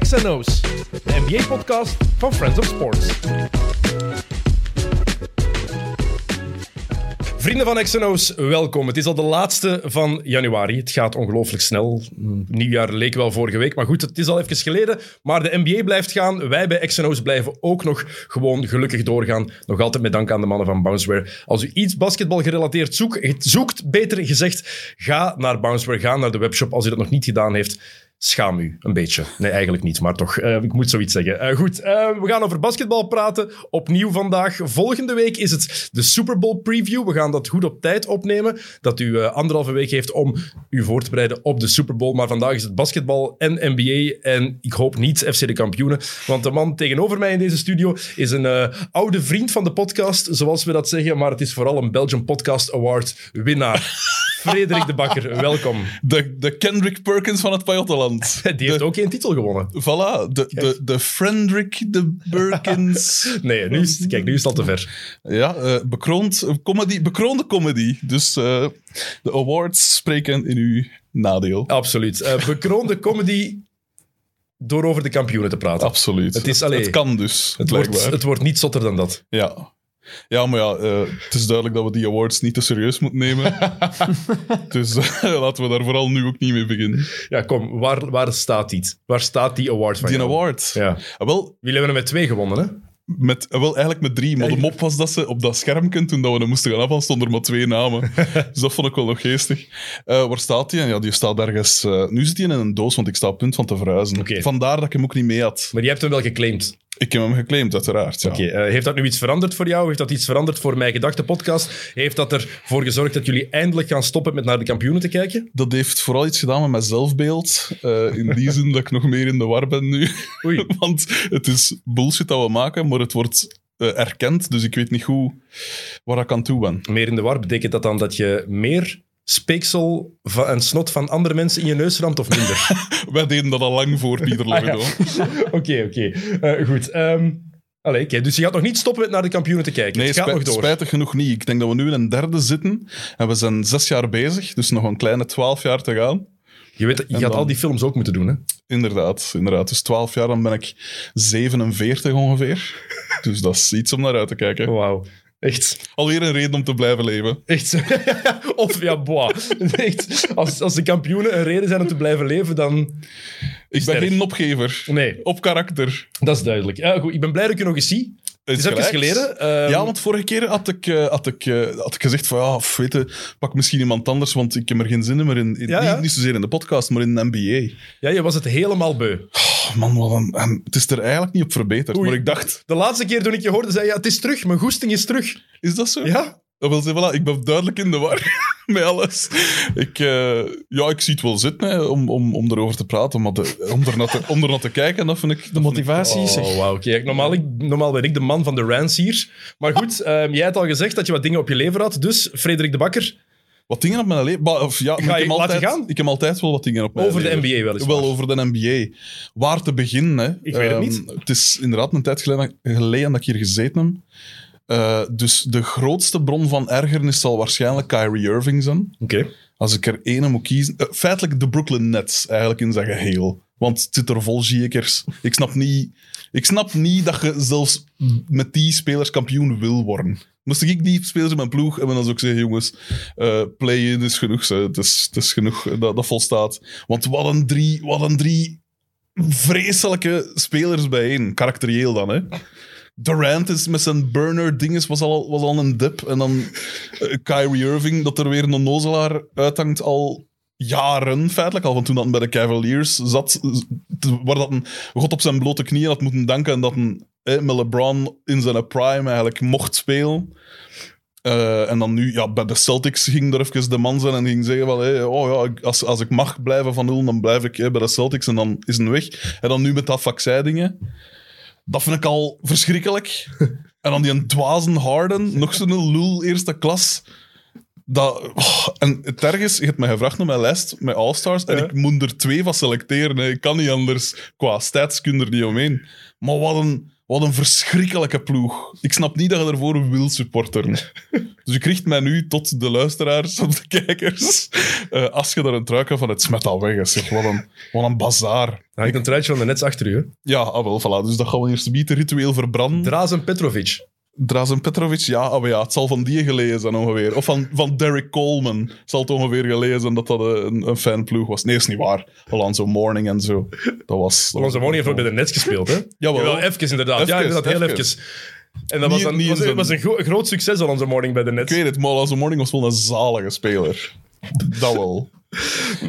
XNO's, de NBA-podcast van Friends of Sports. Vrienden van XNO's, welkom. Het is al de laatste van januari. Het gaat ongelooflijk snel. Nieuwjaar leek wel vorige week, maar goed, het is al even geleden. Maar de NBA blijft gaan. Wij bij XNO's blijven ook nog gewoon gelukkig doorgaan. Nog altijd met dank aan de mannen van Bounceware. Als u iets basketbal gerelateerd zoekt, zoekt, beter gezegd, ga naar Bounceware, ga naar de webshop. Als u dat nog niet gedaan heeft, Schaam u een beetje. Nee, eigenlijk niet, maar toch. eh, ik moet zoiets zeggen. Eh, goed, eh, we gaan over basketbal praten. Opnieuw vandaag. Volgende week is het de Super Bowl preview. We gaan dat goed op tijd opnemen. Dat u eh, anderhalve week heeft om u voor te bereiden op de Super Bowl. Maar vandaag is het basketbal en NBA. En ik hoop niet FC de kampioenen. Want de man tegenover mij in deze studio is een eh, oude vriend van de podcast, zoals we dat zeggen. Maar het is vooral een Belgian Podcast Award winnaar. Frederik de Bakker, welkom. De, de Kendrick Perkins van het Pajottenland. Die heeft ook geen titel gewonnen. Voilà, de, de, de Frendrick de Perkins. Nee, nu is, kijk, nu is het al te ver. ja, eh, bekroond, eh, comedy, bekroonde comedy. Dus eh, de awards spreken in uw nadeel. Absoluut. Eh, bekroonde comedy door over de kampioenen te praten. Absoluut. Het is alleen- het kan dus, het, wordt, blijkbaar. het wordt niet zotter dan dat. Ja. ja, maar ja, eh, het is duidelijk dat we die awards niet te serieus moeten nemen. dus eh, laten we daar vooral nu ook niet mee beginnen. Ja, kom, waar, waar staat iets? Waar staat die award van? Die jou? award. Ja. Ah, wel, Jullie hebben er met twee gewonnen, hè? Met, eh, wel, eigenlijk met drie. Maar de mop was dat ze op dat schermje, toen dat we hem moesten gaan afhalen, stonden er maar twee namen. dus dat vond ik wel nog geestig. Eh, waar staat die? Ja, die staat ergens... eh, nu zit hij in een doos, want ik sta op punt van te verhuizen. Oké. Vandaar dat ik hem ook niet mee had. Maar je hebt hem wel geclaimd. Ik heb hem geclaimd, uiteraard. Ja. Oké, eh, heeft dat nu iets veranderd voor jou? Heeft dat iets veranderd voor Mijn Gedachten podcast? Heeft dat ervoor gezorgd dat jullie eindelijk gaan stoppen met naar de kampioenen te kijken? Dat heeft vooral iets gedaan met mijn zelfbeeld. Eh, in die zin dat ik nog meer in de war ben nu. Oei. Want het is bullshit dat we maken, maar het wordt eh, erkend. Dus ik weet niet goed waar ik aan toe ben. Meer in de war, betekent dat dan dat je meer speeksel van, en snot van andere mensen in je neus ramt of minder? Wij deden dat al lang voor Pieter Ah, Langedoom. Oké, oké. Eh, goed. ehm, allee, oké, dus je gaat nog niet stoppen met naar de kampioenen te kijken. Nee, het gaat spij- nog door. spijtig genoeg niet. Ik denk dat we nu in een derde zitten. En we zijn zes jaar bezig, dus nog een kleine twaalf jaar te gaan. Je, weet, je En gaat dan- al die films ook moeten doen, hè? Inderdaad, inderdaad. Dus twaalf jaar, dan ben ik 47 ongeveer. Dus dat is iets om naar uit te kijken. Wauw. Echt. Alweer een reden om te blijven leven. Echt. of ja, boah. Echt. Als, als de kampioenen een reden zijn om te blijven leven, dan... Ik ben Sterk. geen opgever. Nee, Op karakter. dat is duidelijk. Eh, goed, ik ben blij dat ik je nog eens zie. Het is even gelijk. geleden. ehm, Ja, want vorige keer had ik, eh, had ik, eh, had ik gezegd van ja, of weet je, pak misschien iemand anders, want ik heb er geen zin in meer in. in- Ja, ja. Niet, niet zozeer in de podcast, maar in de NBA. ja, je was het helemaal beu. Oh, man, wat een- en het is er eigenlijk niet op verbeterd. Oei. Maar ik dacht, De laatste keer toen ik je hoorde, zei je, ja, het is terug. Mijn goesting is terug. is dat zo? Ja? Dat wil zeggen, voilà, ik ben duidelijk in de war met alles. Ik, eh, ja, ik zie het wel zitten hè, om, om, om erover te praten, maar de, om, ernaar te, om ernaar te kijken, dat vind ik... De motivatie, zeg. Oh, wauw. Oké, normaal, ik- normaal ben ik de man van de rants hier. Maar goed, ehm, jij had al gezegd dat je wat dingen op je lever had. Dus, Frederik de Bakker, Wat dingen op mijn leven... maar, of ja, maar Ga ik je- heb laat je altijd, gaan? Ik heb altijd wel wat dingen op mijn over de leven. NBA wel eens. Wel over de NBA. Waar te beginnen, hè? Ik weet het Ehm, niet. Het is inderdaad een tijd geleden, geleden dat ik hier gezeten heb. Eh, dus de grootste bron van ergernis zal waarschijnlijk Kyrie Irving zijn. Oké. Als ik er één moet kiezen... eh, feitelijk de Brooklyn Nets, eigenlijk in zijn geheel. Want het zit er vol ziekers. Ik snap niet... Ik snap niet dat je zelfs met die spelers kampioen wil worden. Moest ik die spelers in mijn ploeg hebben, dan zou ik zeggen, jongens, eh, play-in is genoeg. Ze. Het, is, het is genoeg, eh, dat, dat volstaat. Want wat een drie, wat een drie vreselijke spelers bijeen. Karakterieel dan, hè. Durant is met zijn burner dinges was al, was al een dip. En dan eh, Kyrie Irving, dat er weer een onnozelaar uithangt al jaren, feitelijk. Al van toen dat hij bij de Cavaliers zat, eh, te- waar dat een god op zijn blote knieën had moeten danken en dat een, eh, met LeBron in zijn prime eigenlijk mocht spelen. Eh, en dan nu, ja, bij de Celtics ging er even de man zijn en ging zeggen van, hé, oh ja, ik- als, als ik mag blijven van nul, dan blijf ik eh, bij de Celtics en dan is hij weg. En dan nu met dat vaccindingen. Dat vind ik al verschrikkelijk. en dan die een dwazen Harden, nog zo'n lul eerste klas. Dat, oh, en het ergens, je hebt mij gevraagd naar mijn lijst met All-Stars en Ja. ik moet er twee van selecteren. hè. Ik kan niet anders. Qua stats kun je er niet omheen. Maar wat een, Wat een verschrikkelijke ploeg. Ik snap niet dat je daarvoor wil supporteren. Dus ik richt mij nu tot de luisteraars, tot de kijkers. Eh, als je daar een trui kan van het smet al weg. hè, Zeg. Wat, een, wat een bazaar. Dan hangt een truitje van de nets achter u. hè. Ja, ah, wel, voilà. Dus dat gaan we eerst niet ritueel verbranden. Drazen Petrovic. Drazen Petrovic, ja, ah, maar ja, het zal van die gelezen zijn ongeveer. Of van, van Derek Coleman zal het ongeveer gelezen dat dat een, een fanploeg was. Nee, is niet waar. Alonso Morning en zo. Dat was... dat was- Alonso Moni heeft ook bij de nets gespeeld, hè? Jawel. Jawel, even inderdaad. ja, Even, inderdaad, heel even. even. En dat was, Niet- dan, niet was, zo'n- was een gro- groot succes, Alonso Morning, bij de Ik nets. weet het, maar Alonso Morning was wel een zalige speler. Dat wel.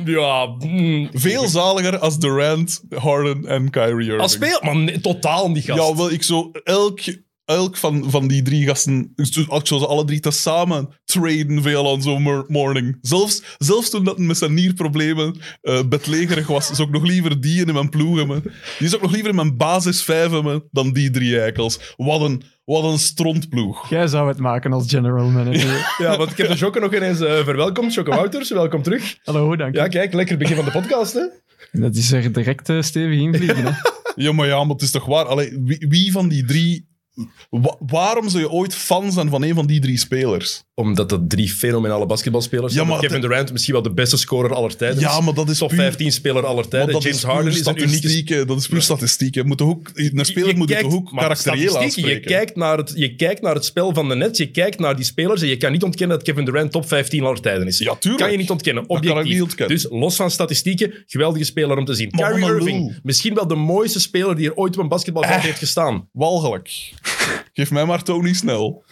Ja, mm. Veel zaliger als Durant, Harden en Kyrie Irving. als speelt, maar nee, totaal niet, gast. Ja, wel, ik zo elk, elk van, van die drie gasten, dus ik zou ik zou ze alle drie tezamen traden via Alonso Mor- Morning. Zelfs, zelfs toen dat met zijn nierproblemen eh bedlegerig was, zou ik nog liever die in mijn ploeg hebben. Die zou ik nog liever in mijn basis vijf hebben dan die drie eikels. Wat een, wat een strontploeg. Jij zou het maken als general manager. Ja, want ik heb de Jocke nog ineens eh, verwelkomd. Jocke Wouters, welkom terug. Hallo, dank je. Ja, kijk, lekker begin van de podcast, hè? Dat is er direct eh, stevig invliegen. hè. Ja, maar ja, maar het is toch waar. Allee, wie, wie van die drie... wa- waarom zou je ooit fan zijn van een van die drie spelers? Omdat dat drie fenomenale basketbalspelers Ja, zijn. maar Kevin Durant misschien wel de beste scorer aller tijden. Ja, is. maar dat is dus Top puur- 15 speler aller tijden. Want dat James is puur Harden is een unieke... statistiek, hè. Dat is puur statistiek. hè. Moet de hoek, een speler moet kijkt- de hoek maar karakterieel statistieken, aanspreken. Je kijkt, naar het, je kijkt naar het spel van de net, je kijkt naar die spelers en je kan niet ontkennen dat Kevin Durant top 15 aller tijden is. Ja, tuurlijk. Kan je niet ontkennen, kan ik objectief. niet ontkennen. Dus los van statistieken, geweldige speler om te zien. Maar Kyrie wat een Irving, lul. misschien wel de mooiste speler die er ooit op een basketbalveld Eh. heeft gestaan. Walgelijk. Geef mij maar Tony Snel.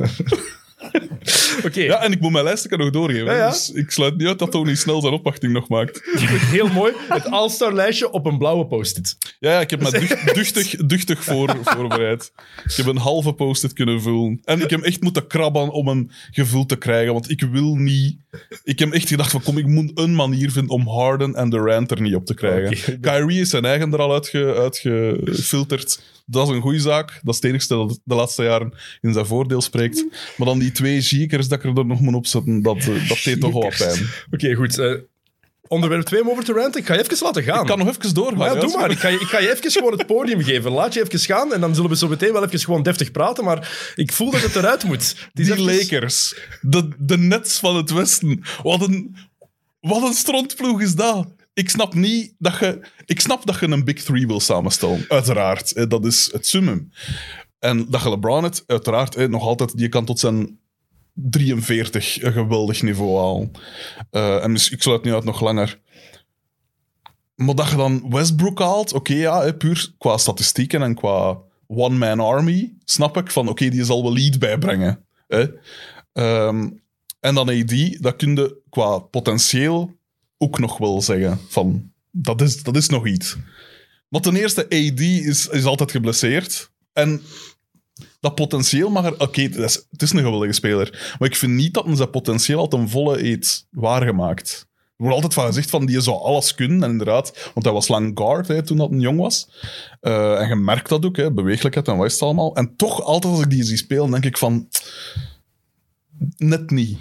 Oké, Ja, en ik moet mijn lijst er nog doorgeven. hè. Ja, ja. Dus ik sluit niet uit dat Tony Snel zijn opwachting nog maakt. dus heel mooi. Het All-Star lijstje op een blauwe post-it. Ja, ja ik heb me ducht- duchtig, duchtig voor, voorbereid. Ik heb een halve post-it kunnen vullen. En ik heb echt moeten krabben om hem gevuld te krijgen. Want ik wil niet... Ik heb echt gedacht van, kom, ik moet een manier vinden om Harden en Durant er niet op te krijgen. Kyrie is zijn eigen er al uitge, uitgefilterd. Dat is een goede zaak. Dat is het enigste dat de laatste jaren in zijn voordeel spreekt. Maar dan die twee ziekers dat ik er nog moet opzetten, dat, eh, dat deed toch wel wat pijn. Oké, goed. eh, onderwerp 2 om over te ranten. Ik ga je even laten gaan. Ik kan nog even doorgaan. Maar ja, ja, doe sorry. maar. Ik ga, je, ik ga je even gewoon het podium geven. Laat je even gaan en dan zullen we zo meteen wel even gewoon deftig praten. Maar ik voel dat het eruit moet. dus- Het is Die even- Lakers. De, de Nets van het Westen. Wat een, wat een strontploeg is dat. Ik snap niet dat je... Ik snap dat je een Big Three wil samenstellen. Uiteraard. hè, Dat is het summum. En dat je LeBron het, uiteraard, hè, nog altijd... Je kan tot zijn 43 een geweldig niveau halen. Eh, en dus, ik sluit nu uit nog langer. Maar dat je dan Westbrook haalt, oké ja, hè, puur qua statistieken en qua one-man army, snap ik van oké, die zal wel lead bijbrengen. Hè. Ehm, en dan AD, dat kun je qua potentieel ook nog wel zeggen van dat is, dat is nog iets. Maar ten eerste, AD is, is altijd geblesseerd. En dat potentieel mag er... Oké, het, is- het is een geweldige speler. Maar ik vind niet dat men zijn potentieel al ten volle heeft waargemaakt. Er wordt altijd van gezegd van, die zou alles kunnen. En inderdaad, want hij was lang guard hè, toen dat een jong was. Eh, en je merkt dat ook, hè, beweeglijkheid en wat is het allemaal. En toch, altijd als ik die zie spelen, denk ik van... Net niet.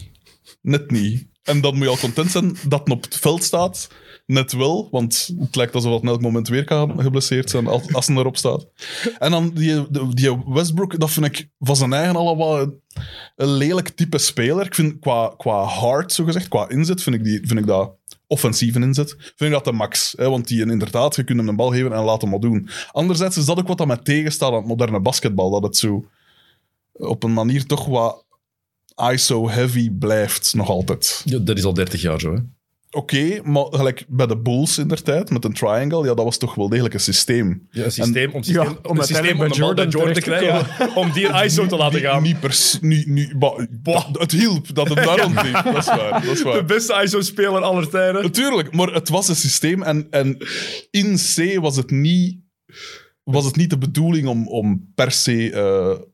Net niet. En dan moet je al content zijn dat het op het veld staat. Net wel, want het lijkt alsof het in elk moment weer kan geblesseerd zijn als, als hij erop staat. En dan die, de- die Westbrook, dat vind ik van zijn eigen allemaal een, een lelijk type speler. Ik vind qua, qua hard, zogezegd, qua inzet, vind ik, die, vind ik dat offensieve inzet, vind ik dat de max. Hè? Want die inderdaad, je kunt hem een bal geven en laat hem wat doen. Anderzijds is dat ook wat dat mij tegenstaat aan het moderne basketbal, dat het zo op een manier toch wat ISO-heavy blijft nog altijd. Ja, dat is al 30 jaar zo. Hè? Oké, maar gelijk bij de Bulls in der tijd, met een triangle, ja, dat was toch wel degelijk een systeem. Ja, een systeem, om, systeem, Ja, om, om een systeem om uiteindelijk de bal bij bij Jordan Jordan te krijgen. Om die een ISO te laten Niet- gaan. Niet pers... Niet, niet, maar- dat- het hielp dat het daar rond liep. Dat is waar, dat is De waar. beste ISO-speler aller tijden. Natuurlijk, maar het was een systeem en, en in C was het niet, was het niet de bedoeling om, om per se eh,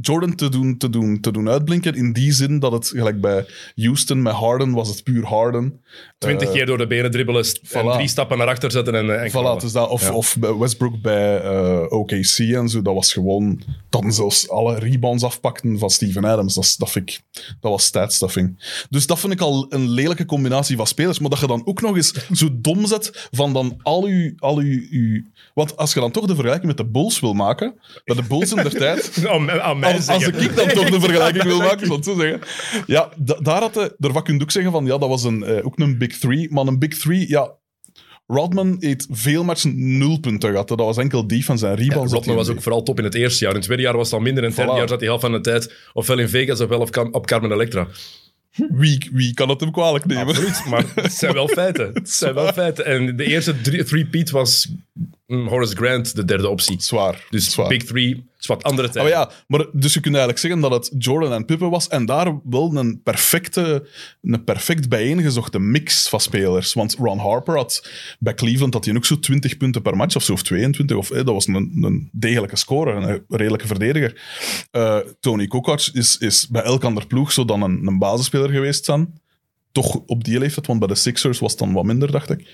Jordan te doen, te, doen, te doen uitblinken. In die zin dat het, gelijk bij Houston, met Harden was het puur Harden. Eh, Twintig keer door de benen dribbelen st- en voilà. drie stappen naar achter zetten en, eh, en knallen. Voilà, dus dat, of, of bij Westbrook bij eh, OKC en zo, dat was gewoon dat men zelfs alle rebounds afpakten van Steven Adams. Dat, is- dat, vind ik, dat was statstuffing. Dus dat vind ik al een lelijke combinatie van spelers. Maar dat je dan ook nog eens zo dom zet van dan al uw... Al uw, uw- want als je dan toch de vergelijking met de Bulls wil maken, dat de Bulls in der tijd... Aan, mij- aan mij dus- Als, als zeggen. ik dan toch de vergelijking wil maken, zal ik zo zeggen. Ja, da- daar had eh, de, daarvan kun je ook zeggen van, ja, dat was een, eh, ook een big three. Maar een big three, ja... Rodman heeft veel matchen nul punten gehad. hè. Dat was enkel defense en Ja, rebounds. dat Rodman hij was ook deed. vooral top in het eerste jaar. In het tweede jaar was het al minder. In het derde Voilà. jaar zat hij half van de tijd ofwel in Vegas ofwel op, Cam- op Carmen Electra. Wie, wie kan het hem kwalijk nemen? Absoluut, maar het zijn wel feiten. Het zijn wel feiten. En de eerste drie- three-peat was mm, Horace Grant, de derde optie. Zwaar. Dus zwaar. Big Three is wat andere tijd. Oh ja, maar dus je kunt eigenlijk zeggen dat het Jordan en Pippen was en daar wel een perfecte, een perfect bijeengezochte mix van spelers. Want Ron Harper had bij Cleveland had hij ook zo 20 punten per match of zo, of 22, of, eh, dat was een, een degelijke scorer, een redelijke verdediger. Eh, Tony Kukoc is, is bij elk ander ploeg zo dan een, een basisspeler geweest dan. Toch op die leeftijd, want bij de Sixers was het dan wat minder, dacht ik.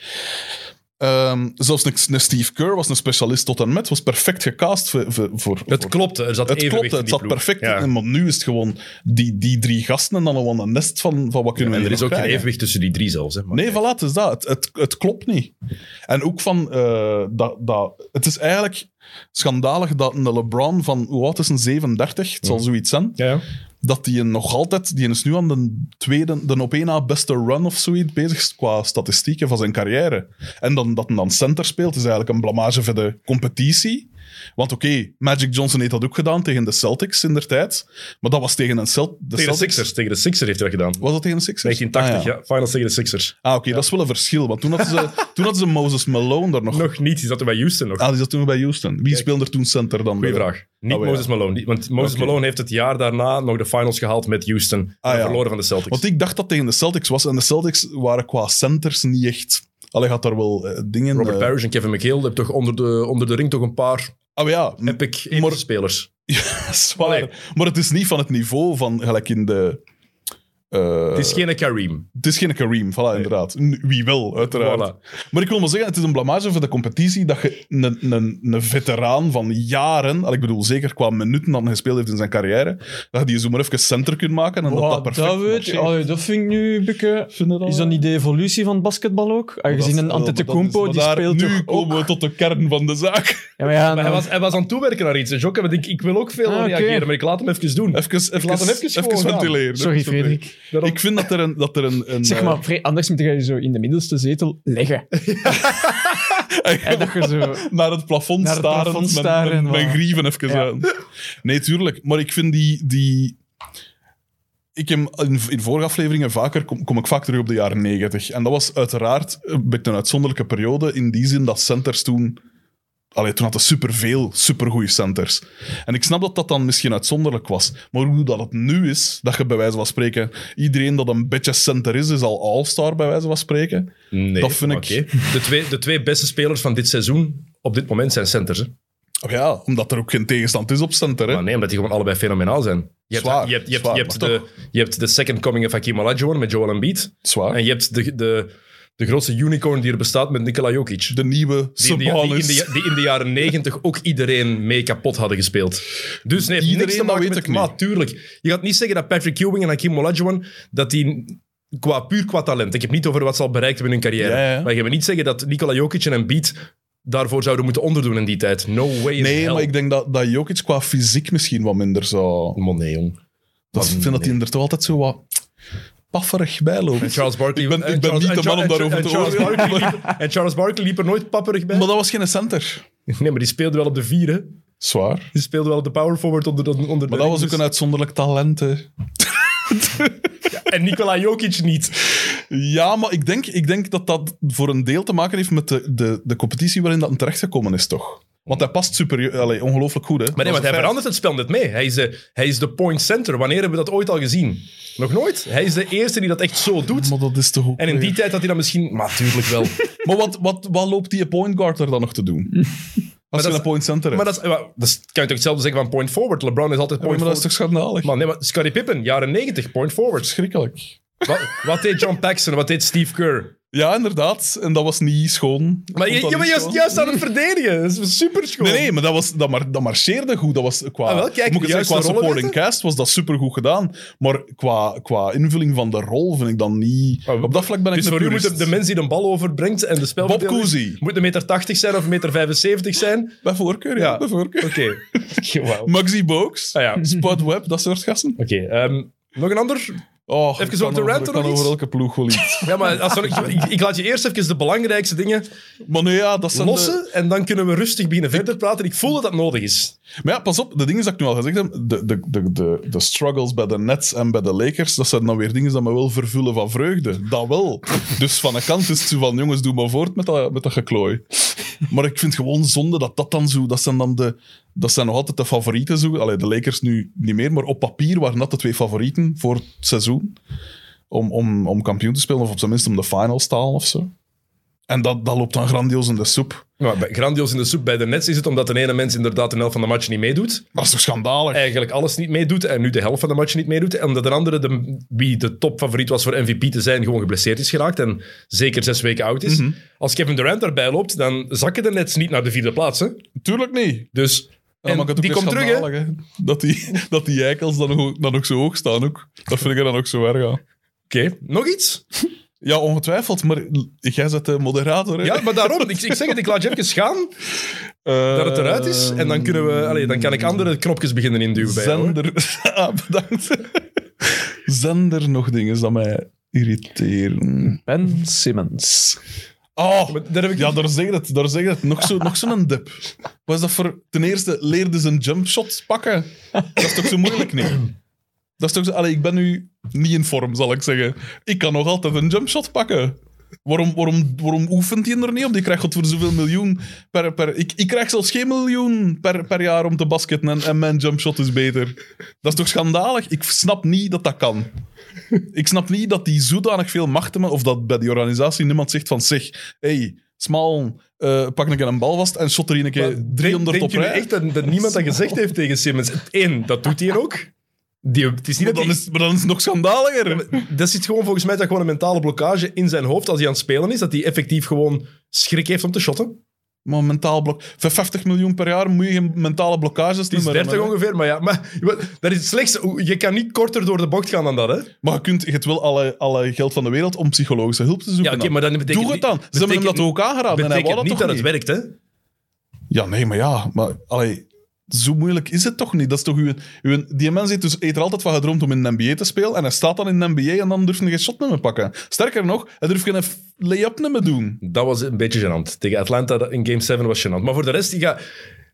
Ehm, zelfs een, een Steve Kerr was een specialist tot en met, was perfect gecast voor, voor, voor- Het klopte, er zat het evenwicht klopt, in het die zat ploeg. perfect. Ja. in, Maar nu is het gewoon die, die drie gasten en dan gewoon een nest van, van wat kunnen En we er is hier ook geen nog krijgen. evenwicht tussen die drie zelfs. Hè. Maar- Nee, voilà, het is dat. Het, het, het klopt niet. En ook van... eh, dat, dat, het is eigenlijk schandalig dat een LeBron van... Hoe oud is een 37? Het Mm. zal zoiets zijn. Ja, ja. Dat die een nog altijd... Die is nu aan de tweede... De op één na beste run of zoiets bezig qua statistieken van zijn carrière. En dan, dat hij dan center speelt is eigenlijk een blamage voor de competitie. Want oké, Magic Johnson heeft dat ook gedaan tegen de Celtics in der tijd. Maar dat was tegen een Celt de Tegen de Celtics. Sixers. Tegen de Sixers heeft hij dat gedaan. Was dat ah, tegen de Sixers? 1980, Ah, ja. Finals tegen de Sixers. Ah, oké, dat is wel een verschil. Want toen hadden ze, toen hadden ze Moses Malone er nog. Nog niet, die zat er bij Houston nog. Ah, die zat toen bij Houston. Wie speelde er toen center dan? Goeie wel? vraag. Niet Oh, ja. Moses Malone. die- Want Moses Oké. Malone heeft het jaar daarna nog de finals gehaald met Houston. Ah, en ja. verloren van de Celtics. Want ik dacht dat tegen de Celtics was. En de Celtics waren qua centers niet echt... Allee, had daar wel eh, dingen... Robert eh, Parrish en Kevin McHale hebben toch onder de, onder de ring toch een paar Ah, ja. m- epic epische Eh, spelers. zwaar. Allee. Maar het is niet van het niveau van gelijk in de... eh, Het is geen Kareem. het is geen Kareem, voilà, inderdaad. N- Wie wel, uiteraard. Voilà. Maar ik wil maar zeggen, het is een blamage voor de competitie dat je een, een, een veteraan van jaren, al ik bedoel zeker qua minuten dat hij gespeeld heeft in zijn carrière, dat je die zo maar even center kunt maken en dat dat Wow, dat, perfect weet je. marcheert. Allee, dat vind ik nu een beetje... Is dat niet de evolutie van het basketbal ook? Aangezien Oh, Dat- een wel, maar dat is- Antetokounmpo, maar die daar- speelt Nu toch komen ook... we tot de kern van de zaak. Ja, maar ja, Maar hij, nou, was, hij was aan het toewerken naar iets. En Jokke, want ik, ik wil ook veel Ah, oké. reageren, maar ik laat hem even doen. Even, even, laat hem even even, gewoon gaan. ventileren. Sorry, Even Frederik. Daarom- Ik vind dat er een... Dat er een, een Zeg eh, maar, Fre- anders moet je je zo in de middelste zetel leggen. eh, en dat je zo... naar het plafond Naar het staren, plafond mijn- staren, mijn, mijn voilà. grieven even Ja. aan. Nee, tuurlijk. Maar ik vind die... die ik heb in, in vorige afleveringen vaker kom, kom ik vaak terug op de jaren negentig. En dat was uiteraard een beetje een uitzonderlijke periode in die zin dat centers toen... Allee, toen hadden superveel supergoeie centers. En ik snap dat dat dan misschien uitzonderlijk was. Maar hoe dat het nu is, dat je bij wijze van spreken... Iedereen dat een beetje center is, is al all-star bij wijze van spreken. nee, dat vind ik- oké. De, twee, de twee beste spelers van dit seizoen op dit moment zijn centers. Hè? Oh ja, omdat er ook geen tegenstand is op center. Hè? Maar nee, omdat die gewoon allebei fenomenaal zijn. Je hebt, Zwaar, je hebt, je hebt, zwaar, je hebt maar de, je hebt de second coming of Hakim Olajuwon met Joel Embiid. Zwaar. En je hebt de, de, de grootste unicorn die er bestaat met Nikola Jokic. de nieuwe Die in, de, die, in Sabonis. de, die in de jaren negentig ook iedereen mee kapot hadden gespeeld. Dus nee, Iedereen, niks te maken dat weet met- ik niet. Maar tuurlijk, je gaat niet zeggen dat Patrick Ewing en Hakim Olajuwon, dat die qua, puur qua talent, ik heb niet over wat ze al bereikt hebben in hun carrière, Ja, ja. maar je gaat niet zeggen dat Nikola Jokic en Embiid daarvoor zouden moeten onderdoen in die tijd. No way in Nee, hell. maar ik denk dat, dat Jokic qua fysiek misschien wat minder zou... Maar nee, jong. Dat ik vind dat hij er toch altijd zo wat pafferig bij En loopt. Charles Barkley... Ik ben- en ik ben Charles- niet en de man om Charles- daarover en te Charles oordelen. Barkley liep- En Charles Barkley liep er nooit papperig bij. Maar dat was geen center. Nee, maar die speelde wel op de vier, hè. Zwaar. Die speelde wel op de power forward onder, onder de Maar dat ring, was ook dus- een uitzonderlijk talent, hè. En Nikola Jokic niet. Ja, maar ik denk, ik denk dat dat voor een deel te maken heeft met de, de, de competitie waarin dat hem terechtgekomen is, toch? Want hij past super, allee, ongelooflijk goed, hè. Maar nee, Dat want hij is een feit. verandert het spel net mee. Hij is, de, hij is de point center. Wanneer hebben we dat ooit al gezien? Nog nooit. Hij is de eerste die dat echt zo doet. Maar dat is toch ook En in die weer- tijd had hij dan misschien... Maar tuurlijk wel. Maar wat, wat, wat loopt die point guard er dan nog te doen? Als je dat een point center Maar hebt. dat, is, ja, dat is- kan je toch hetzelfde zeggen van point forward. LeBron is altijd Ja, maar point dat is forward. toch schandalig? Man, nee, maar Scottie Pippen, jaren 90, point forward. Schrikkelijk. Wat, wat deed John Paxson? Wat deed Steve Kerr? Ja, inderdaad. En dat was niet schoon. Maar Vond je, dat je bent niet juist, schoon? juist aan het verdedigen. Dat is super schoon. Nee, nee, maar dat, was, dat, mar dat marcheerde goed. Dat was qua, Ah, wel, kijk, moet ik de zeggen, qua juiste rollen supporting cast was dat supergoed gedaan. Maar qua, qua invulling van de rol vind ik dan niet... Ah, Op dat vlak ben ik Dus een voor u purist. moet de mens die de bal overbrengt en de spel Bob Cousy. moet een meter 80 zijn of een meter 75 zijn. Bij voorkeur, ja. Ja. Bij voorkeur. Oké. Oké, wauw. Maxi Boaks, Ah, ja. Spud Webb, dat soort gasten. Oké, ehm, nog een ander? Oh, Even ik zo kan op de over- rant ik nog kan iets? over elke ploeg wel iets. Ja, maar als we- ik, ik laat je eerst even de belangrijkste dingen maar nee, ja, dat zijn de- lossen en dan kunnen we rustig beginnen verder praten. Ik voel dat dat nodig is. Maar ja, pas op, de dingen die ik nu al gezegd heb, de, de, de, de, de struggles bij de Nets en bij de Lakers, dat zijn dan weer dingen die me wel vervullen van vreugde. Dat wel. Dus van de kant is het zo van, jongens, doe maar voort met dat, met dat geklooi. Maar ik vind gewoon zonde dat dat dan zo, dat zijn dan de, dat zijn nog altijd de favorieten zo. Allee, de Lakers nu niet meer, maar op papier waren dat de twee favorieten voor het seizoen. Om, om, om kampioen te spelen, of op zijn minst om de finals te halen of zo. En dat, dat loopt dan grandioos in de soep. Maar bij- grandioos in de soep bij de Nets is het omdat de ene mens inderdaad de helft van de match niet meedoet. Dat is toch schandalig? Eigenlijk alles niet meedoet en nu de helft van de match niet meedoet. En omdat een andere, de, wie de topfavoriet was voor MVP te zijn, gewoon geblesseerd is geraakt en zeker zes weken oud is. Mhm. Als Kevin Durant daarbij loopt, dan zakken de Nets niet naar de vierde plaats. Hè? Tuurlijk niet. Dus Ja, en maar ik had ook die weer komt terug, hè? schandalig, hè. Dat die, dat die eikels dan ook, dan ook zo hoog staan. Ook. Dat vind ik er dan ook zo erg aan. Oké, nog iets? Ja, ongetwijfeld, maar l- jij zet de moderator. Hè? Ja, maar daarom, ik, ik zeg het, ik laat je even gaan, Eh, dat het eruit is. En dan, kunnen we, allee, dan kan ik andere knopjes beginnen induwen bij jou, hè. Zender. Ah, bedankt. Zender nog dingen dat mij irriteren. Ben Simmons. Oh, Maar daar heb ik ja, daar zeg je het. Daar zeg je het. Nog zo'n nog zo'n dip. Wat is dat voor... Ten eerste, leerde ze een jumpshot pakken. Dat is toch zo moeilijk, niet? Dat is toch zo... Allee, ik ben nu niet in vorm, zal ik zeggen. Ik kan nog altijd een jumpshot pakken. Waarom, waarom, waarom oefent hij er niet op? Die krijgt God voor zoveel miljoen per... per ik, ik krijg zelfs geen miljoen per, per jaar om te basketten en, en mijn jumpshot is beter. Dat is toch schandalig? Ik snap niet dat dat kan. Ik snap niet dat die zodanig veel macht hebben, of dat bij die organisatie niemand zegt van zeg, hey, smal, eh, pak een keer een bal vast en shot er een Maar keer denk- 300 denk op jullie rij. echt dat, dat niemand dat gezegd heeft tegen Simmons? Eén, dat doet hij ook. Die, het is niet maar, dat dan hij- is, maar dan is het nog schandaliger. Dat zit gewoon volgens mij dat gewoon een mentale blokkage in zijn hoofd als hij aan het spelen is, dat hij effectief gewoon schrik heeft om te shotten. Maar mentaal blok. Voor 50 miljoen per jaar moet je geen mentale blokkages Het is niet meer 30 hebben, hè. ongeveer, maar ja, maar, dat is het slechtste. Je kan niet korter door de bocht gaan dan dat, hè? Maar je kunt je hebt wel alle, alle geld van de wereld om psychologische hulp te zoeken. Ja, oké, maar dan betekent Doe het dan. Ze hebben betekent- hem dat ook aangeraden en hij betekent wou dat niet toch dat niet. het werkt, hè? Ja, nee, maar ja. Maar, allee, zo moeilijk is het toch niet? Dat is toch uw, uw, die mens heeft, dus, heeft er altijd van gedroomd om in de NBA te spelen. En hij staat dan in de NBA en dan durft hij geen shot meer pakken. Sterker nog, hij durft geen f- lay-up meer doen. Dat was een beetje gênant. Tegen Atlanta in Game 7 was gênant. Maar voor de rest, ik ga...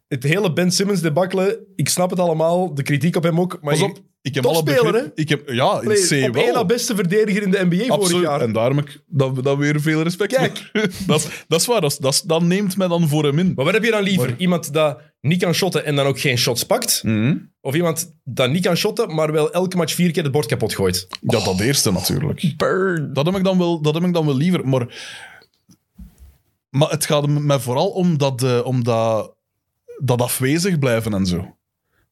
Het hele Ben Simmons debakkelen, ik snap het allemaal, de kritiek op hem ook. Maar Pas je- op, ik heb Toch alle speler, begrip- Ik heb, ja, ik Allee, zie op één na wel. beste verdediger in de NBA vorig Absoluut. jaar. En daarom heb ik dat, dat weer veel respect Kijk. voor. dat, is- dat is waar. Dat, is- dat, is- dat neemt mij dan voor hem in. Maar wat heb je dan liever? Iemand dat niet kan shotten en dan ook geen shots pakt? Mhm. Of iemand dat niet kan shotten, maar wel elke match vier keer het bord kapot gooit? Ja, dat eerste natuurlijk. Dat heb ik dan wel, dat heb ik dan wel liever. Maar, maar het gaat m- mij vooral om dat, eh, om dat, dat afwezig blijven en zo.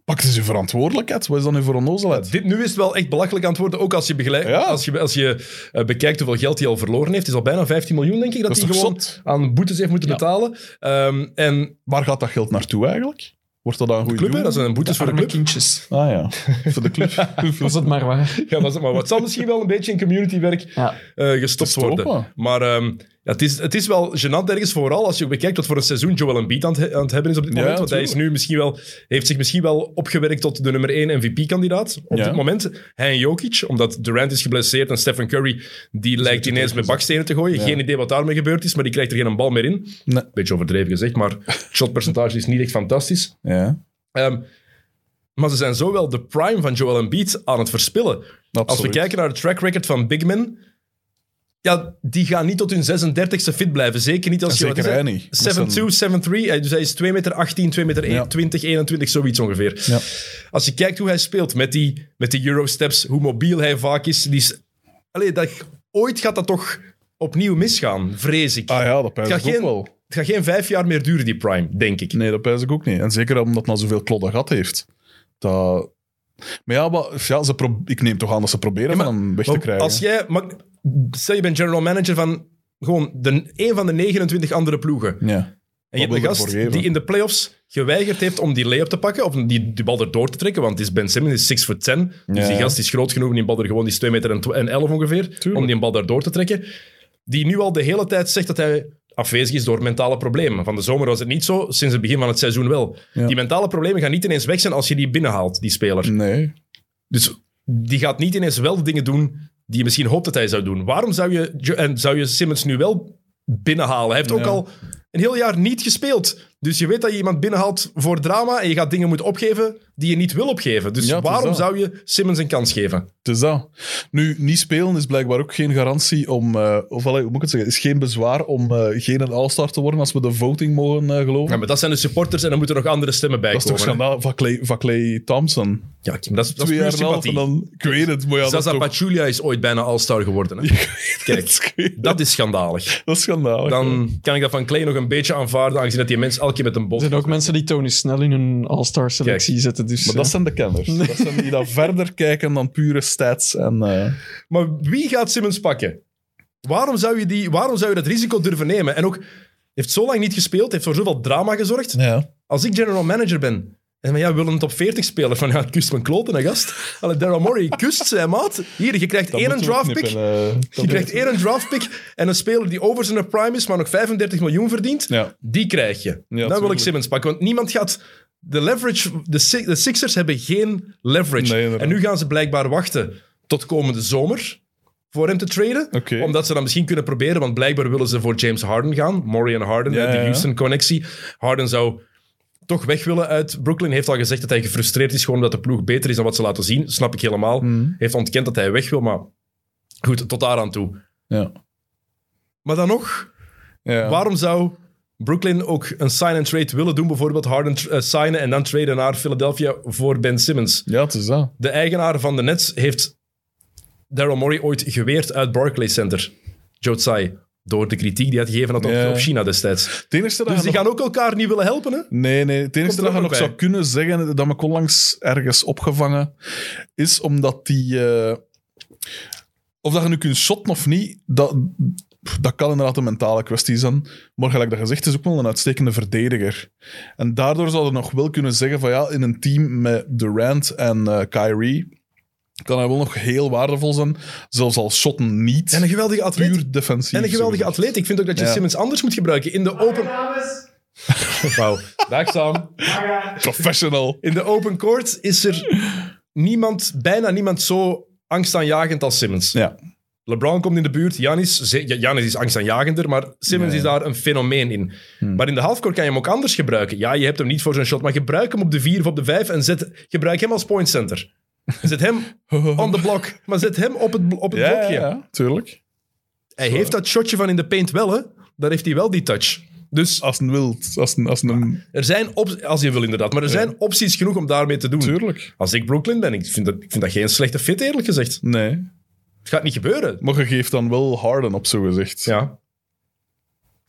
Pak eens je verantwoordelijkheid. Wat is dan nu voor onnozelheid? Dit nu is het wel echt belachelijk aan het worden, ook als je, begeleid, Ja. als je, als je eh, bekijkt hoeveel geld hij al verloren heeft. Het is al bijna 15 miljoen, denk ik, dat, Dat is hij toch gewoon zot? aan boetes heeft moeten Ja. betalen. Ehm, en Waar gaat dat geld naartoe eigenlijk? Wordt dat dan een goede club, hè, doel? dat zijn boetes voor de club. kindjes. Ah ja, voor de club. Was het maar waar. Ja, was het maar wat. Het zal misschien wel een beetje in communitywerk Ja. eh, gestopt Gestopt, worden. ja. Maar ehm, ja, het, is, het is wel gênant ergens, vooral als je bekijkt wat voor een seizoen Joel Embiid aan het, he- aan het hebben is op dit Ja, moment. want hij is nu misschien wel, heeft zich misschien wel opgewerkt tot de nummer 1 MVP-kandidaat op Ja. dit moment. Hij en Jokic, omdat Durant is geblesseerd en Stephen Curry, die lijkt ineens met bakstenen te gooien. Geen idee wat daarmee gebeurd is, maar die krijgt er geen bal meer in. Nee. Beetje overdreven gezegd, maar het shotpercentage is niet echt fantastisch. Ja, Ehm, maar ze zijn zo wel de prime van Joel Embiid aan het verspillen. Als we Absoluut. kijken naar de track record van big men, ja, die gaan niet tot hun 36e fit blijven. Zeker niet als je... Zeker wat is hij hij? niet. Dat 7'2", 7'3", eh, dus hij is 2 meter 18, 2 meter Ja. 20, 21, zoiets ongeveer. Ja. Als je kijkt hoe hij speelt met die, met die Eurosteps, hoe mobiel hij vaak is, die is allee, dat, ooit gaat dat toch opnieuw misgaan, vrees ik. Ah ja, dat pijn Het ik gaat ook geen- wel. Het gaat geen vijf jaar meer duren, die Prime, denk ik. Nee, dat pijs ik ook niet. En zeker omdat het nou zoveel klodden gehad heeft. Dat... Maar ja, maar, ja ze pro- ik neem toch aan dat ze proberen maar- van hem weg te Want krijgen. Als jij, maar, stel je bent general manager van gewoon de, een van de 29 andere ploegen. Ja. En je wil hebt je een ervoor gast geven? die in de playoffs geweigerd heeft om die lay-up te pakken, of die, die bal erdoor te trekken, want het is Ben Simmons, die is 6 foot 10. Dus Ja. die gast is groot genoeg om die bal er gewoon, die is 2 meter en tw- en 11 ongeveer, om die bal erdoor te trekken. Die nu al de hele tijd zegt dat hij afwezig is door mentale problemen. Van de zomer was het niet zo, sinds het begin van het seizoen wel. Ja. Die mentale problemen gaan niet ineens weg zijn als je die binnenhaalt, die speler. Nee. Dus die gaat niet ineens wel de dingen doen die je misschien hoopt dat hij zou doen. Waarom zou je, Jo- en zou je Simmons nu wel binnenhalen? Hij heeft ook Ja. al een heel jaar niet gespeeld. Dus je weet dat je iemand binnenhaalt voor drama en je gaat dingen moeten opgeven die je niet wil opgeven. Dus Ja, het is waarom dat. zou je Simmons een kans geven? Het is dat. Nu, niet spelen is blijkbaar ook geen garantie om... eh, of allee, hoe moet ik het zeggen? is geen bezwaar om eh, geen een all-star te worden als we de voting mogen eh, geloven. Ja, maar dat zijn de supporters en dan moeten er nog andere stemmen bij dat is toch komen. hè? schandaal van Clay, van Clay Thompson. Ja, Kim, dat is, dat is Twee puur jaar en een half sympathie. en dan... Ik weet het, maar ja, dat is Zaza toch... Pachulia is ooit bijna all-star geworden. Hè? Kijk, Ik weet het. dat is schandalig. Dat is schandalig. Dan kan ik dat van Clay nog een beetje aanvaarden, aangezien dat die mens elke keer met een Er bot zijn ook mensen die Tony Snell in hun all-star selectie zetten. Dus, Maar eh, dat zijn de kenners. Dat zijn die dat verder kijken dan pure stats. En, eh, Maar wie gaat Simmons pakken? Waarom zou je, die, waarom zou je dat risico durven nemen? En ook, hij heeft zo lang niet gespeeld, heeft voor zoveel drama gezorgd. ja. Als ik general manager ben, en van ja, we willen een top 40 speler, van ja, het kust mijn kloten, hè, gast. Allee, Daryl Morey, kust zijn maat. Hier, je krijgt Dat één moeten we draft pick. knippen, eh, Je dat krijgt is- één een draft pick en een speler die over zijn prime is, maar nog 35 miljoen verdient. Ja. Die krijg je. Dan wil ik tuurlijk. Simmons pakken, want niemand gaat... De leverage... De, Si- de Sixers hebben geen leverage. Nee, inderdaad. en nu gaan ze blijkbaar wachten tot komende zomer voor hem te traden. Oké. Omdat ze dan misschien kunnen proberen, want blijkbaar willen ze voor James Harden gaan. Murray en Harden, Ja, hè, die ja. Houston-connectie. Harden zou toch weg willen uit Brooklyn. Heeft al gezegd dat hij gefrustreerd is, gewoon omdat de ploeg beter is dan wat ze laten zien. Snap ik helemaal. Mm. Heeft ontkend dat hij weg wil, maar goed, tot daar aan toe. Ja. Maar dan nog, Ja. Waarom zou Brooklyn ook een sign-and-trade willen doen? Bijvoorbeeld Harden eh, signen en dan traden naar Philadelphia voor Ben Simmons. ja, het is dat. De eigenaar van de Nets heeft Daryl Morey ooit geweerd uit Barclays Center. Jotsai. Door de kritiek die hij had gegeven had op, Ja. op China destijds. Het enige dat Dus je die nog- gaan ook elkaar niet willen helpen, hè? Nee, nee. Het enige Komt er dat je ook nog bij. zou kunnen zeggen, dat ik onlangs ergens opgevangen, is omdat die... eh, of dat je nu kunt shotten of niet, dat, dat kan inderdaad een mentale kwestie zijn. Maar gelijk dat gezegd is ook wel een uitstekende verdediger. En daardoor zou je nog wel kunnen zeggen van ja, in een team met Durant en eh, Kyrie kan hij wel nog heel waardevol zijn, zelfs al shotten niet. En een geweldige atleet. puur defensief. En een geweldige sowieso. atleet. Ik vind ook dat je Ja. Simmons anders moet gebruiken. In de open... Wauw. Dag Sam. Professional. In de open court is er niemand, bijna niemand zo angstaanjagend als Simmons. Ja. LeBron komt in de buurt, Janis, ze- ja, Janis is angstaanjagender, maar Simmons Ja, Hmm. is daar een fenomeen in. Maar in de halfcourt kan je hem ook anders gebruiken. Ja, je hebt hem niet voor zijn shot, maar gebruik hem op de vier of op de vijf en zet, gebruik hem als point center. Zet hem on the block, maar zet hem op het, bl- op het Ja, ja, blokje. ja, tuurlijk. Hij heeft dat shotje van in de paint wel, hè. Daar heeft hij wel die touch. Dus Als een wild. Als een, als een, er zijn opties, als je wil inderdaad, maar er zijn opties genoeg om daarmee te doen. tuurlijk. Als ik Brooklyn ben, ik vind, dat, ik vind dat geen slechte fit, eerlijk gezegd. Nee. Het gaat niet gebeuren. Maar je geeft dan wel Harden op, zo gezegd. Ja. en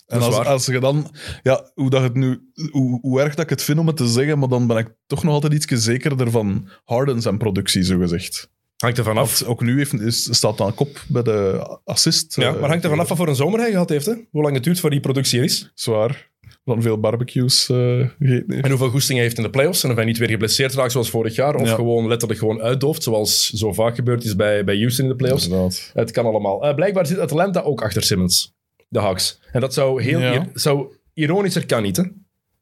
dat is als, waar. als je dan... Ja, hoe, dat het nu, hoe, hoe erg dat ik het vind om het te zeggen, maar dan ben ik toch nog altijd iets zekerder van Harden zijn productie, zo gezegd. Hangt er vanaf. Want ook nu heeft, is, staat dan kop bij de assist. Ja, eh, maar hangt er vanaf wat voor een zomer hij gehad heeft, hè? Hoe lang het duurt voor die productie er is. Zwaar. Dan veel barbecues eh, gegeten heeft. En hoeveel goesting hij heeft in de playoffs. En of hij niet weer geblesseerd raakt zoals vorig jaar. Of Ja. gewoon letterlijk gewoon uitdooft, zoals zo vaak gebeurd is bij, bij Houston in de playoffs. Inderdaad. Het kan allemaal. Eh, blijkbaar zit Atlanta ook achter Simmons. De Hawks. En dat zou heel Ja. ir- zou, ironischer kan niet, hè?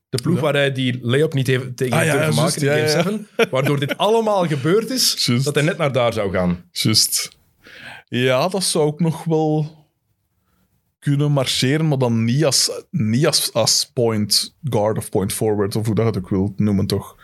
De ploeg Ja. waar hij die lay-up niet heeft tegen Ah, heeft ja, durven juist, maken in ja, Game ja. 7. Waardoor dit allemaal gebeurd is, Juist. dat hij net naar daar zou gaan. Juist. Ja, dat zou ook nog wel kunnen marcheren, maar dan niet als, niet als, als point guard of point forward, of hoe dat je het ook wilt noemen, toch?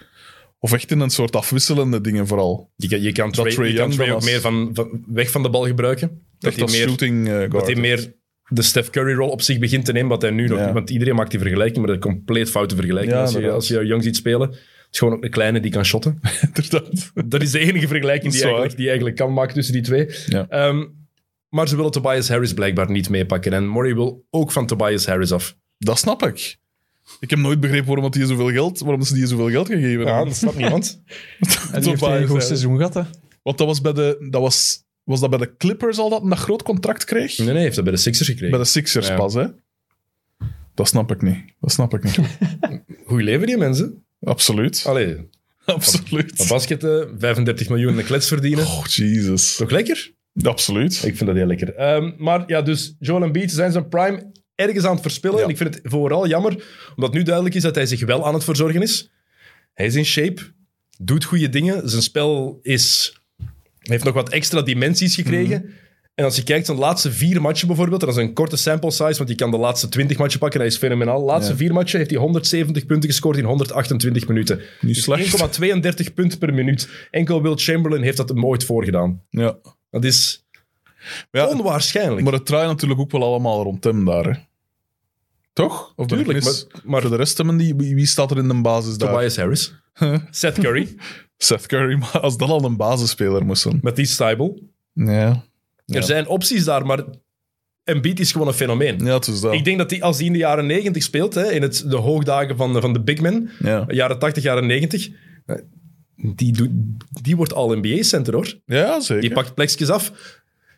Of echt in een soort afwisselende dingen vooral. Je, kan- je kan Trey, Trae je kan Young Trae dan ook als- meer van, van- weg van de bal gebruiken. Dat Echt hij als meer, shooting eh, dat guard. hij meer de Steph Curry-rol op zich begint te nemen, wat hij nu nog Ja. niet... Want iedereen maakt die vergelijking, maar dat is een compleet foute vergelijking. Ja, als, je, inderdaad. als je Young ziet spelen, het is gewoon ook een kleine die kan shotten. Inderdaad. dat is de enige vergelijking Dat is die waar. eigenlijk, die je eigenlijk kan maken tussen die twee. Ja. Ehm, maar ze willen Tobias Harris blijkbaar niet meepakken. En Murray wil ook van Tobias Harris af. Dat snap ik. Ik heb nooit begrepen waarom, dat die zoveel geld, waarom ze die zoveel geld gegeven Ja, hebben. dat snapt niemand. En die heeft Zo een goed baas, hè. seizoen gehad, hè. Want dat was bij de... Dat was, was dat bij de Clippers al dat een groot contract kreeg? Nee, nee, heeft dat bij de Sixers Bij gekregen. de Sixers Ja. pas, hè? Dat snap ik niet. Dat snap ik niet. Hoe leven die mensen? Absoluut. Allee, op Absoluut. basket eh, 35 miljoen in de klets verdienen. Oh, Jesus. Toch lekker? Absoluut. Ik vind dat heel lekker. Ehm, maar ja, dus Joel Embiid zijn zijn prime ergens aan het verspillen. Ja. En ik vind het vooral jammer, omdat nu duidelijk is dat hij zich wel aan het verzorgen is. Hij is in shape, doet goede dingen. Zijn spel is, heeft nog wat extra dimensies gekregen. En als je kijkt, zijn laatste vier matchen bijvoorbeeld, en dat is een korte sample size, want je kan de laatste 20 matchen pakken, hij is fenomenaal. De laatste vier matchen heeft hij 170 punten gescoord in 128 minuten. Niet Dus slecht. 1,32 punten per minuut. Enkel Will Chamberlain heeft dat hem ooit voorgedaan. Ja. Dat is Ja, onwaarschijnlijk. Maar het draait natuurlijk ook wel allemaal rond hem daar. Hè. Toch? Of ben ik Tuurlijk, mis? maar- maar- voor de rest hebben die, wie, wie staat er in de basis daar? Tobias Harris. Seth Curry. Seth Curry, maar als dat al een basisspeler moest zijn. Matisse Steibel. Ja, Ja. Er zijn opties daar, maar Embiid is gewoon een fenomeen. ja het is dat. Ik denk dat die, als die in de jaren 90 speelt, hè, in het, de hoogdagen van, de- van de big men, Ja. jaren 80, jaren 90, eh, die, doet- die wordt al NBA-center, hoor. ja, zeker. Die pakt plekjes af.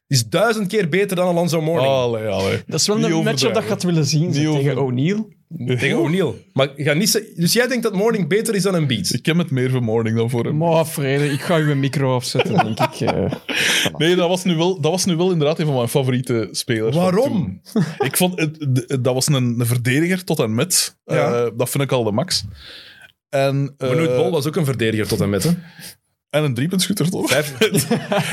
Is duizend keer beter dan Alonso Mourning. Allee, allee. Dat is wel Niet een matchup overdrijven. dat je had willen zien. zo, Niet tegen O'Neal. Tegen O'Neal. Maar ga niet, ze- dus jij denkt dat Mourning beter is dan Embiid? Ik ken het meer van Morning dan voor hem. Maar Frederik, ik ga uw micro afzetten, denk ik. eh. Nee, dat was, nu wel, dat was nu wel inderdaad een van mijn favoriete spelers. van Waarom? toen. Ik vond, het, de- dat was een, een verdediger tot en met. Ja. Eh, dat vind ik al de max. En, eh, Benoit Bol was ook een verdediger tot en met. Hè? en een driepuntschutter, toch?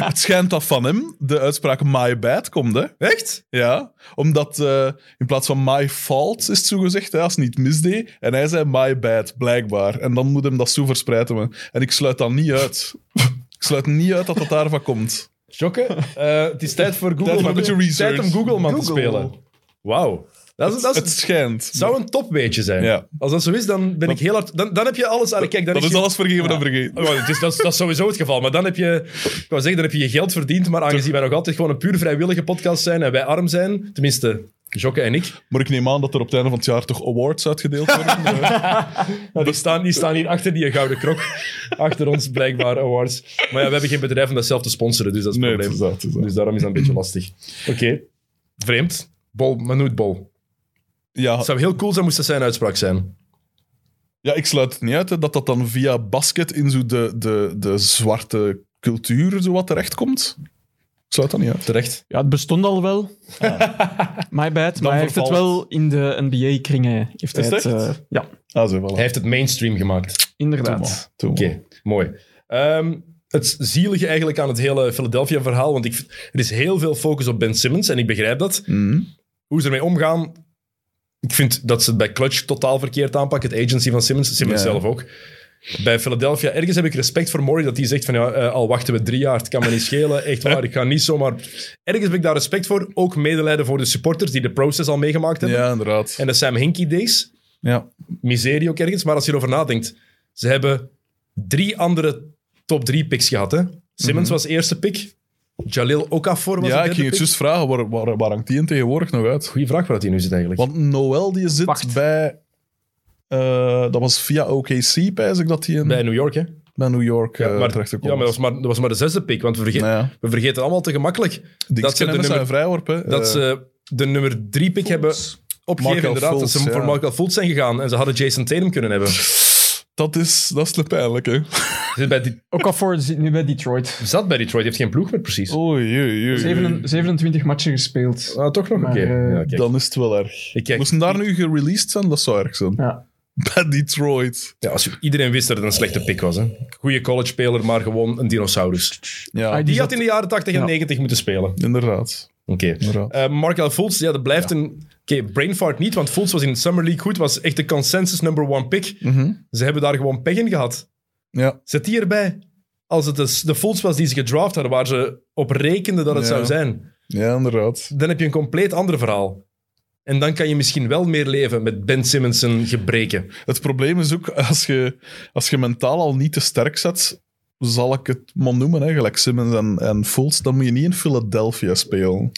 het schijnt dat van hem de uitspraak my bad komt, hè? Echt? Ja, omdat eh, in plaats van my fault is het zo gezegd, hè, als het niet misdeed. En hij zei my bad, blijkbaar. En dan moet hem dat zo verspreiden. man. En ik sluit dat niet uit. ik sluit niet uit dat dat daarvan komt. Jokke, eh, het is tijd voor Google. Tijd voor Man. een beetje research. Tijd om Google man te Google. spelen. Wauw. Dat, is, dat is- Het schijnt. zou een topweetje zijn. Ja. Als dat zo is, dan ben ik heel hard... Dan, dan heb je alles... Allee, kijk, dan dat is is je- alles vergeven en vergeten. Oh, het is, dat, is, dat is sowieso het geval. Maar dan heb je... Ik wou zeggen, dan heb je je geld verdiend. Maar aangezien wij nog altijd gewoon een puur vrijwillige podcast zijn en wij arm zijn, tenminste... Jokke en ik, Maar ik neem aan dat er op het einde van het jaar toch awards uitgedeeld worden. Eh, die staan, die staan hier achter die gouden krok. achter ons, blijkbaar, awards. Maar ja, we hebben geen bedrijf om dat zelf te sponsoren, dus dat is het nee, het probleem. is dat, het is dat. Dus daarom is dat een beetje lastig. Oké. Vreemd. Bol, Manoet Bol. Ja, Het zou heel cool zijn moest dat zijn uitspraak zijn. ja, ik sluit het niet uit hè, dat dat dan via basket in zo de, de, de zwarte cultuur zo wat terechtkomt. Ik sluit dat niet uit. Terecht. Ja, het bestond al wel. My bad, maar hij heeft het vervalt. wel in de NBA-kringen. Heeft hij Is het, het echt? eh, ja, Ah, zo, voilà. Hij heeft het mainstream gemaakt. Doe inderdaad. maar, doe Oké, maar. mooi. Ehm, het zielige eigenlijk aan het hele Philadelphia-verhaal, want ik, vind- er is heel veel focus op Ben Simmons en ik begrijp dat. Mhm. Hoe ze ermee omgaan, ik vind dat ze het bij Clutch totaal verkeerd aanpakken. Het agency van Simmons, Simmons Ja. zelf ook. Bij Philadelphia, ergens heb ik respect voor Murray dat hij zegt van ja, eh, al wachten we drie jaar, het kan me niet schelen. Echt waar, ik ga niet zomaar... Ergens heb ik daar respect voor. Ook medelijden voor de supporters die de process al meegemaakt hebben. Ja, inderdaad. En de Sam Hinkie days. Ja. miserie ook ergens. Maar als je erover nadenkt, ze hebben drie andere top drie picks gehad. Hè? Simmons was eerste pick. Jalil Okafor was Mhm. ja, de ik derde ging het pick. juist vragen, waar, waar, waar hangt die in tegenwoordig nog uit? Goeie vraag waar dat hij nu zit eigenlijk. Want Noel die zit Wacht. bij... eh, dat was via OKC, pijs ik, dat hij in, Bij bij, New York, hè? New York eh, maar, terecht ja, maar dat was maar, dat was maar de zesde pick. Want we, verge- Nou ja. we vergeten allemaal te gemakkelijk dat ze, de nummer, zijn vrijworpen. dat eh, ze de nummer drie pick hebben opgegeven. Markel inderdaad, dat Fultz, ze ja. voor Markel Fultz zijn gegaan. En ze hadden Jason Tatum kunnen hebben. Ze dat is, dat is de pijnlijke. Zit bij Die- Ook al voor zit nu bij Detroit. zat bij Detroit, heeft geen ploeg meer precies. Oei, oei, oei. 27, matchen gespeeld. Ah, toch nog? Oké. Maar, eh, Ja, kijk. Dan is het wel erg. Ik kijk- Moesten daar nu gereleased zijn? Dat zou erg zijn. Ja. Bij Detroit. Ja, als, iedereen wist dat het een slechte pick was. Hè. Goeie college-speler, maar gewoon een dinosaurus. Ja, I- Die Dus had dat- in de jaren 80 en Ja. 90 moeten spelen. inderdaad. Oké. inderdaad. Eh, Markel Fultz, ja, dat blijft een... Oké, brain fart niet, want Fultz was in de Summer League goed. Was echt de consensus number one pick. Mhm. Ze hebben daar gewoon pech in gehad. Ja, Zet die erbij. Als het dus de Fultz was die ze gedraft hadden, waar ze op rekenden dat het Ja. zou zijn, ja, inderdaad. dan heb je een compleet ander verhaal. En dan kan je misschien wel meer leven met Ben Simmons' zijn gebreken. Het probleem is ook, als je, als je mentaal al niet te sterk zet, zal ik het maar noemen eigenlijk, Simmons en, en Fultz, dan moet je niet in Philadelphia spelen.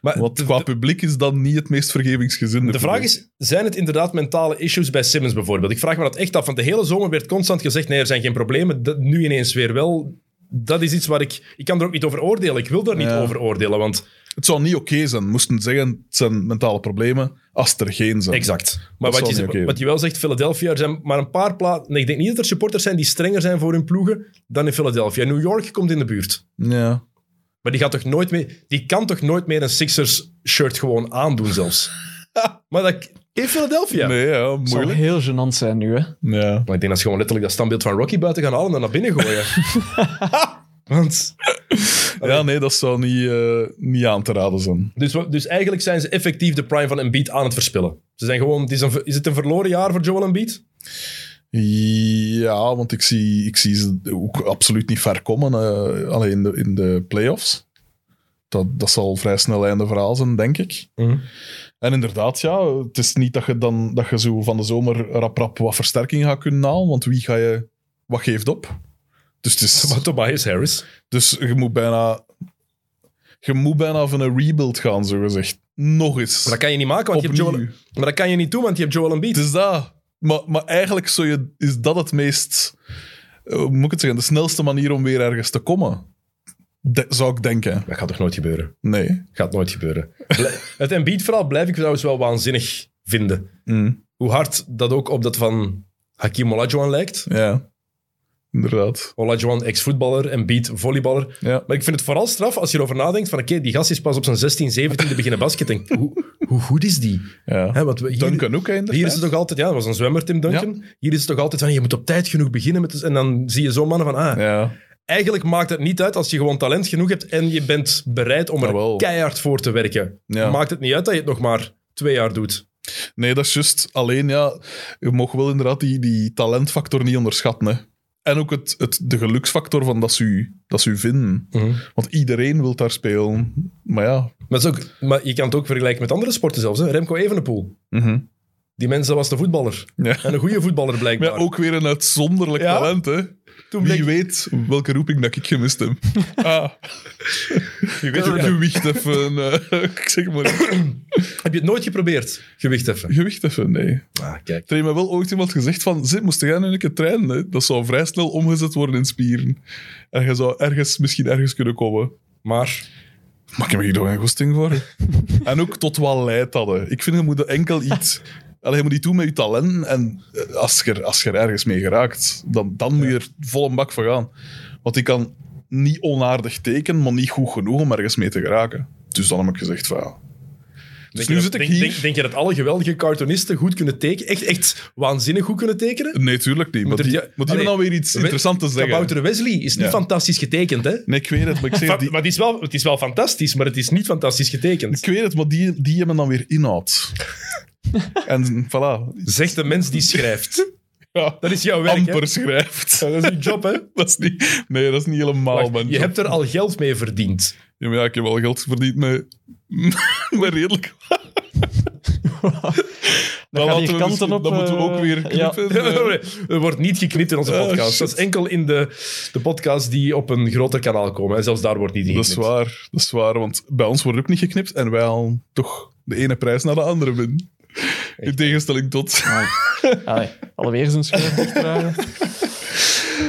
Maar Want Eh, de- qua publiek is dat niet het meest vergevingsgezinde. De vraag publiek. is, zijn het inderdaad mentale issues bij Simmons bijvoorbeeld? Ik vraag me dat echt af, want de hele zomer werd constant gezegd, nee, er zijn geen problemen. Dat, nu ineens weer wel. Dat is iets waar ik... Ik kan er ook niet over oordelen. Ik wil daar niet Ja. over oordelen, want... Het zou niet oké zijn, moesten zeggen, het zijn mentale problemen, als er geen zijn. Exact. Maar zal wat je, niet oké wat je wel zegt, Philadelphia, er zijn maar een paar plaatsen... Nee, ik denk niet dat er supporters zijn die strenger zijn voor hun ploegen dan in Philadelphia. New York komt in de buurt. Ja. Maar die, gaat toch nooit meer, die kan toch nooit meer een Sixers-shirt gewoon aandoen zelfs? maar dat... In Philadelphia. Nee, ja, zou moeilijk. heel gênant zijn nu, hè. Ja. Maar ik denk dat ze gewoon letterlijk dat standbeeld van Rocky buiten gaan halen en dan naar binnen gooien. Want, ja, nee, dat zou niet, eh, niet aan te raden zijn. dus, wa- dus eigenlijk zijn ze effectief de prime van Embiid aan het verspillen. Ze zijn gewoon, het is, een, ver- is het een verloren jaar voor Joel Embiid? Ja, want ik zie, ik zie ze ook absoluut niet ver komen, eh alleen in de, in de playoffs. Dat, dat zal vrij snel einde verhaal zijn, denk ik. En inderdaad, ja, het is niet dat je, dan, dat je zo van de zomer rap rap wat versterking gaat kunnen halen, want wie ga je, wat geeft op? Dus, het is, Maar Tobias Harris. dus je moet bijna, je moet bijna van een rebuild gaan, zo gezegd. Nog eens. Maar dat kan je niet maken, want je hebt Joel, Opnieuw. maar dat kan je niet doen, want je hebt Joel Embiid. Het is Dus dat. Maar, maar eigenlijk zou je, is dat het meest... eh, hoe moet ik het zeggen? De snelste manier om weer ergens te komen. De- zou ik denken. Dat gaat toch nooit gebeuren? Nee. Gaat nooit gebeuren. Bl- het Embiid-verhaal blijf ik trouwens wel waanzinnig vinden. Hoe hard dat ook op dat van Hakim Olajuwon lijkt. Ja. Inderdaad. Olajuwon, ex-voetballer, Embiid, volleyballer. Ja. Maar ik vind het vooral straf als je erover nadenkt van oké, die gast is pas op zijn 16, 17 beginnen basketten. Hoe, hoe goed is die? Hè, ja. want we, hier, Duncan ook, hè, inderdaad. hier is het toch altijd, ja, dat was een zwemmer, Tim Duncan. Hier is het toch altijd van je moet op tijd genoeg beginnen met, en dan zie je zo'n mannen van ah, Ja. eigenlijk maakt het niet uit als je gewoon talent genoeg hebt en je bent bereid om er Jawel. keihard voor te werken. Ja. Maakt het niet uit dat je het nog maar twee jaar doet. Nee, dat is juist. Alleen, ja, je mag wel inderdaad die, die talentfactor niet onderschatten. Hè. En ook het, het, de geluksfactor van dat ze, u, dat ze u vinden. Want iedereen wil daar spelen. Maar ja. Maar, het is ook, maar je kan het ook vergelijken met andere sporten zelfs. Hè. Remco Evenepoel. Die mens dat was de voetballer. Ja. En een goede voetballer Maar blijkbaar. ja, ook weer een uitzonderlijk Ja. talent, hè. Toen Wie bleek- weet welke roeping dat ik gemist heb. Ah, Je weet het, ja. gewicht even. eh, ik zeg maar, Heb je het nooit geprobeerd? Gewicht heffen. gewicht even, nee. Ah, kijk. Er heeft me wel ooit iemand gezegd van, zit, moest jij nu een keer trainen? Hè? Dat zou vrij snel omgezet worden in spieren. En je zou ergens, misschien ergens kunnen komen. Maar Dus Maar ik heb hier toch geen goesting voor. en ook tot wat leidt dat. hè. Ik vind, je moet enkel iets... Allee, je moet iets doen met je talenten. En eh, als je, er- als je er ergens mee geraakt, dan, dan moet je er vol een bak voor gaan. Want ik kan niet onaardig tekenen, maar niet goed genoeg om ergens mee te geraken. Dus dan heb ik gezegd van... ja. Dus denk nu je zit dat- ik denk, hier... Denk, denk je dat alle geweldige cartoonisten goed kunnen tekenen? Echt, echt waanzinnig goed kunnen tekenen? Nee, tuurlijk niet. Maar er- die, ja, maar die allee, hebben dan weer iets we- interessants te zeggen. Kabouter Wesley is niet Ja. fantastisch getekend, hè? Nee, ik weet het, maar ik zeg... Fa- Die, Maar het is, wel, het is wel fantastisch, maar het is niet fantastisch getekend. ik weet het, maar die, die hebben dan weer inhoud. en voilà. Zegt de mens die schrijft. Ja. Dat is jouw werk, hè? Amper schrijft. Dat is je job, hè? Dat is niet, nee, dat is niet helemaal Wacht, mijn je job. hebt er al geld mee verdiend. Ja, maar ja, ik heb wel geld verdiend met, met redelijk... Dan gaat laten hier we kanten misschien- op, Dan moeten we eh, ook weer ja. knippen. Eh, Er wordt niet geknipt in onze Ah, podcast. shit. dat is enkel in de, de podcasts die op een groter kanaal komen. En zelfs daar wordt niet in Dat geknipt. is waar, dat is waar. Want bij ons wordt ook niet geknipt en wij halen toch de ene prijs naar de andere binnen. In tegenstelling tot... Allee, alweer zo'n schrijver.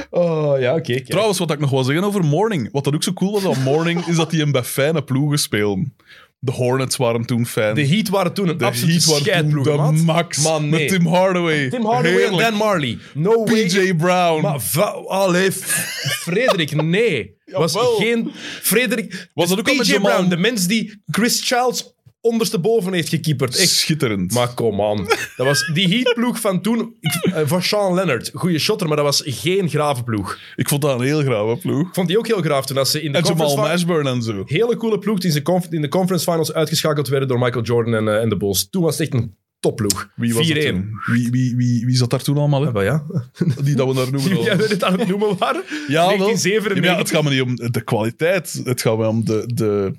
Oh, ja, oké. kijk. Trouwens, wat ik nog wil zeggen over Morning. Wat dat ook zo cool was aan Morning, is dat die hem bij fijne ploegen spelen. De Hornets waren toen fijn. De Heat waren toen een De absolute Heat waren toen scheidploeg, de maat. max. Maar nee. Met Tim Hardaway. Tim Hardaway Heerlijk. en Dan Marley. No way. PJ Brown. Maar va- allee, F- Frederik, nee. Was Jawel. geen... Frederik... Was dat ook al met PJ Jamal? Brown, de mens die Chris Childs ondersteboven heeft gekieperd. Echt. Schitterend. Maar kom aan. Dat was die heatploeg van toen, ik- eh, van Sean Leonard. Goeie shotter, maar dat was geen grave ploeg. Ik vond dat een heel grave ploeg. Ik vond die ook heel graaf toen als ze in de En conference Jamal fi- Mashburn en zo. Hele coole ploeg die in de, conf- in de conference finals uitgeschakeld werden door Michael Jordan en, eh, en de Bulls. Toen was het echt een topploeg. 4-1. Wie was dat toen? Wie, wie, wie, wie zat daar toen allemaal? Ja, Hè? maar ja. Die dat we daar noemen. al. Jij weet het aan het noemen waren. Ja, wel. Ja, 1997. maar het gaat me niet om de kwaliteit. Het gaat me om de, de,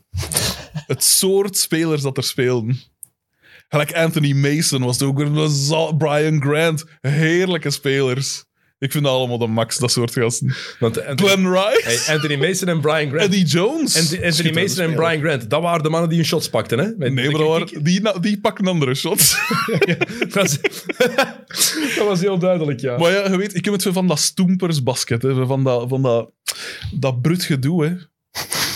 het soort spelers dat er spelen. Gelijk Anthony Mason was er ook. een za- Brian Grant. Heerlijke spelers. Ik vind dat allemaal de max, dat soort gasten. Want Anthony, Glenn Rice, hey, Anthony Mason en Brian Grant. Eddie Jones. En die- Anthony Schitterende Mason en speler. Brian Grant, dat waren de mannen die hun shots pakten, hè? Met- Nee, maar dat waren- die, na- die pakken andere shots. dat, was, dat was heel duidelijk, ja. Maar ja, je weet, ik heb het veel van dat stoempersbasket, hè, van dat, van dat, dat brut gedoe, hè.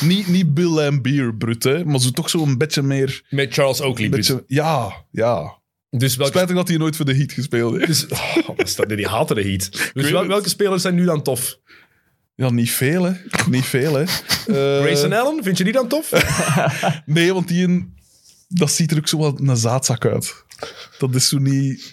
niet, niet Bill and Beer brut, hè, maar zo, toch zo'n beetje meer... Met Charles Oakley. dus. Beetje, ja, ja. Dus welke... Spijtig dat hij nooit voor de Heat gespeeld heeft. Dus, oh, wat is dat? Nee, die haten de heat. Dus weet wel- het. welke spelers zijn nu dan tof? Ja, niet veel, hè. Niet veel, hè. Eh, Grayson Allen, vind je die dan tof? Nee, want die een, dat ziet er ook zo wat een zaadzak uit. Dat is zo niet...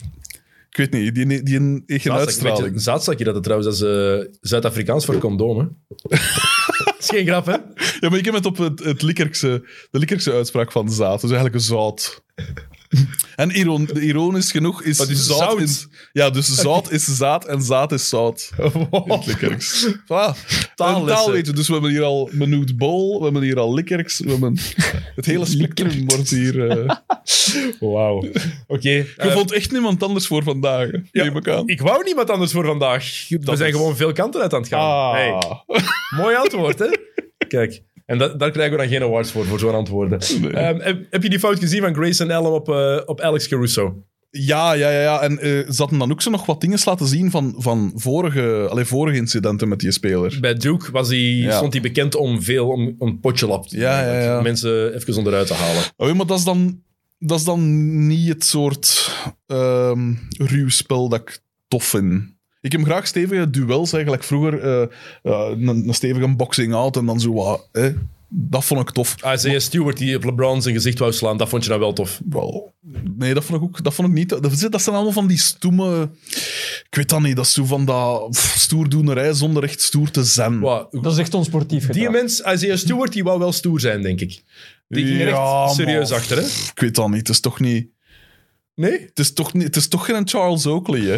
Ik weet niet, die, die, die heeft geen uitstraling. Zaatzakje dat het trouwens, dat is eh, Zuid-Afrikaans voor condoom, hè? dat is geen grap, hè? Ja, maar ik heb het op het, het Likkerkse, de Likkerkse uitspraak van zaad. Dus eigenlijk een zout. En iron, ironisch genoeg is, Wat is zout... zout? is- ja, dus zout is zaad en zaad is zout. In het Likkerks. Ah, Voilà. Oh. Een taal Taallessen. weet je. Dus we hebben hier al Manute Bol, we hebben hier al Likkerks, we hebben... Het hele spectrum wordt hier... eh Wauw. Oké. Je eh, vond echt niemand anders voor vandaag, hè, neem ik aan. ik wou niemand anders voor vandaag. Ah. We zijn is- gewoon veel kanten uit aan het gaan. Ah. Hey. Mooi antwoord, hè? Kijk, en da- daar krijgen we dan geen awards voor, voor zo'n antwoorden. Eh, Ehm, heb, heb je die fout gezien van Grayson Allen op, eh, op Alex Caruso? Ja, ja, ja. ja. En eh ze hadden dan ook zo nog wat dingen laten zien van, van vorige, allee, vorige incidenten met die speler. Bij Duke was hij, Ja. stond hij bekend om veel, om, om potjelap. te doen, Ja, ja, ja. om Mensen even onderuit te halen. Oh, ja, maar dat is dan, dat is dan niet het soort ehm ruw spel dat ik tof vind. Ik heb graag stevige duels eigenlijk. Vroeger eh, eh, een, een stevige boxing out en dan zo wat. hè. Dat vond ik tof. Ah, Isaiah Stewart die op LeBron zijn gezicht wou slaan, dat vond je nou wel tof. Wel, nee, dat vond ik ook dat vond ik niet. Dat, dat zijn allemaal van die stoeme. Ik weet dat niet, dat is zo van dat pff, stoerdoenerij zonder echt stoer te zijn. Wow. Dat is echt onsportief Die gedrag. mens, Isaiah Stewart, die wou wel stoer zijn, denk ik. Die ging er echt Ja, maar- serieus achter, hè? Ik weet dat niet, het is toch niet. Nee? Het is toch, niet, het is toch geen Charles Oakley, hè?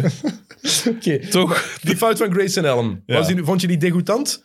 Oké. toch? Die fout van Grayson Allen, Ja. was die, vond je die degoutant?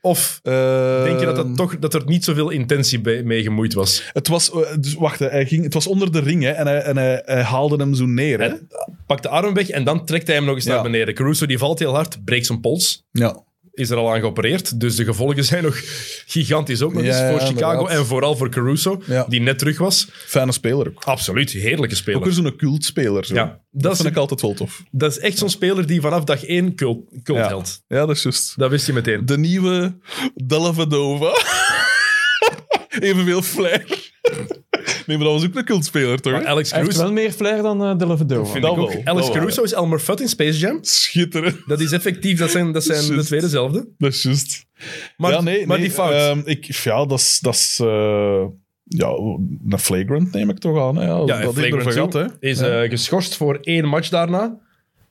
Of Eh, denk je dat, dat, toch, dat er niet zoveel intentie bij- mee gemoeid was? Het was, eh, dus wacht, hè, hij ging, het was onder de ring hè, en, hij, en hij, hij haalde hem zo neer. Hè? Hij pakt de arm weg en dan trekt hij hem nog eens Ja. naar beneden. Caruso die valt heel hard, breekt zijn pols. Ja. Is er al aan geopereerd. Dus de gevolgen zijn nog gigantisch. Ook nog Ja, eens ja, voor Chicago inderdaad. en vooral voor Caruso, Ja. die net terug was. Fijne speler ook. Absoluut, heerlijke Ook weer speler. zo'n cultspeler. Zo. Ja, dat dat, vind is, ik altijd wel tof. dat is echt zo'n speler die vanaf dag één cult, cult Ja. held. ja, dat is juist. Dat wist je meteen. De nieuwe Delavadova. Evenveel flair. Nee, maar dat was ook een cultspeler, toch? Maar Alex Hij heeft Caruso... wel meer flair dan eh Delavadova. vind ik dat ook. wel, dat Alex wel. Caruso is Elmer Fudd in Space Jam. Schitterend. Dat is effectief, dat zijn, dat zijn de Juist. twee dezelfde. Dat is juist. Maar, ja, nee, maar nee, die fout. ehm, ik, ja, dat is... Dat is eh, ja, een flagrant neem ik toch aan. Hè? Ja, dat ja, en heeft er Flagrant vergat, two hè? is eh, geschorst voor één match daarna.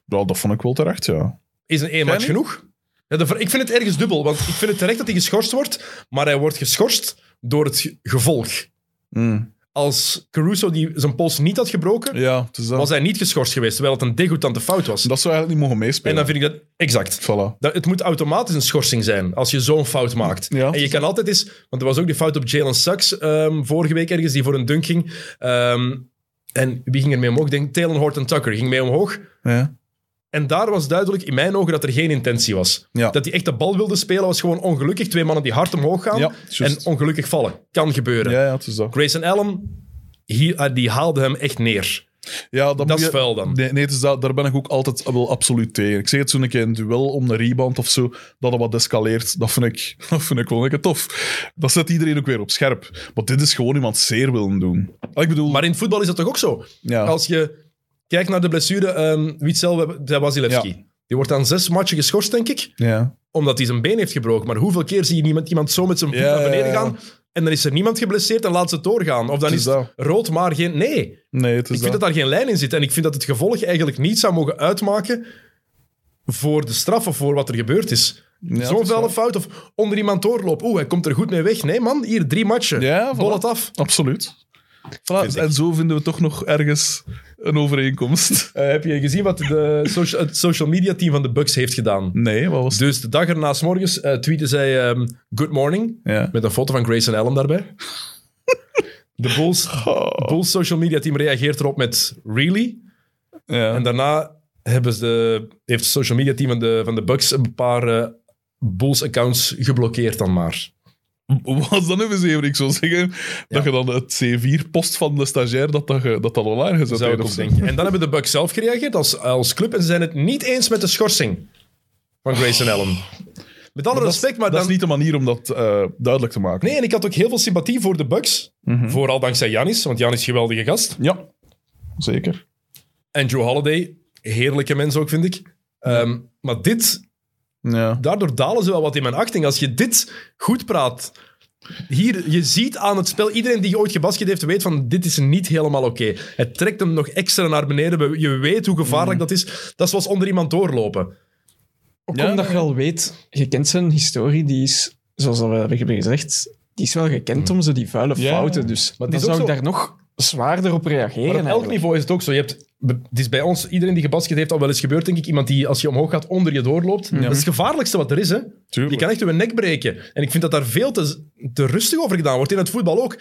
Ja, dat vond ik wel terecht, ja. Is een één match niet? genoeg? Ja, de ver- ik vind het ergens dubbel, want ik vind het terecht dat hij geschorst wordt, maar hij wordt geschorst door het ge- gevolg. Mm. Als Caruso die zijn pols niet had gebroken, Ja, het is dat. was hij niet geschorst geweest, terwijl het een degoutante fout was. Dat zou eigenlijk niet mogen en meespelen. dan vind ik dat... Exact. Voilà. Dat, het moet automatisch een schorsing zijn als je zo'n fout maakt. Ja. En je kan altijd eens... Want er was ook die fout op Jalen Sucks ehm, vorige week ergens, die voor een dunk ging. Ehm, en wie ging er mee omhoog? Ik denk Talon Horton Tucker ging mee omhoog. Ja. En daar was duidelijk in mijn ogen dat er geen intentie was. Ja. Dat hij echt de bal wilde spelen was gewoon ongelukkig. Twee mannen die hard omhoog gaan Ja, en juist. ongelukkig vallen. Kan gebeuren. Ja, ja, het is dat. Grayson Allen, hi- eh, die haalde hem echt neer. Ja, dat, moet is je- vuil dan. Nee, nee het is dat, daar ben ik ook altijd wel absoluut tegen. Ik zeg het zo'n keer een duel om de rebound of zo, dat het wat escaleert. Dat vind ik, dat vind ik wel lekker tof. Dat zet iedereen ook weer op scherp. Maar dit is gewoon iemand zeer willen doen. Ik bedoel, Maar in het voetbal is dat toch ook zo? ja, Als je kijkt naar de blessure, ehm Witzel Wasilewski. Ja. Die wordt aan zes matchen geschorst, denk ik, ja. omdat omdat hij zijn been heeft gebroken. Maar hoeveel keer zie je niemand, iemand zo met zijn voet Ja, naar ja, beneden ja. gaan en dan is er niemand geblesseerd en laat ze het doorgaan? Of dan Het is is het rood, maar geen... Nee, nee, het is ik vind dat daar geen lijn in zit. En ik vind dat het gevolg eigenlijk niet zou mogen uitmaken voor de straf of voor wat er gebeurd is. Ja, het Zo'n is vuile waar. fout of onder iemand doorlopen. Oeh, hij komt er goed mee weg. Nee man, hier drie matchen. Ja, Bol voilà. het af. Absoluut. Voilà, en zo vinden we toch nog ergens een overeenkomst. Eh, heb je gezien wat de socia- het social media team van de Bucks heeft gedaan? Nee, wat was het? Dus de dag erna 's morgens eh, tweette zij ehm, good morning. Ja. Met een foto van Grayson Allen daarbij. De Oh. Bulls, Bulls social media team reageert erop met really. Ja. En daarna hebben ze, heeft het social media team van de, van de Bucks een paar eh, Bulls-accounts geblokkeerd dan maar. Wat is dat nu eens even? Ik zou zeggen dat je dan het C4-post van de stagiair dat dat, ge- dat, dat online gezet Zou ik heeft ook of zo. denken. En dan hebben de Bucks zelf gereageerd als, als club en ze zijn het niet eens met de schorsing van Grayson Allen. Met alle respect, maar Dat dan... is niet de manier om dat eh, duidelijk te maken. Nee, en ik had ook heel veel sympathie voor de Bucks. Mhm. Vooral dankzij Janis, want Janis is een geweldige gast. Ja, zeker. En Joe Holiday, heerlijke mens ook, vind ik. Ehm, maar dit, Ja. daardoor dalen ze wel wat in mijn achting. Als je dit goed praat, hier, je ziet aan het spel, iedereen die ooit gebasket heeft, weet van dit is niet helemaal oké. Het trekt hem nog extra naar beneden. Je weet hoe gevaarlijk dat is. Dat is zoals onder iemand doorlopen. Ook Ja, omdat je al weet, je kent zijn historie, die is, zoals we hebben gezegd, die is wel gekend om zo die vuile Ja. fouten. Dus Maar maar het dan Hmm. is ook zou ik zo- daar nog zwaarder op reageren. Maar op elk eigenlijk. niveau is het ook zo. Je hebt, het is bij ons, iedereen die gebasket heeft, al wel eens gebeurd, denk ik. Iemand die, als je omhoog gaat, onder je doorloopt. Dat is het gevaarlijkste wat er is, hè. Tuurlijk. Je kan echt je nek breken. En ik vind dat daar veel te, te rustig over gedaan wordt. In het voetbal ook.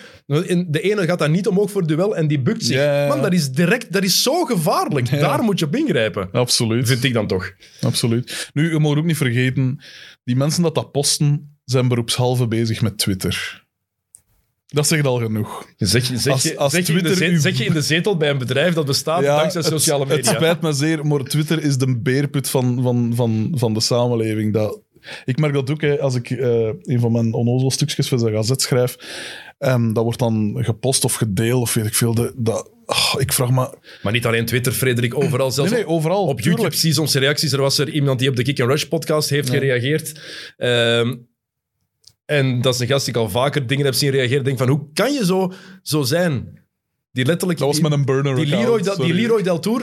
In- De ene gaat daar niet omhoog voor het duel en die bukt zich. Ja, ja, ja. Man, dat is direct, dat is zo gevaarlijk. Daar moet je op ingrijpen. Absoluut. Vind ik dan toch. Absoluut. Nu, je moet ook niet vergeten, die mensen dat dat posten, zijn beroepshalve bezig met Twitter. Dat zegt al genoeg. Zeg, je- zeg, Als- je- als zeg je in de Twitter zet- uw- zeg je in de zetel bij een bedrijf dat bestaat dankzij het- sociale Het media. spijt me zeer, maar Twitter is de beerput van, van, van, van de samenleving. Dat, ik merk dat ook hè, als ik eh, een van mijn onnozel stukjes voor de gazet schrijf. En dat wordt dan gepost of gedeeld of weet ik veel. De, dat, ah, ik vraag me... maar niet alleen Twitter, Frederik. Overal, zelfs Nee, nee, overal. Op YouTube tuurlijk. precies onze reacties. Er was er iemand die op de Kick and Rush podcast heeft gereageerd. Ehm, en dat is een gast die ik al vaker dingen heb zien reageren. Ik Denk van, hoe kan je zo, zo zijn? Die letterlijk... Dat was die, met een burner die account, Leroy, die sorry. Leroy Del Tour...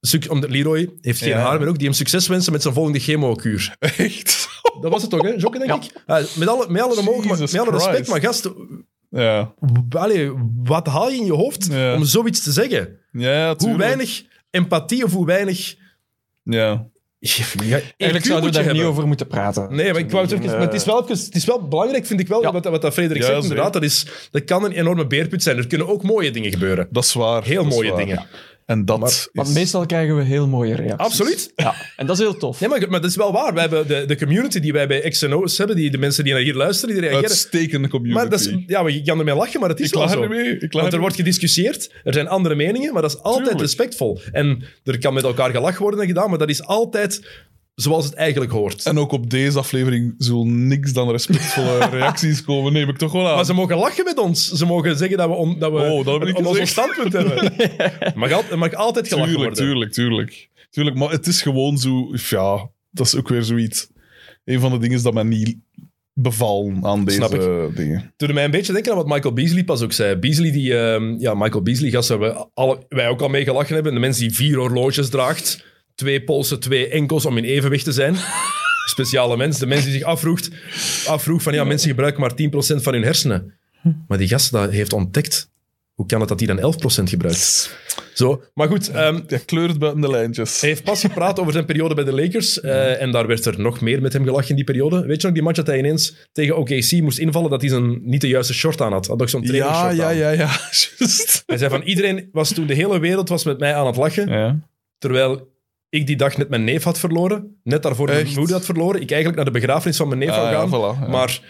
suc- Omdat Leroy heeft geen Ja. haar meer ook, die hem succes wensen met zijn volgende chemokuur. Echt? Dat was het toch, hè? Jokke, denk ik? Ah, met alle, met alle, omhoog, maar- Jesus met alle respect, Christ. maar gast, ja. w- allee, wat haal je in je hoofd Ja. om zoiets te zeggen? Ja, Hoe tuurlijk. weinig empathie of hoe weinig... Ja. Ja, Eigenlijk EQ moet je zouden we daar niet hebben. over moeten praten. Eh, Nee, maar, ik wou het, even, maar het, is wel even- het is wel belangrijk, vind ik wel, wat, wat dat Frederik Ja, zegt. zeker. Inderdaad, dat, is, dat kan een enorme beerput zijn. Er kunnen ook mooie dingen gebeuren. Dat is waar. Heel dat is mooie waar. dingen. En dat Want is... meestal krijgen we heel mooie reacties. Absoluut. Ja, en dat is heel tof. Nee, maar, maar dat is wel waar. We hebben de, de community die wij bij XNO's hebben, die, de mensen die naar hier luisteren, die reageren. uitstekende community. maar dat is, ja, maar je kan ermee lachen, maar het is ik wel lach zo. er mee. Ik lach Want er er wordt gediscussieerd, er zijn andere meningen, maar dat is altijd Tuurlijk. respectvol. En er kan met elkaar gelachen worden en gedaan, maar dat is altijd zoals het eigenlijk hoort. En ook op deze aflevering zullen niks dan respectvolle reacties komen. Neem ik toch wel aan. Maar ze mogen lachen met ons. Ze mogen zeggen dat we, on, dat we Oh, dat heb ik on- on- ons gezegd. standpunt hebben. mag, al, mag altijd gelachen tuurlijk, worden. tuurlijk, tuurlijk. Tuurlijk, maar het is gewoon zo... Ja, dat is ook weer zoiets. Een van de dingen is dat mij niet bevallen aan Snap deze dingen. Het doet mij een beetje denken aan wat Michael Beasley pas ook zei. Beasley, die, ehm, ja, Michael Beasley, gast, waar we alle, wij ook al mee gelachen hebben. De mens die vier horloges draagt, twee polsen, twee enkels om in evenwicht te zijn. Speciale mens. De mens die zich afvroeg, afvroeg van ja, mensen gebruiken maar 10% van hun hersenen. Maar die gast dat heeft ontdekt. Hoe kan het dat hij dan 11% gebruikt? Zo, maar goed. ehm, Ja, kleurt buiten de lijntjes. Hij heeft pas gepraat over zijn periode bij de Lakers. eh, en daar werd er nog meer met hem gelachen in die periode. Weet je nog die match dat hij ineens tegen OKC moest invallen dat hij zijn, niet de juiste short aan had? Had ook zo'n trainingsshort ja, ja, aan. ja, ja. Juist. Hij zei van iedereen was toen de hele wereld was met mij aan het lachen. Ja. Terwijl ik die dag net mijn neef had verloren. Net daarvoor mijn Echt? moeder had verloren. Ik eigenlijk naar de begrafenis van mijn neef Ah, wou ja, gaan. voilà, ja. Maar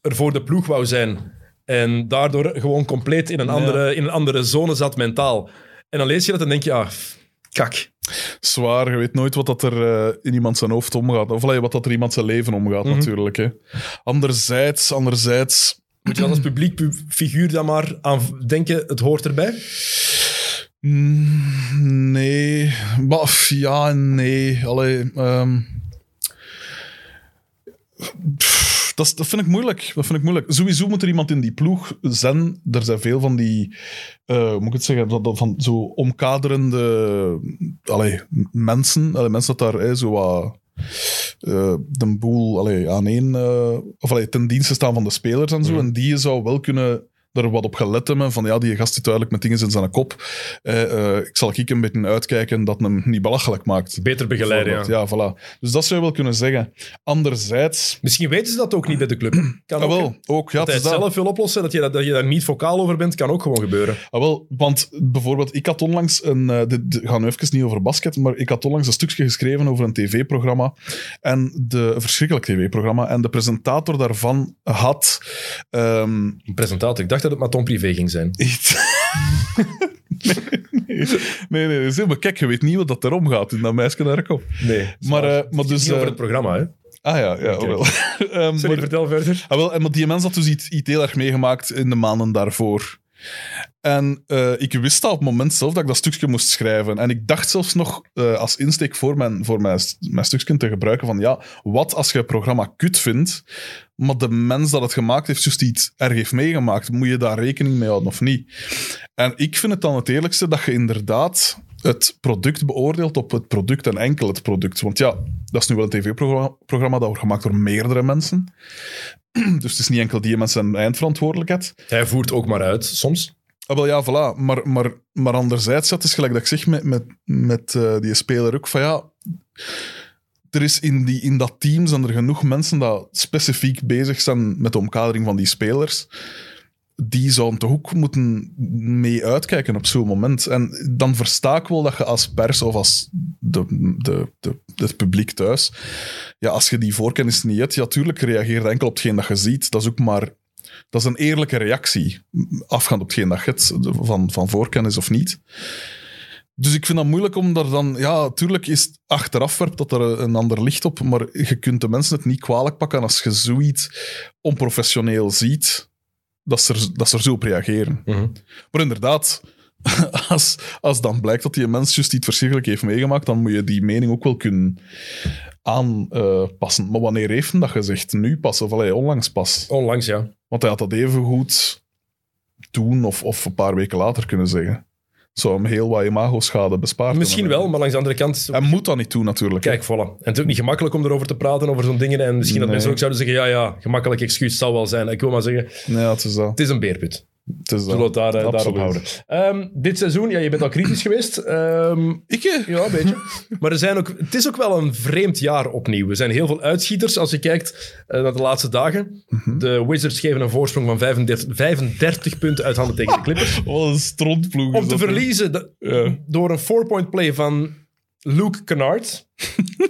er voor de ploeg wou zijn. En daardoor gewoon compleet in een andere, in een andere zone zat mentaal. En dan lees je dat en denk je, ah, kak. Zwaar, je weet nooit wat dat er eh, in iemand zijn hoofd omgaat. Of allee, wat dat er iemand zijn leven omgaat, natuurlijk. Hè. Anderzijds, anderzijds... Moet je dan als publiek pu- figuur dan maar aan v- denken, het hoort erbij? Mm, Nee. Maar f- ja, en nee. Allee, ehm. Pff, dat, is- dat vind ik moeilijk. Dat vind ik moeilijk. Sowieso moet er iemand in die ploeg zijn. Er zijn veel van die, eh, hoe moet ik het zeggen, dat, dat van zo omkaderende allee, mensen. Allee, mensen dat daar hè, zo wat eh, de boel allee, aan één, eh, of allee, ten dienste staan van de spelers en zo. En die je zou wel kunnen er wat op gelet hebben. Van ja, die gast zit duidelijk met dingen in zijn kop. Eh, eh, ik zal ik een beetje uitkijken dat hem niet belachelijk maakt. Beter begeleiden, ja. ja, voilà. Dus dat zou je wel kunnen zeggen. Anderzijds... Misschien weten ze dat ook niet bij de club. Kan Ah, ook, hè. wel, ook, ja, dat hij het het is dat. zelf wil oplossen, dat je, dat, dat je daar niet vocaal over bent, kan ook gewoon gebeuren. Ah, wel, want bijvoorbeeld, ik had onlangs een. eh, dit dit gaat nu even niet over basket, maar ik had onlangs een stukje geschreven over een tv-programma. En de, een verschrikkelijk tv-programma. En de presentator daarvan had. ehm, Een presentator, ik dacht dat het maar Tom Privé ging zijn. iets. nee, nee, nee, nee, dat is helemaal kijk, je weet niet wat dat erom gaat in dat meisje naar kop. Nee. Maar, eh, maar dus. Niet over eh, het programma, hè? ah ja, ja, Oké. wel. Ehm, Sorry, maar- vertel verder. Ah, wel, en maar die mens had dus iets, iets heel erg meegemaakt in de maanden daarvoor. En eh, ik wist dat op het moment zelf dat ik dat stukje moest schrijven. En ik dacht zelfs nog eh, als insteek voor, mijn, voor mijn, st- mijn stukje te gebruiken van ja, wat als je het programma kut vindt, maar de mens dat het gemaakt heeft, juist iets erg heeft meegemaakt, moet je daar rekening mee houden of niet? En ik vind het dan het eerlijkste dat je inderdaad het product beoordeelt op het product en enkel het product. Want ja, dat is nu wel een tv-programma dat wordt gemaakt door meerdere mensen. Dus het is niet enkel die mensen een eindverantwoordelijkheid. Hij voert ook maar uit, soms. Ah, wel ja, voilà. Maar, maar, maar anderzijds, ja, het is gelijk dat ik zeg met, met, met eh, die speler ook, van ja... Er is in, die, in dat team zijn er genoeg mensen dat specifiek bezig zijn met de omkadering van die spelers. Die zouden toch ook moeten mee uitkijken op zo'n moment. En dan versta ik wel dat je als pers of als de, de, de, het publiek thuis... Ja, als je die voorkennis niet hebt, ja, tuurlijk reageer je enkel op hetgeen dat je ziet. Dat is ook maar dat is een eerlijke reactie, afgaand op hetgeen dat je hebt, van, van voorkennis of niet. Dus ik vind dat moeilijk om daar dan... Ja, tuurlijk is het achteraf werpt dat er een ander licht op, maar je kunt de mensen het niet kwalijk pakken als je zoiets onprofessioneel ziet, dat ze er, dat ze er zo op reageren. Maar inderdaad, als, als dan blijkt dat die mens juist iets verschrikkelijk heeft meegemaakt, dan moet je die mening ook wel kunnen aanpassen. maar wanneer heeft hij dat gezegd? Nu pas of allee, onlangs pas? Onlangs, ja. Want hij had dat even goed toen of, of een paar weken later kunnen zeggen. Zou hem heel wat imago-schade bespaard Misschien hebben. wel, maar langs de andere kant... Hij moet dat niet doen, natuurlijk. Kijk, voilà. En het is ook niet gemakkelijk om erover te praten, over zo'n dingen. En misschien dat Nee. mensen ook zouden zeggen, ja, ja, gemakkelijk excuus zal wel zijn. Ik wil maar zeggen, Ja, het is dat. het is een beerput. Het is dat. Zullen we het daar, eh, daarop Absoluut. houden. Ehm, dit seizoen, ja, je bent al kritisch geweest. Ehm, Ik, eh, ja, een beetje. Maar er zijn ook, het is ook wel een vreemd jaar opnieuw. Er zijn heel veel uitschieters als je kijkt eh, naar de laatste dagen. De Wizards geven een voorsprong van 35, 35 punten uit handen tegen de Clippers. Wat een strontploeg. Om te is dat, hè? verliezen de- Ja. door een four-point play van Luke Kennard.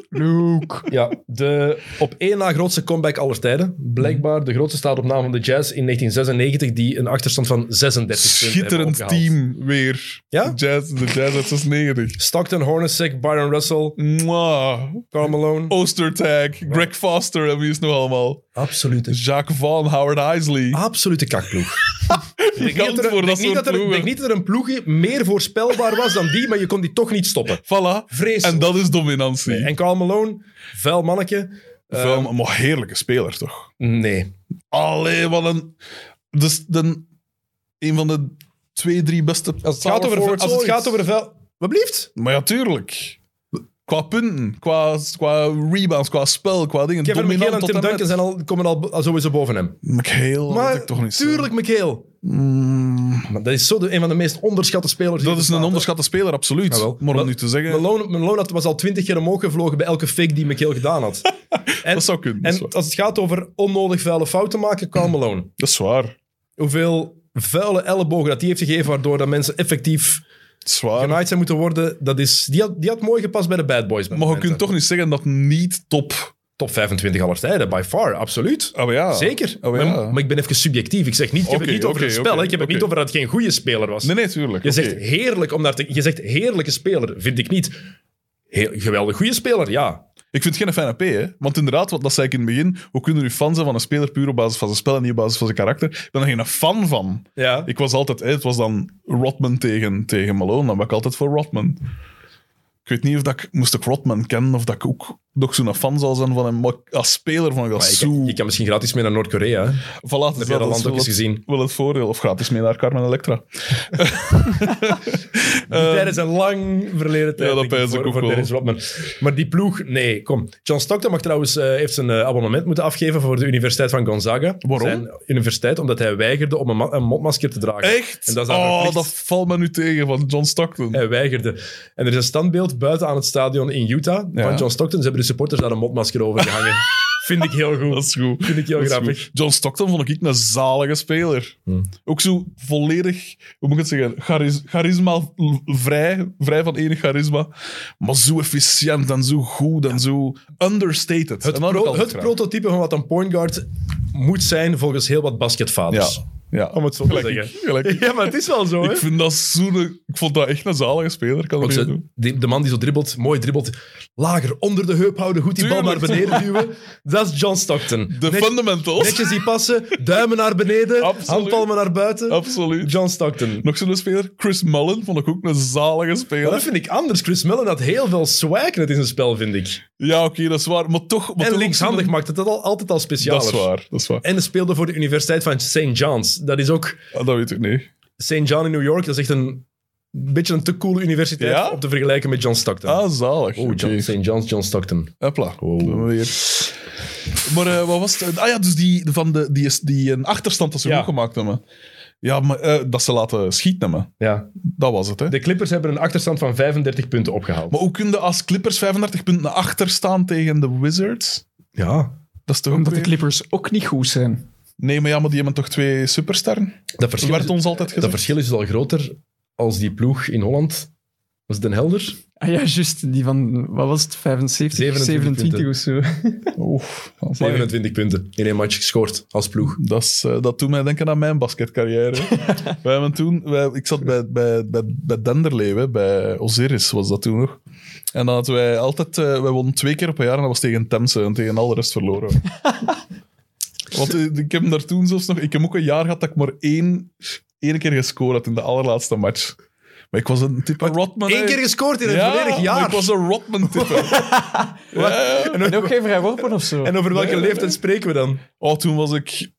Luke. Ja, de op één na grootste comeback aller tijden. Blijkbaar de grootste staat op naam van de Jazz in 1996, die een achterstand van 36 punten hebben Schitterend opgehaald. team weer. Ja? Jazz, de Jazz uit 96. Stockton, Hornacek, Byron Russell, Mwah. Karl Malone. Oostertag, Greg Foster en wie is het nog allemaal? Absolute, Jacques Van, Howard Isley. absolute kakploeg. Ik Ah, denk Gigant niet dat er- voor ik dat denk niet soort dat er- ik ploegen. denk niet dat er een ploeg meer voorspelbaar was dan die, maar je kon die toch niet stoppen. Voilà. Vreselijk. En dat is dominantie. En Karl Malone, vuil manneke. Vuil, maar heerlijke speler, toch? Nee. Allee, wat een... Dus de, een van de twee, drie beste... Als het gaat over, als het gaat over vuil... Wat blieft? Maar ja, tuurlijk. Qua punten, qua, qua rebounds, qua spel, qua dingen. Kevin McHale en dominant Tim tot en Duncan met. zijn al, komen al al sowieso boven hem. McHale, dat Maar ik toch niet zo. tuurlijk, McHale. Mm, Maar dat is zo de, een van de meest onderschatte spelers. die dat is er een bestaat, onderschatte speler, absoluut. Jawel. Maar Wel- om nu te zeggen, hè. Malone, Malone had- was al twintig keer omhoog gevlogen bij elke fake die McHale gedaan had. en, dat zou kunnen. dat, is en waar. als het gaat over onnodig vuile fouten maken, Karl Malone. Dat is waar. Hoeveel vuile ellebogen dat hij heeft gegeven, waardoor dat mensen effectief Dat is waar. genaaid zijn moeten worden, dat is, die, had, die had mooi gepast bij de Bad Boys. bij Maar je momenten. kunt toch niet zeggen dat niet top... Top 25 aller tijden, by far, absoluut. Ah, maar ja. Zeker. Oh, maar, ja. maar ik ben even subjectief. Ik zeg niet, ik heb Oké, het niet over oké, het spel. oké, hè. ik heb het oké. niet over dat het geen goede speler was. Nee, nee, tuurlijk. Je Oké. zegt heerlijk om daar te... Je zegt heerlijke speler, vind ik niet. Heel, geweldig goede speler, ja. Ik vind het geen fijne P, hè? Want inderdaad, wat dat zei ik in het begin, hoe kunnen nu fan zijn van een speler puur op basis van zijn spel en niet op basis van zijn karakter? Ik ben er geen fan van. ja. Ik was altijd, hè, het was dan Rodman tegen, tegen Malone, dan ben ik altijd voor Rodman. Ik weet niet of dat ik, moest ik Rodman kennen of dat ik ook nog zo'n fan zal zijn van hem. Maar als speler vond ik dat Maar zo... je, je kan misschien gratis mee naar Noord-Korea. hè. Voilà, Heb je dus dat dat land is ook wel eens het, gezien? wel het voordeel. Of gratis mee naar Carmen Electra. Die tijden zijn lang verleden tijd. Ehm, Ja, dat denk ik, pijs ik voor- ook voor wel. Dennis Rodman. Maar die ploeg, nee, kom. John Stockton mag trouwens, eh, heeft zijn eh, abonnement moeten afgeven voor de Universiteit van Gonzaga. Waarom? Zijn universiteit, omdat hij weigerde om een, ma- een mondmasker te dragen. Echt? En dat is daar oh, verplicht. dat valt me nu tegen van John Stockton. Hij weigerde. En er is een standbeeld buiten aan het stadion in Utah Ja. van John Stockton. Ze hebben de supporters daar een mondmasker over gehangen. Vind ik heel goed. Dat is goed. Vind ik heel Dat is grappig. goed. John Stockton vond ik een zalige speler. Ook zo volledig, hoe moet ik het zeggen, charis- charisma l- vrij, vrij van enig charisma. Maar zo efficiënt en zo goed en zo understated. Het, En dat heb ik pro- altijd het graag. prototype van wat een point guard moet zijn volgens heel wat Ja, basketvaders. ja. Om het zo te Gelijk ik, zeggen. gelijk ik. Ja, maar het is wel zo, hè? Ik vind dat zo'n... Ik vond dat echt een zalige speler. Kan Ook dat zo, niet doen. die- de man die zo dribbelt, mooi dribbelt, lager onder de heup houden, goed die bal naar Tuurlijk. beneden duwen. Dat is John Stockton. De Net- fundamentals. netjes die passen, duimen naar beneden, Absoluut. handpalmen naar buiten. Absoluut. John Stockton. Nog zo'n speler, Chris Mullen, vond ik ook een zalige Maar speler. dat vind ik anders. Chris Mellon had heel veel swag net in zijn spel, vind ik. Ja, oké, dat is waar. Maar toch... Maar en toch linkshandig maakt het dat al, altijd al speciaal. Dat is waar, dat is waar. En hij speelde voor de Universiteit van St. John's. Dat is ook Ah, dat weet ik niet. St. John in New York. Dat is echt een beetje een te coole universiteit Ja? om te vergelijken met John Stockton. Ah, zalig. oh, John, Oké. St. John's, John Stockton. Hopla. Dan maar Weer. Maar eh, wat was het? Ah ja, dus die, van de, die, is- die een achterstand dat ze Ja. goed gemaakt hebben. Ja, maar eh, dat ze laten schieten hebben. Ja. Dat was het, hè. De Clippers hebben een achterstand van 35 punten opgehaald. Maar hoe kun je als Clippers 35 punten achter staan tegen de Wizards? ja. Dat is toch ook Omdat de weer- Clippers ook niet goed zijn. Nee, maar ja, maar die hebben toch twee supersterren? Dat Dat verschil, werd is, ons altijd dat gezegd. verschil is al groter als die ploeg in Holland. Was Den Helder? Ah ja, juist. Die van, wat was het, 75, 27 27 of zo. Oef, amai. 27 punten in één match gescoord als ploeg. Dat, is, eh, dat doet mij denken aan mijn basketcarrière. wij hebben toen, wij, ik zat bij, bij, bij, bij Denderleeuwen, bij Osiris was dat toen nog. En dan hadden wij altijd, eh, wij wonnen twee keer per jaar en dat was tegen Temse en tegen al de rest verloren. Want eh, ik heb hem daar toen zelfs nog, ik heb ook een jaar gehad dat ik maar één, één keer gescoord had in de allerlaatste match. Maar ik was een type Rodman. Eén hè. keer gescoord in een ja, volledig maar jaar. ik was een Rodman-type. En ook geen vrijworpen of zo. En over welke leeftijd spreken we dan? oh, toen was ik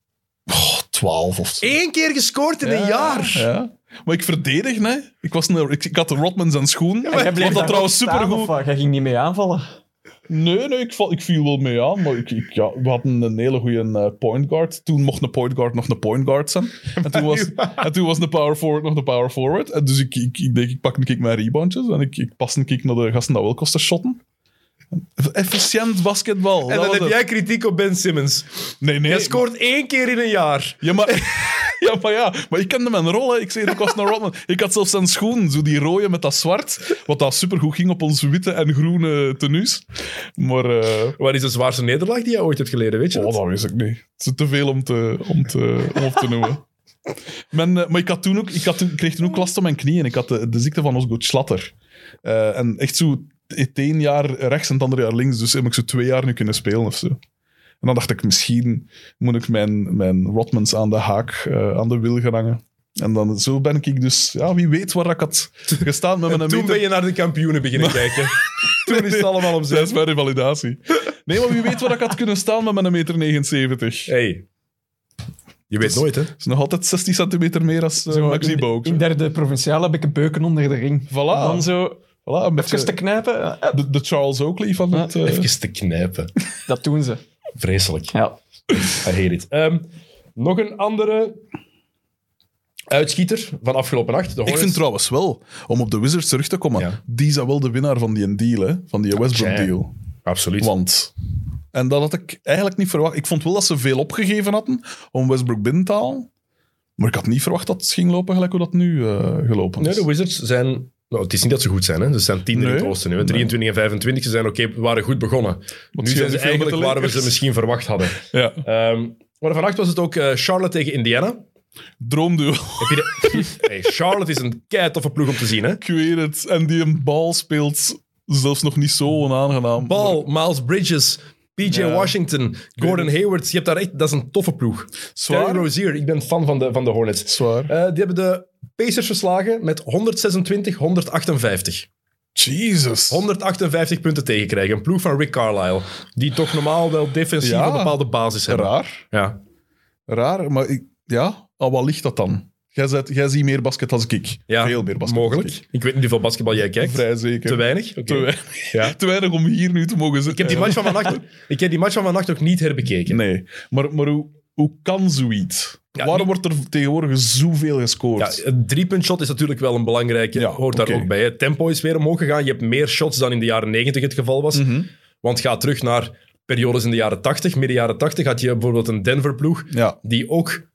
oh, 12 of zo. Eén keer gescoord in een jaar. Ja. Maar ik verdedig, hè. Ik, was een, ik, ik had de Rodman zijn schoen. Jij ik bleef vond dat daar trouwens ook staan, of supergoed. wat? Jij ging niet mee aanvallen. Nee, nee, ik, val, ik viel wel mee aan. Maar ik, ik- ja, we hadden een hele goede eh, point guard. Toen mocht een point guard nog een point guard zijn. En toen was, en toen was een power forward nog een power forward. En dus ik, ik, ik denk, ik pak een kick mijn reboundjes. En ik, ik pas een kick naar de gasten dat wel kosten shotten. Efficiënt basketbal. En dat dan was heb het. jij kritiek op Ben Simmons. Nee, nee. Hij scoort één keer in een jaar. Ja, maar... Ja, maar ja, maar ik kende mijn rol. Hè. Ik zei, ik was een Rodman. Ik had zelfs zijn schoen, zo die rode met dat zwart. Wat dat supergoed ging op onze witte en groene tenues. Maar, eh, Wat is de zwaarste nederlaag die jij ooit hebt geleden, weet je oh, dat? dat wist ik niet. Het is te veel om, te, om, te, om op te noemen. Men, eh, maar ik, had toen ook, ik, had toen, ik kreeg toen ook last op mijn knieën. Ik had de, de ziekte van Osgood Slatter. Eh, en echt zo het één jaar rechts en het andere jaar links. Dus heb ik zo twee jaar nu kunnen spelen of zo. En dan dacht ik, misschien moet ik mijn, mijn Rodmans aan de haak, eh, aan de wil gaan hangen. En dan, zo ben ik dus, ja, wie weet waar ik had gestaan met mijn Toen meter. ben je naar de kampioenen beginnen kijken. Toen is het allemaal om Dat zes. is mijn revalidatie. Nee, maar wie weet waar ik had kunnen staan met mijn meter 79. Hey. Je weet nooit, hè? is nog altijd 16 centimeter meer als eh, Zo, Maxi in- Boog. In derde provinciaal heb ik een beuken onder de ring. Voilà. Dan zo Voilà, een beetje even te knijpen. eh, de, de Charles Oakley van het... eh, Even te knijpen. Dat doen ze. Vreselijk. Ja. I hate it. Ehm, nog een andere uitschieter van afgelopen nacht. De ik Hornets. vind trouwens wel, om op de Wizards terug te komen, Ja. die zijn wel de winnaar van die deal, hè, van die Westbrook tja. deal. Absoluut. Want... En dat had ik eigenlijk niet verwacht. Ik vond wel dat ze veel opgegeven hadden om Westbrook binnen te halen. Maar ik had niet verwacht dat het ging lopen gelijk hoe dat nu eh, gelopen Nee, is. de Wizards zijn... Nou, het is niet dat ze goed zijn, hè. Ze zijn tiende in het Nee. oosten nu. hè. 23 en 25, ze zijn oké, waren goed begonnen. nu scheelt zijn ze niet veel met eigenlijk de waar we Lakers. ze misschien verwacht hadden. ja. Ehm, maar vannacht was het ook eh, Charlotte tegen Indiana. Droomduel. Heb je de- hey, Charlotte is een kei toffe ploeg om te zien, hè. ik weet het. En die een bal speelt zelfs nog niet zo onaangenaam. Ball, Miles Bridges, PJ Ja. Washington, Gordon Hayward. Je hebt daar echt... Dat is een toffe ploeg. Zwaar. Terry Rozier, ik ben fan van de, van de Hornets. Zwaar. Eh, die hebben de Pacers verslagen met 126-158. Jesus. 158 punten tegenkrijgen. Een ploeg van Rick Carlisle. Die toch normaal wel defensief Ja. een bepaalde basis hebben. Raar. Ja. Raar, maar ik, ja. Aan wat ligt dat dan? Jij, zet, jij ziet meer basket als ik. ja. Veel meer basket. Mogelijk. Als Ik. weet niet hoeveel basketbal jij ik. kijkt. Vrij zeker. Te weinig? Oké. Te weinig. Ja. Te weinig om hier nu te mogen zitten. Ik heb die match van vannacht, ik heb die match van vannacht nog niet herbekeken. Nee, maar, maar hoe, hoe kan zoiets? Ja, Waarom die- wordt er tegenwoordig zoveel Ja, gescoord? een driepunt shot is natuurlijk wel een belangrijke. Ja, hoort daar oké. ook bij. Het tempo is weer omhoog gegaan. Je hebt meer shots dan in de jaren 90 het geval was. Mhm. Want ga terug naar periodes in de jaren 80. Midden jaren 80 had je bijvoorbeeld een Denver-ploeg ja. die ook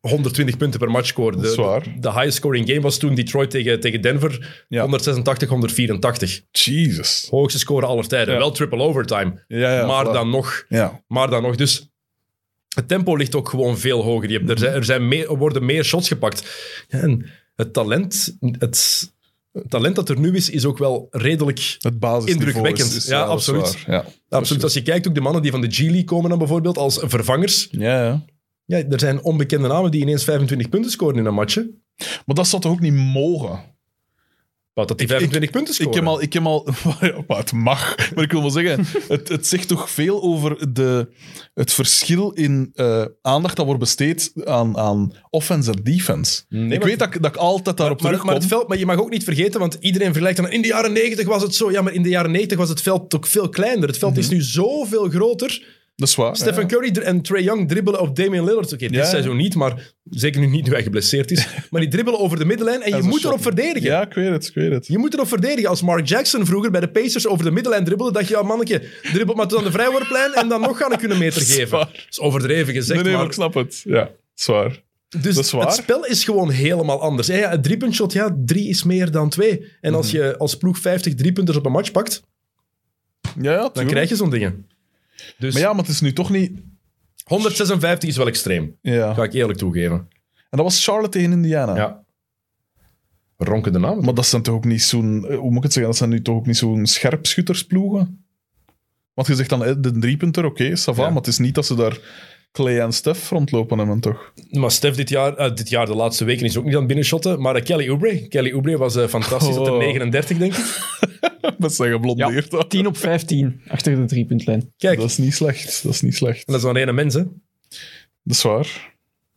120 punten per match scoorde. Dat is waar. De, de highest scoring game was toen Detroit tegen, tegen Denver. Ja. 186, 184. Jesus. Hoogste score aller tijden. Ja. Wel triple overtime. Ja, ja, maar voilà. dan nog Ja. Maar dan nog, dus het tempo ligt ook gewoon veel hoger. Je hebt, er zijn, er zijn meer, er worden meer shots gepakt. Ja, en het talent, het, het talent dat er nu is, is ook wel redelijk. Het basisniveau Indrukwekkend. is- is- Ja, dat is absoluut. waar. Ja. Absoluut. Als je kijkt, ook de mannen die van de G-League komen dan bijvoorbeeld als vervangers. Ja, ja. Ja, er zijn onbekende namen die ineens 25 punten scoren in een matchje. Maar dat zou toch ook niet mogen? Wat dat die 25 punten scoren. Ik heb al... Ik heb al Ja, maar het mag. Maar ik wil wel zeggen, het, het zegt toch veel over de, het verschil in eh, aandacht dat wordt besteed aan, aan offense en defense. ik maar- weet dat, ik- dat ik altijd daarop maar, terugkom. maar het veld, maar je mag ook niet vergeten, want iedereen vergelijkt dan. In de jaren 90 was het zo. Ja, maar in de jaren 90 was het veld ook veel kleiner. Het veld is nu zoveel groter. dat is waar. Stephen Mhm. ja. Curry dr- en Trae Young dribbelen op Damian Lillard. Oké, dit Ja. seizoen niet, maar zeker nu niet nu hij geblesseerd is. Maar die dribbelen over de middenlijn en je is een moet shot. erop verdedigen. Ja, ik weet het, ik weet het. Je moet erop verdedigen. Als Mark Jackson vroeger bij de Pacers over de middenlijn dribbelde, dacht je, ja mannetje, dribbel maar tot aan de vrijworplijn en dan nog gaan ik kunnen meter geven. Dat Zwaar. is overdreven gezegd, nee, nee, maar maar... ik snap het. Ja, zwaar. Dus dat is waar. het spel is gewoon helemaal anders. Ja, ja, het driepuntshot, ja, drie is meer dan twee. En Mhm. als je als ploeg 50 driepunters op een match pakt, Ja, ja dan krijg je zo'n dingen. Dus Maar ja, maar het is nu toch niet... 156 is wel extreem, Ja. ga ik eerlijk toegeven. En dat was Charlotte tegen Indiana. Ja. Ronkende namen. Maar dat zijn toch ook niet zo'n... eh, Hoe moet ik het zeggen? Dat zijn nu toch ook niet zo'n scherpschuttersploegen? Want je zegt dan, eh, de driepunter, oké, okay, Ja. maar het is niet dat ze daar Clay en Steph rondlopen hebben, toch? Maar Stef dit jaar, eh, dit jaar, de laatste weken, is ook niet aan het binnenshotten. Maar eh, Kelly Oubre. Kelly Oubre was eh, fantastisch tot de Oh. 39, denk ik. Met zijn geblondeerd. 10 op 15 achter de driepuntlijn. Kijk, Dat is niet slecht. Dat is niet slecht. dat is dan ene mens, hè. Dat is waar.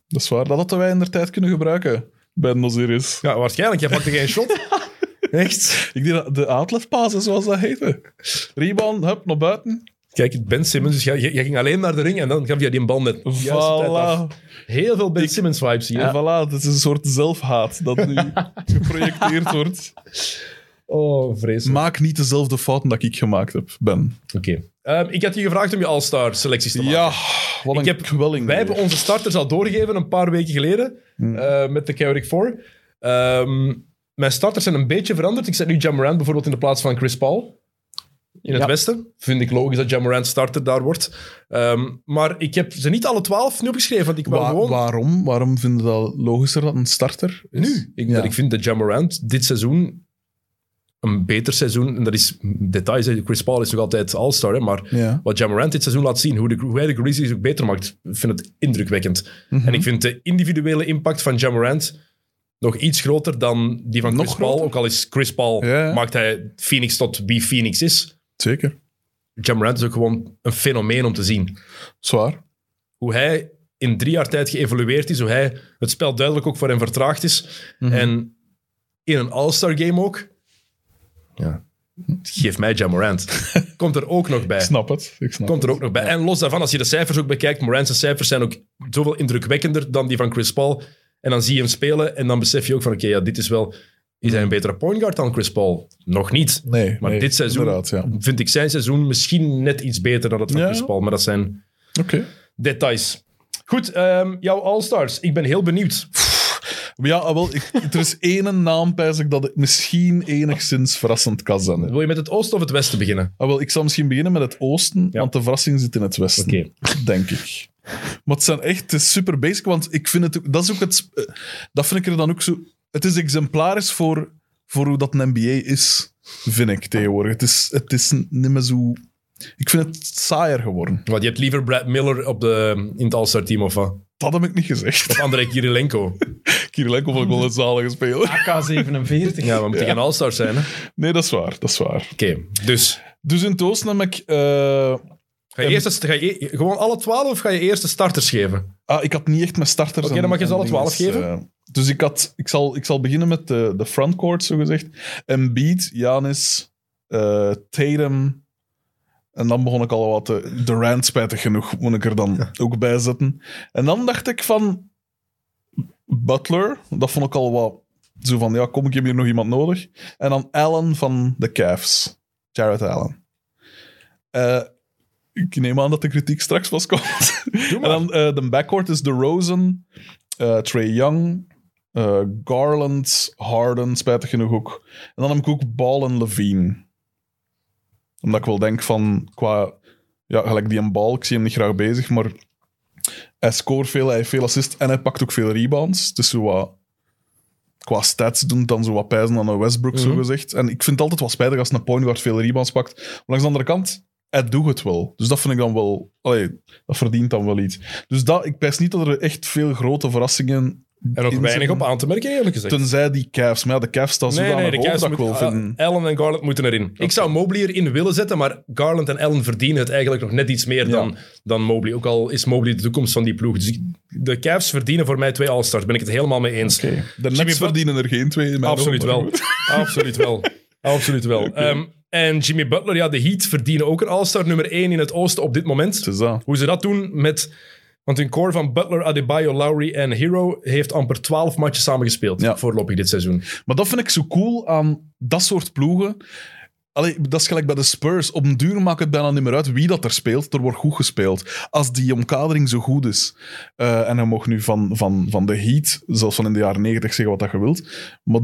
Dat is waar. Dat hadden wij in de tijd kunnen gebruiken bij Noziris. Ja, waarschijnlijk. Jij pakte geen shot. Echt? Ik denk dat de outletpassen, zoals dat heette. Rebound, hup, naar buiten. Kijk, Ben Simmons. Dus jij, jij- jij ging alleen naar de ring en dan gaf je die een bal net. op de juiste tijd af. Voilà. Heel veel Ben Simmons vibes hier. En voilà, dat is een soort zelfhaat dat nu geprojecteerd wordt. Oh, vreselijk. Maak niet dezelfde fouten dat ik gemaakt heb, Ben. Oké. Ehm, ik had je gevraagd om je All-Star selecties te maken. Ja, wat een Ik heb- Wij kwelling. weer. hebben onze starters al doorgegeven een paar weken geleden Hmm. eh, met de Chaotic Four. Ehm, mijn starters zijn een beetje veranderd. Ik zet nu Jammerant bijvoorbeeld in de plaats van Chris Paul. In het Ja. westen. Vind ik logisch dat Jammerant starter daar wordt. Ehm, maar ik heb ze niet alle twaalf nu opgeschreven, want ik wil Wa- gewoon... waarom? Waarom vinden we dat logischer dat een starter is? nu. Ik, Ja. dat ik vind dat Jammerant dit seizoen een beter seizoen... En dat is details. hè. Chris Paul is nog altijd all-star, hè, maar... Ja. wat Jammerant dit seizoen laat zien, hoe, de, hoe hij de Grizzlies ook beter maakt, ik vind het indrukwekkend. Mhm. En ik vind de individuele impact van Jammerant nog iets groter dan die van Nog Chris Paul. groter? Ook al is Chris Paul, Ja. maakt hij Phoenix tot wie Phoenix is. Zeker. Jammerant is ook gewoon een fenomeen om te zien. Zwaar. Hoe hij in drie jaar tijd geëvolueerd is, hoe hij het spel duidelijk ook voor hem vertraagd is. Mhm. En in een All-Star game ook. Ja. Geef mij Jammerant. Komt er ook nog bij Ik snap het. Ik snap komt er het. ook nog bij. En los daarvan, als je de cijfers ook bekijkt, Morant's cijfers zijn ook zoveel indrukwekkender dan die van Chris Paul. En dan zie je hem spelen en dan besef je ook van, oké, ja, dit is wel... Is hij een betere point guard dan Chris Paul? Nog niet. Nee, Maar nee, dit seizoen Inderdaad, ja. Oké. vind ik zijn seizoen misschien net iets beter dan dat van Ja. Chris Paul. Maar dat zijn details. Goed, ehm, jouw All-Stars. Ik ben heel benieuwd. Maar Ja, ah, wel, ik, er is één naam, pijs ik, dat ik misschien enigszins verrassend kan zijn. Wil je met het oosten of het westen beginnen? Ah, wel, ik zal misschien beginnen met het oosten, Ja. want de verrassing zit in het westen. Oké. Denk ik. Maar het zijn echt het is super basic, want ik vind het... ook- Dat is ook het... sp- eh, Dat vind ik er dan ook zo... Het is exemplarisch voor, voor hoe dat een NBA is, vind ik tegenwoordig. Het is, het is niet meer zo... Ik vind het saaier geworden. Want je hebt liever Brad Miller op de, in het All-Star team of wat? Dat heb ik niet gezegd. Of André Kirilenko. Kirilenko vond ik wel een zalige speler. AK-47. Ja, we moeten geen all-stars zijn. hè. Oké, Nee, dat is waar, dat is waar. dus. Dus in toos nam ik... eh, Ga je, eerst, eens- ga je e- gewoon alle twaalf of ga je eerst de starters geven? ah, ik had niet echt mijn starters... Oké, dan mag je ze alle twaalf 12 geven. dus ik, had, ik, zal, ik zal beginnen met de, de frontcourt, zogezegd. Embiid, Janis, eh Tatum... En dan begon ik al wat... eh, De Durant, spijtig genoeg, moet ik er dan ook bij zetten. En dan dacht ik van... Butler, dat vond ik al wat... Zo van, ja, kom, ik heb hier nog iemand nodig. En dan Allen van de Cavs. Jared Allen. Eh, ik neem aan dat de kritiek straks was komt. en dan eh, de backcourt is de Rosen, eh, Trey Young, eh, Garland, Harden, spijtig genoeg ook. En dan heb ik ook Ball en Levine. Omdat ik wel denk van, qua... Ja, gelijk die een bal, ik zie hem niet graag bezig, maar hij scoort veel, hij heeft veel assist en hij pakt ook veel rebounds. Dus zo wat, qua stats doen het dan zo wat pijzen aan een Westbrook, Mhm. zo gezegd. En ik vind het altijd wel spijtig als een point guard veel rebounds pakt. Maar langs de andere kant, hij doet het wel. Dus dat vind ik dan wel... Allee, dat verdient dan wel iets. Dus dat, ik pijs niet dat er echt veel grote verrassingen... Er ook in weinig zitten. op aan te merken, eerlijk gezegd. Tenzij die Cavs. Maar ja, de Cavs staan zo Nee, aan nee, de Cavs dat ik wel moeten- ah, vind. Allen en Garland moeten erin. Ik zou Mobley erin willen zetten, maar Garland en Allen verdienen het eigenlijk nog net iets meer dan, dan Mobley. Ook al is Mobley de toekomst van die ploeg. Dus ik- de Cavs verdienen voor mij twee All-Stars. Ben ik het helemaal mee eens. De Jimmy Nets Butler- verdienen er geen twee. in mijn Absoluut ogen, wel. maar goed. Absoluut wel. Absoluut wel. Ehm, en Jimmy Butler, ja, de Heat verdienen ook een All-Star nummer 1 in het oosten op dit moment. Het is dat. Hoe ze dat doen met... Want hun core van Butler, Adebayo, Lowry en Hero heeft amper 12 matches samengespeeld Ja. voorlopig dit seizoen. Maar dat vind ik zo cool aan dat soort ploegen. Allee, dat is gelijk bij de Spurs. Op een duur maakt het bijna niet meer uit wie dat er speelt. Er wordt goed gespeeld. Als die omkadering zo goed is. Eh, en hij mag nu van, van, van de Heat, zelfs van in de jaren 90 zeggen wat dat je wilt. Maar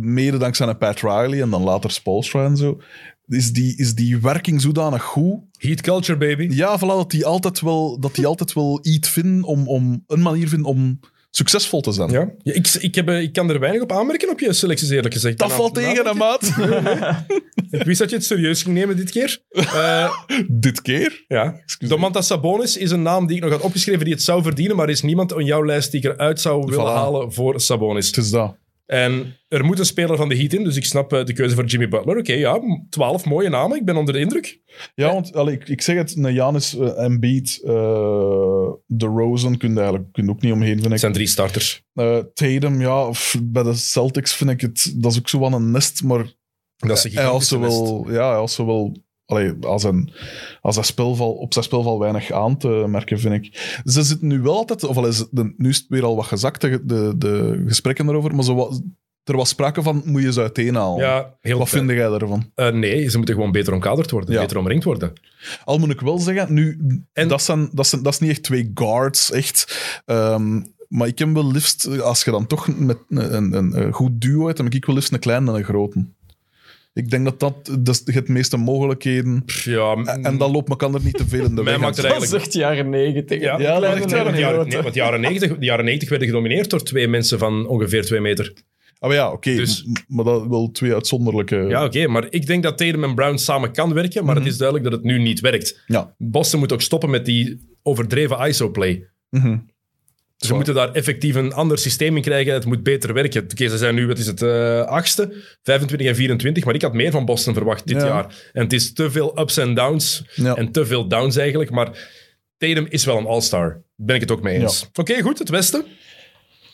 mede dankzij een Pat Riley en dan later Spolstra en zo. Is die, is die werking zodanig goed Heat culture, baby. ja, voilà, dat die altijd wel, dat die altijd wel iets vinden om, om een manier vinden om succesvol te zijn. Ja, Ja, ik, ik, heb, eh, ik kan er weinig op aanmerken op je selecties, eerlijk gezegd. Dat Na- valt na- tegen, hè, maat. Ik wist dat je het serieus ging nemen dit keer. Eh Dit keer? ja. Domantas Sabonis is een naam die ik nog had opgeschreven die het zou verdienen, maar er is niemand op jouw lijst die ik eruit zou willen Voilà. halen voor Het Sabonis. is dat. En er moet een speler van de Heat in, dus ik snap eh, de keuze voor Jimmy Butler. Oké, ja, m- 12 mooie namen, ik ben onder de indruk. Ja, want allee, ik, ik zeg het, een Janis eh, Embiid, eh, de Rosen, kun je eigenlijk kun je ook niet omheen, vind Het ik. zijn drie starters. Eh, Tatum, ja, f- bij de Celtics vind ik het, dat is ook zo wel een nest, maar Dat is een hij had gigantische Eh, ze list. wel, ja, hij had ze wel, allee, als, een, als hij spelval, op zijn spelval weinig aan te merken, vind ik. Ze zitten nu wel altijd, of al is het, de- nu is het weer al wat gezakt, de, de, de gesprekken erover, maar zo wat- er was sprake van, moet je ze uiteenhalen. Ja, heel wat fijn. vind jij daarvan? Eh, nee, ze moeten gewoon beter omkaderd worden, Ja. beter omringd worden. Al moet ik wel zeggen, nu, En- dat, zijn, dat, zijn, dat is niet echt twee guards, echt. Ehm, maar ik heb wel liefst, eh, als je dan toch met een, een, een, eh, goed duo hebt, dan heb ik wel liefst een kleine en een grote. Ik denk dat dat, dat is- je hebt de meeste mogelijkheden. Pff, Ja, m- En, en dan loopt elkaar er niet te veel in de Mij weg. maakt het Dat eigenlijk is echt jaren 90. Ja, Ja, dat is Nee, echt jaren want de jaren, nee, grote. want de jaren 90, de jaren 90 werden gedomineerd door twee mensen van ongeveer twee meter. Ah, maar ja, oké. Dus- m- Maar dat wel twee uitzonderlijke... Ja, oké, maar ik denk dat Tatum en Brown samen kan werken, maar Mhm. het is duidelijk dat het nu niet werkt. Ja. Boston moet ook stoppen met die overdreven ISO-play. Mhm. Ze moeten daar effectief een ander systeem in krijgen. Het moet beter werken. Oké, ze zijn nu, wat is het, eh achtste, 25 en 24. Maar ik had meer van Boston verwacht dit Ja. jaar. En het is te veel ups en downs. Ja. En te veel downs eigenlijk. Maar Tatum is wel een all-star. Ben ik het ook mee eens. Oké, goed. Het Westen.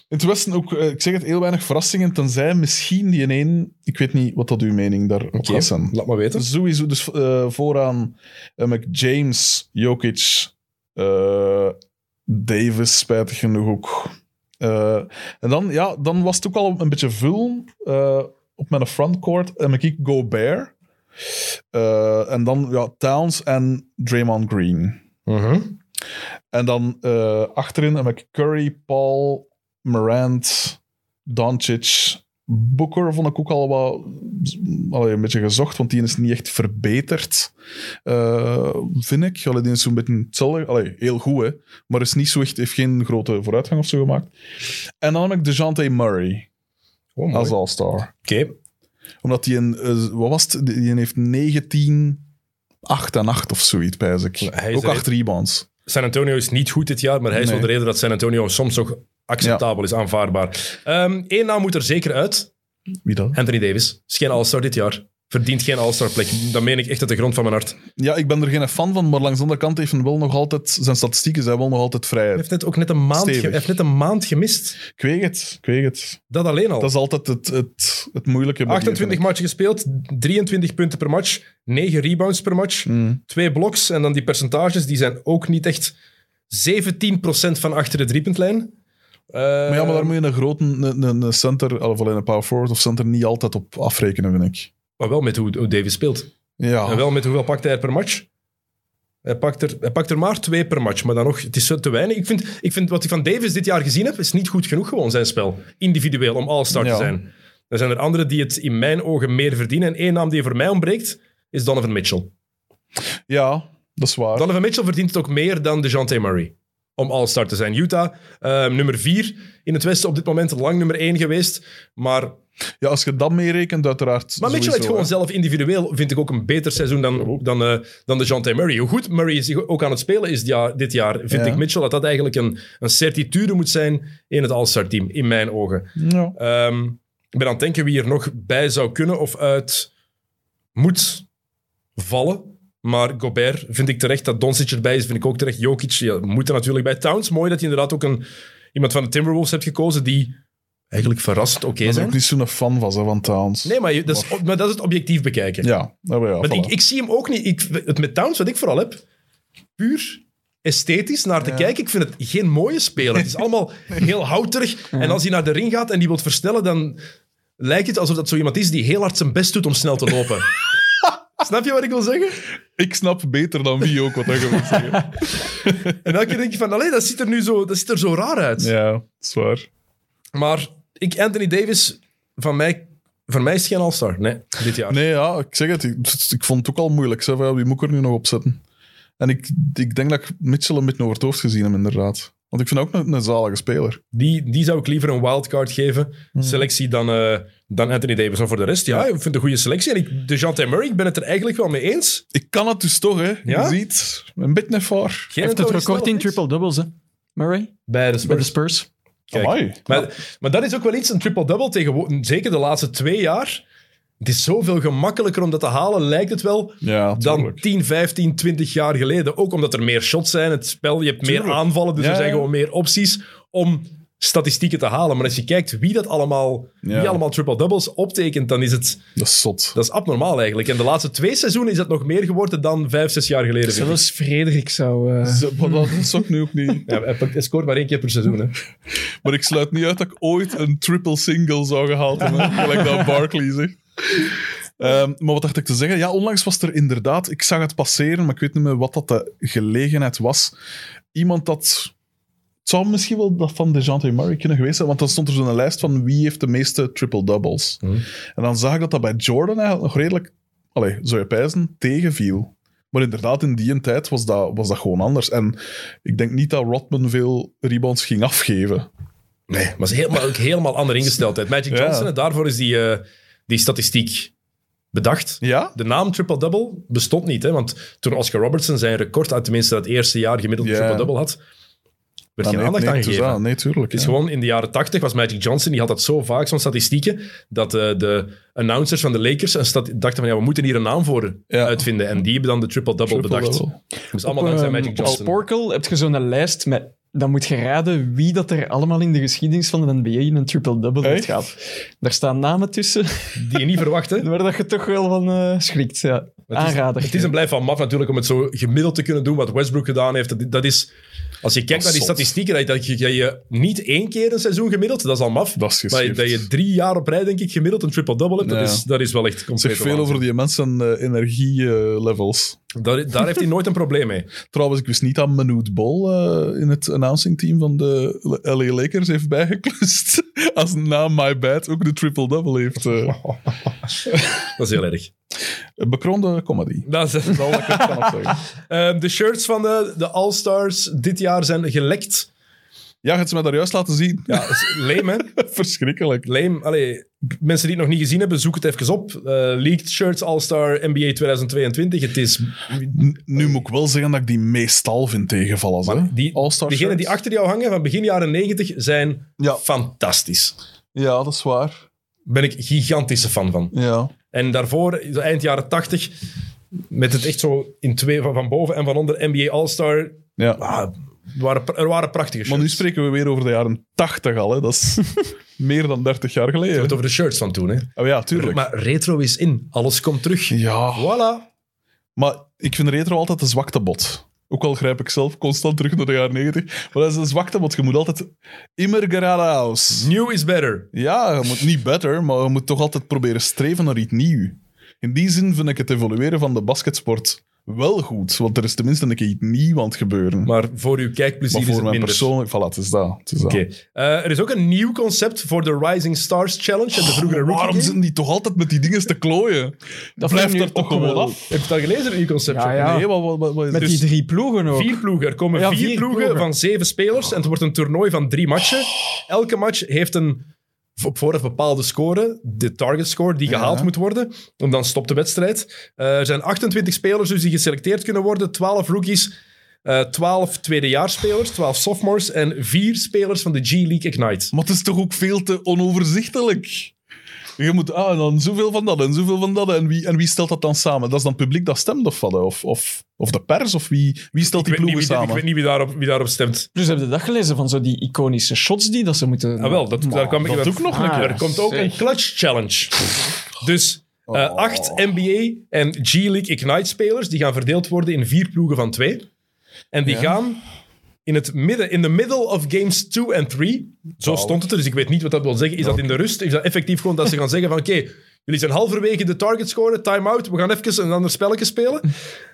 In het Westen ook, eh, ik zeg het, heel weinig verrassingen, tenzij misschien die in één... Ik weet niet wat dat uw mening daarop Oké, gaat zijn. Laat maar weten. Sowieso, dus eh, vooraan eh, met James, Jokic, eh, Davis, spijtig genoeg ook. Eh, en dan, ja, dan was het ook al een beetje vul eh, op mijn frontcourt. En ik Gobert. Eh en dan ja, Towns en Draymond Green. Mhm. En dan eh, achterin heb ik Curry, Paul, Morant, Doncic. Booker vond ik ook al wat allee, een beetje gezocht, want die is niet echt verbeterd, eh, vind ik. Allee, die is zo'n beetje hetzelfde. Allee, heel goed, hè. Maar is niet zo echt, heeft geen grote vooruitgang of zo gemaakt. En dan heb ik DeJounte Murray Oh, mooi. als All-Star. Oké. Omdat die, een, eh, wat was het? Die die heeft 19, 8 en 8 of zoiets, pijs ik. hij is Ook er- 8 rebounds. San Antonio is niet goed dit jaar, maar hij is Nee. wel de reden dat San Antonio soms nog acceptabel is, aanvaardbaar. Eén naam moet er zeker uit. Wie dan? Anthony Davis. Is geen All-Star dit jaar. Verdient geen All-Star plek. Dat meen ik echt uit de grond van mijn hart. Hij Ja, ik ben er geen fan van, maar langs de andere kant heeft hij wel nog altijd... Zijn statistieken zijn wel nog altijd vrijheid. heeft net ook net een maand, ge- Stevig. hij heeft net een maand gemist. Ik weet het, ik weet het. Dat alleen al. Dat is altijd het, het, het moeilijke. bij die, 28 vind matchen gespeeld, 23 punten per match, 9 rebounds per match, Mm. 2 bloks. En dan die percentages, die zijn ook niet echt 17% van achter de driepuntlijn. Eh, ik. Maar ja, maar daar moet je een grote een, een- een center, of alleen een power forward of center, niet altijd op afrekenen, vind ik. maar wel met hoe, hoe Davis speelt. En Ja, wel met hoeveel pakt hij er per match. Hij pakt, er, hij pakt er maar twee per match, maar dan nog, het is zo te weinig. Ik vind, ik vind wat ik van Davis dit jaar gezien heb, is niet goed genoeg gewoon zijn spel. Individueel, om all-star te Ja. zijn. Er zijn er anderen die het in mijn ogen meer verdienen. En één naam die voor mij ontbreekt, is Donovan Mitchell. ja, dat is waar. Donovan Mitchell verdient het ook meer dan DeJounte Murray. Om all-star te zijn. Utah, eh, nummer 4 in het Westen op dit moment. Lang nummer 1 geweest. Maar, Ja, als je dat meerekent, uiteraard. maar Mitchell heeft sowieso, gewoon hè. zelf individueel, vind ik ook een beter seizoen dan, dan, eh, dan DeJounte Murray. Hoe goed Murray zich ook aan het spelen is dia- dit jaar, vind Ja. ik Mitchell dat dat eigenlijk een, een certitude moet zijn in het all-star team. In mijn ogen. Ja. Ehm, ik ben aan het denken wie er nog bij zou kunnen of uit moet vallen. Maar Gobert vind ik terecht. Dat Doncic erbij is, vind ik ook terecht. Jokic ja, moet er natuurlijk bij. Towns, mooi dat je inderdaad ook een, iemand van de Timberwolves hebt gekozen die eigenlijk verrassend oké Ik ben er ook zijn. niet zo'n fan van, ze, van Towns. Nee, maar, je- dat is, maar dat is het objectief bekijken. Ja, nou ja, Want voilà. ik, ik zie hem ook niet. Ik, het met Towns, wat ik vooral heb, puur esthetisch naar te kijken. Ik vind het geen mooie speler. Het is allemaal heel houterig. En als hij naar de ring gaat en die wil versnellen, dan lijkt het alsof dat zo iemand is die heel hard zijn best doet om snel te lopen. Snap je wat ik wil zeggen? Ik snap beter dan wie ook wat hij wil zeggen. En elke keer denk je van, allee, dat ziet er nu zo, dat ziet er zo raar uit. Ja, dat is waar. Maar ik, Anthony Davis, van mij, van mij is het geen all-star. Nee, dit jaar. Nee, ja, ik zeg het. Ik, ik vond het ook al moeilijk. Zeg, van, ja, wie moet ik er nu nog op zetten? En ik, ik denk dat ik Mitchell een beetje over het hoofd gezien heb, inderdaad. Want ik vind hem ook een, een zalige speler. Die, die zou ik liever een wildcard geven, Hmm. selectie, dan, eh, dan Anthony Davis. Maar voor de rest, ja, ik vind het een goede selectie. En ik, de Jean Murray, ik ben het er eigenlijk wel mee eens. Ik kan het dus toch, hè. Ja? Je ziet, een beetje ervaar. Geen heeft het Anthony record Snell, in niks. triple-doubles, hè? Murray? Bij de Bij de Spurs. Spurs. Kijk. Amai. Maar, maar dat is ook wel iets, een triple-double tegenwoordig. Zeker de laatste twee jaar. Het is zoveel gemakkelijker om dat te halen, lijkt het wel, Ja, dan tuurlijk. 10, 15, 20 jaar geleden. Ook omdat er meer shots zijn, het spel, je hebt meer Tuurlijk. aanvallen, dus Ja, er zijn ja. gewoon meer opties om statistieken te halen. Maar als je kijkt wie dat allemaal, Ja. wie allemaal triple-doubles optekent, dan is het... Dat is zot. Dat is abnormaal eigenlijk. En de laatste twee seizoenen is dat nog meer geworden dan vijf, zes jaar geleden. vind ik. Zelfs Frederik zou... eh, Ze- maar Dat is ook nu ook niet. Ja, hij pakt- hij scoort maar één keer per seizoen. Hè. Maar ik sluit niet uit dat ik ooit een triple single zou gehaald hebben. Gelijk dat Barkley zegt. Ehm, maar wat dacht ik te zeggen? Ja, onlangs was er inderdaad... Ik zag het passeren, maar ik weet niet meer wat dat de gelegenheid was. Iemand dat... Het zou misschien wel dat van DeJounte Murray kunnen geweest zijn, want dan stond er zo'n lijst van wie heeft de meeste triple-doubles. En dan zag ik dat dat bij Jordan eigenlijk nog redelijk... Allee, zou je pijzen, tegenviel. Maar inderdaad, in die tijd was dat, was dat gewoon anders. En ik denk niet dat Rodman veel rebounds ging afgeven. Nee, maar ze is helemaal, ook helemaal andere ingesteldheid. Magic Ja. Johnson, en daarvoor is die, eh, die statistiek bedacht. Ja? De naam triple-double bestond niet. Hè, want toen Oscar Robertson zijn record uit tenminste dat eerste jaar gemiddeld Ja. triple-double had, werd Ah, geen nee, aandacht nee, aan dus gegeven. ah, nee, tuurlijk. Het is ja. gewoon in de jaren 80 was Magic Johnson, die had dat zo vaak, zo'n statistieken, dat eh, de announcers van de Lakers een stat- dachten van ja, we moeten hier een naam voor Ja. uitvinden. En die hebben dan de triple-double bedacht. Triple-double. Dus allemaal dankzij ehm, Magic Op Johnson. Sporkel heb je zo'n lijst met... Dan moet je raden wie dat er allemaal in de geschiedenis van de NBA in een triple-double heeft Echt? gehad. Daar staan namen tussen Die je niet verwacht, hè? waar dat je toch wel van eh, schrikt. Ja. Het is- Aanrader. Het is een blijf van maf natuurlijk om het zo gemiddeld te kunnen doen wat Westbrook gedaan heeft. Dat, dat is, als je kijkt Dat naar is die zot. statistieken, dat je, dat je- dat je niet één keer een seizoen gemiddeld, dat is al maf. Dat is geschikt. maar dat je drie jaar op rij, denk ik, gemiddeld een triple-double hebt, Ja. dat, is, dat is wel echt Het compleet zegt veel over die mensen eh, energielevels. daar, daar heeft hij nooit een probleem mee. Trouwens, ik wist niet dat Manute Bol eh, in het announcing team van de LA Lakers heeft bijgeklust. Als na My Bad ook de triple-double heeft. eh. Dat is heel erg. Een bekroonde comedy. Dat is, Dat is al wat ik er kan op zeggen. Ehm, de shirts van de, de All-Stars dit jaar zijn gelekt. Ja, je hebt ze mij daar juist laten zien. Ja, dat is leem, hè? Verschrikkelijk. Leem. Allee, mensen die het nog niet gezien hebben, zoek het even op. Eh, Leaked Shirts All-Star NBA 2022. Het is... N- nu moet ik wel zeggen dat ik die meestal vind tegenvallen. hè. Maar die- All-Star Degenen die shirts. achter jou hangen van begin jaren 90 zijn Ja. fantastisch. Ja, dat is waar. ben ik gigantische fan van. Ja. En daarvoor, eind jaren 80, met het echt zo in twee van, van boven en van onder NBA All-Star. ja. Ah, er waren, er waren prachtige Maar shirts. nu spreken we weer over de jaren 80 al. Hè. Dat is meer dan 30 jaar We hebben geleden. het over de shirts van toen. Hè. Oh ja, tuurlijk. Maar retro is in. Alles komt terug. ja, Voilà. maar ik vind retro altijd een zwaktebot. Ook al grijp ik zelf constant terug naar de jaren 90. Maar dat is een zwaktebot. Je moet altijd immer geradeaus. New is better. Ja, je moet niet better, maar je moet toch altijd proberen streven naar iets nieuws. In die zin vind ik het evolueren van de basketsport wel goed. Want er is tenminste een keer iets nieuws aan het gebeuren. Maar, Maar voor uw kijkplezier is voor het mijn minder. persoonlijk... Voilà, het is dat. Het is dat. Oké. Eh, er is ook een nieuw concept voor de Rising Stars Challenge en de vroegere Maar Rookie Oh, waarom Game. zijn die toch altijd met die dingen te klooien? Dat Blijft vind ik nu er toch ook gewoon wel. Heb af? je het al gelezen, een nieuw concept? Ja, ja. Nee, wat, wat, wat, wat is Met dus- die drie ploegen ook. Vier ploegen. Er komen Ja, vier, vier ploegen, ploegen. van zeven spelers. En het wordt een toernooi van drie matchen. Elke match heeft een op vooraf bepaalde score, de target score, die gehaald Ja. moet worden. En dan stopt de wedstrijd. Eh, er zijn 28 spelers dus die geselecteerd kunnen worden. 12 rookies, eh 12 tweedejaarsspelers, 12 sophomores en vier spelers van de G-League Ignite. Maar het is toch ook veel te onoverzichtelijk? Je moet, ah, en dan zoveel van dat en zoveel van dat. En wie, en wie stelt dat dan samen? Dat is dan het publiek dat stemt of wat? Of, of, of de pers? Of wie, wie stelt Ik die weet, niet ploegen wie, ik samen? weet niet wie daarop, wie daarop stemt. Dus heb je dat gelezen van zo die iconische shots die dat ze moeten... Ah, wel, dat, daar kwam ik dat ook nog een Ah, Er komt ook zeg. een clutch challenge. Dus eh, Oh. acht NBA en G-League Ignite spelers die gaan verdeeld worden in vier ploegen van twee. En die Ja. gaan in het midden, in the middle of games 2 en 3. Zo Wow. stond het er, dus ik weet niet wat dat wil zeggen. Is dat in de rust? Is dat effectief gewoon dat ze gaan zeggen van oké, jullie zijn halverwege de target scoren, time-out, we gaan even een ander spelletje spelen.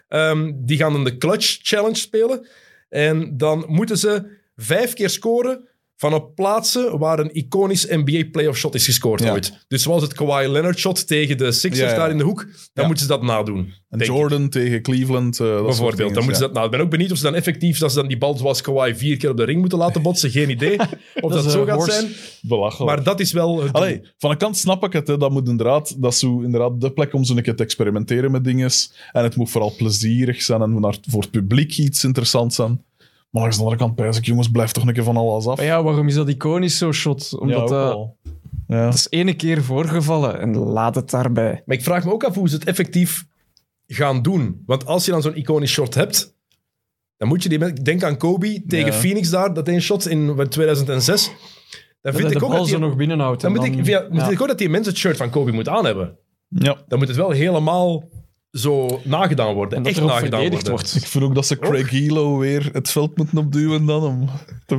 Ehm, die gaan dan de clutch challenge spelen. En dan moeten ze vijf keer scoren van op plaatsen waar een iconisch NBA playoff shot is gescoord Ja. ooit. Dus zoals het Kawhi Leonard shot tegen de Sixers Ja, ja. daar in de hoek, dan Ja. moeten ze dat nadoen. En denk ik. Jordan tegen Cleveland. eh, dat soort Bijvoorbeeld, dingen, dan moeten ze ja. dat. Nou, ik ben ook benieuwd of ze dan effectief, dat ze dan die bal zoals Kawhi vier keer op de ring moeten laten botsen. Geen idee of dat, is, zo eh, gaat horse. zijn. Belachelijk. Maar dat is wel. Het Allee, van een kant snap ik het. Hè. Dat moet inderdaad, dat is zo, inderdaad de plek om zo'n keer te experimenteren met dingen. En het moet vooral plezierig zijn en naar- voor het publiek iets interessants zijn. Maar langs de andere kant pijs ik, jongens, blijf toch een keer van alles af. Maar ja, waarom is dat iconisch zo'n shot? Ja, Omdat eh, eh, ook dat, wel. Ja. dat is ene keer voorgevallen en laat het daarbij. Maar ik vraag me ook af hoe ze het effectief gaan doen. Want als je dan zo'n iconisch shot hebt, dan moet je die... men- Denk aan Kobe tegen Ja. Phoenix daar, dat één shot in 2006. Dan Dat vind hij ik de ook dat bal die, zo nog binnenhoudt. dan en moet ik, ja, moet ja. ik ook dat die mensen het shirt van Kobe moet aan hebben. ja. Dan moet het wel helemaal zo nagedaan worden. En dat echt er ook nagedaan verdedigd worden. wordt. Ik vind ook dat ze Craig Hilo weer het veld moeten opduwen dan om te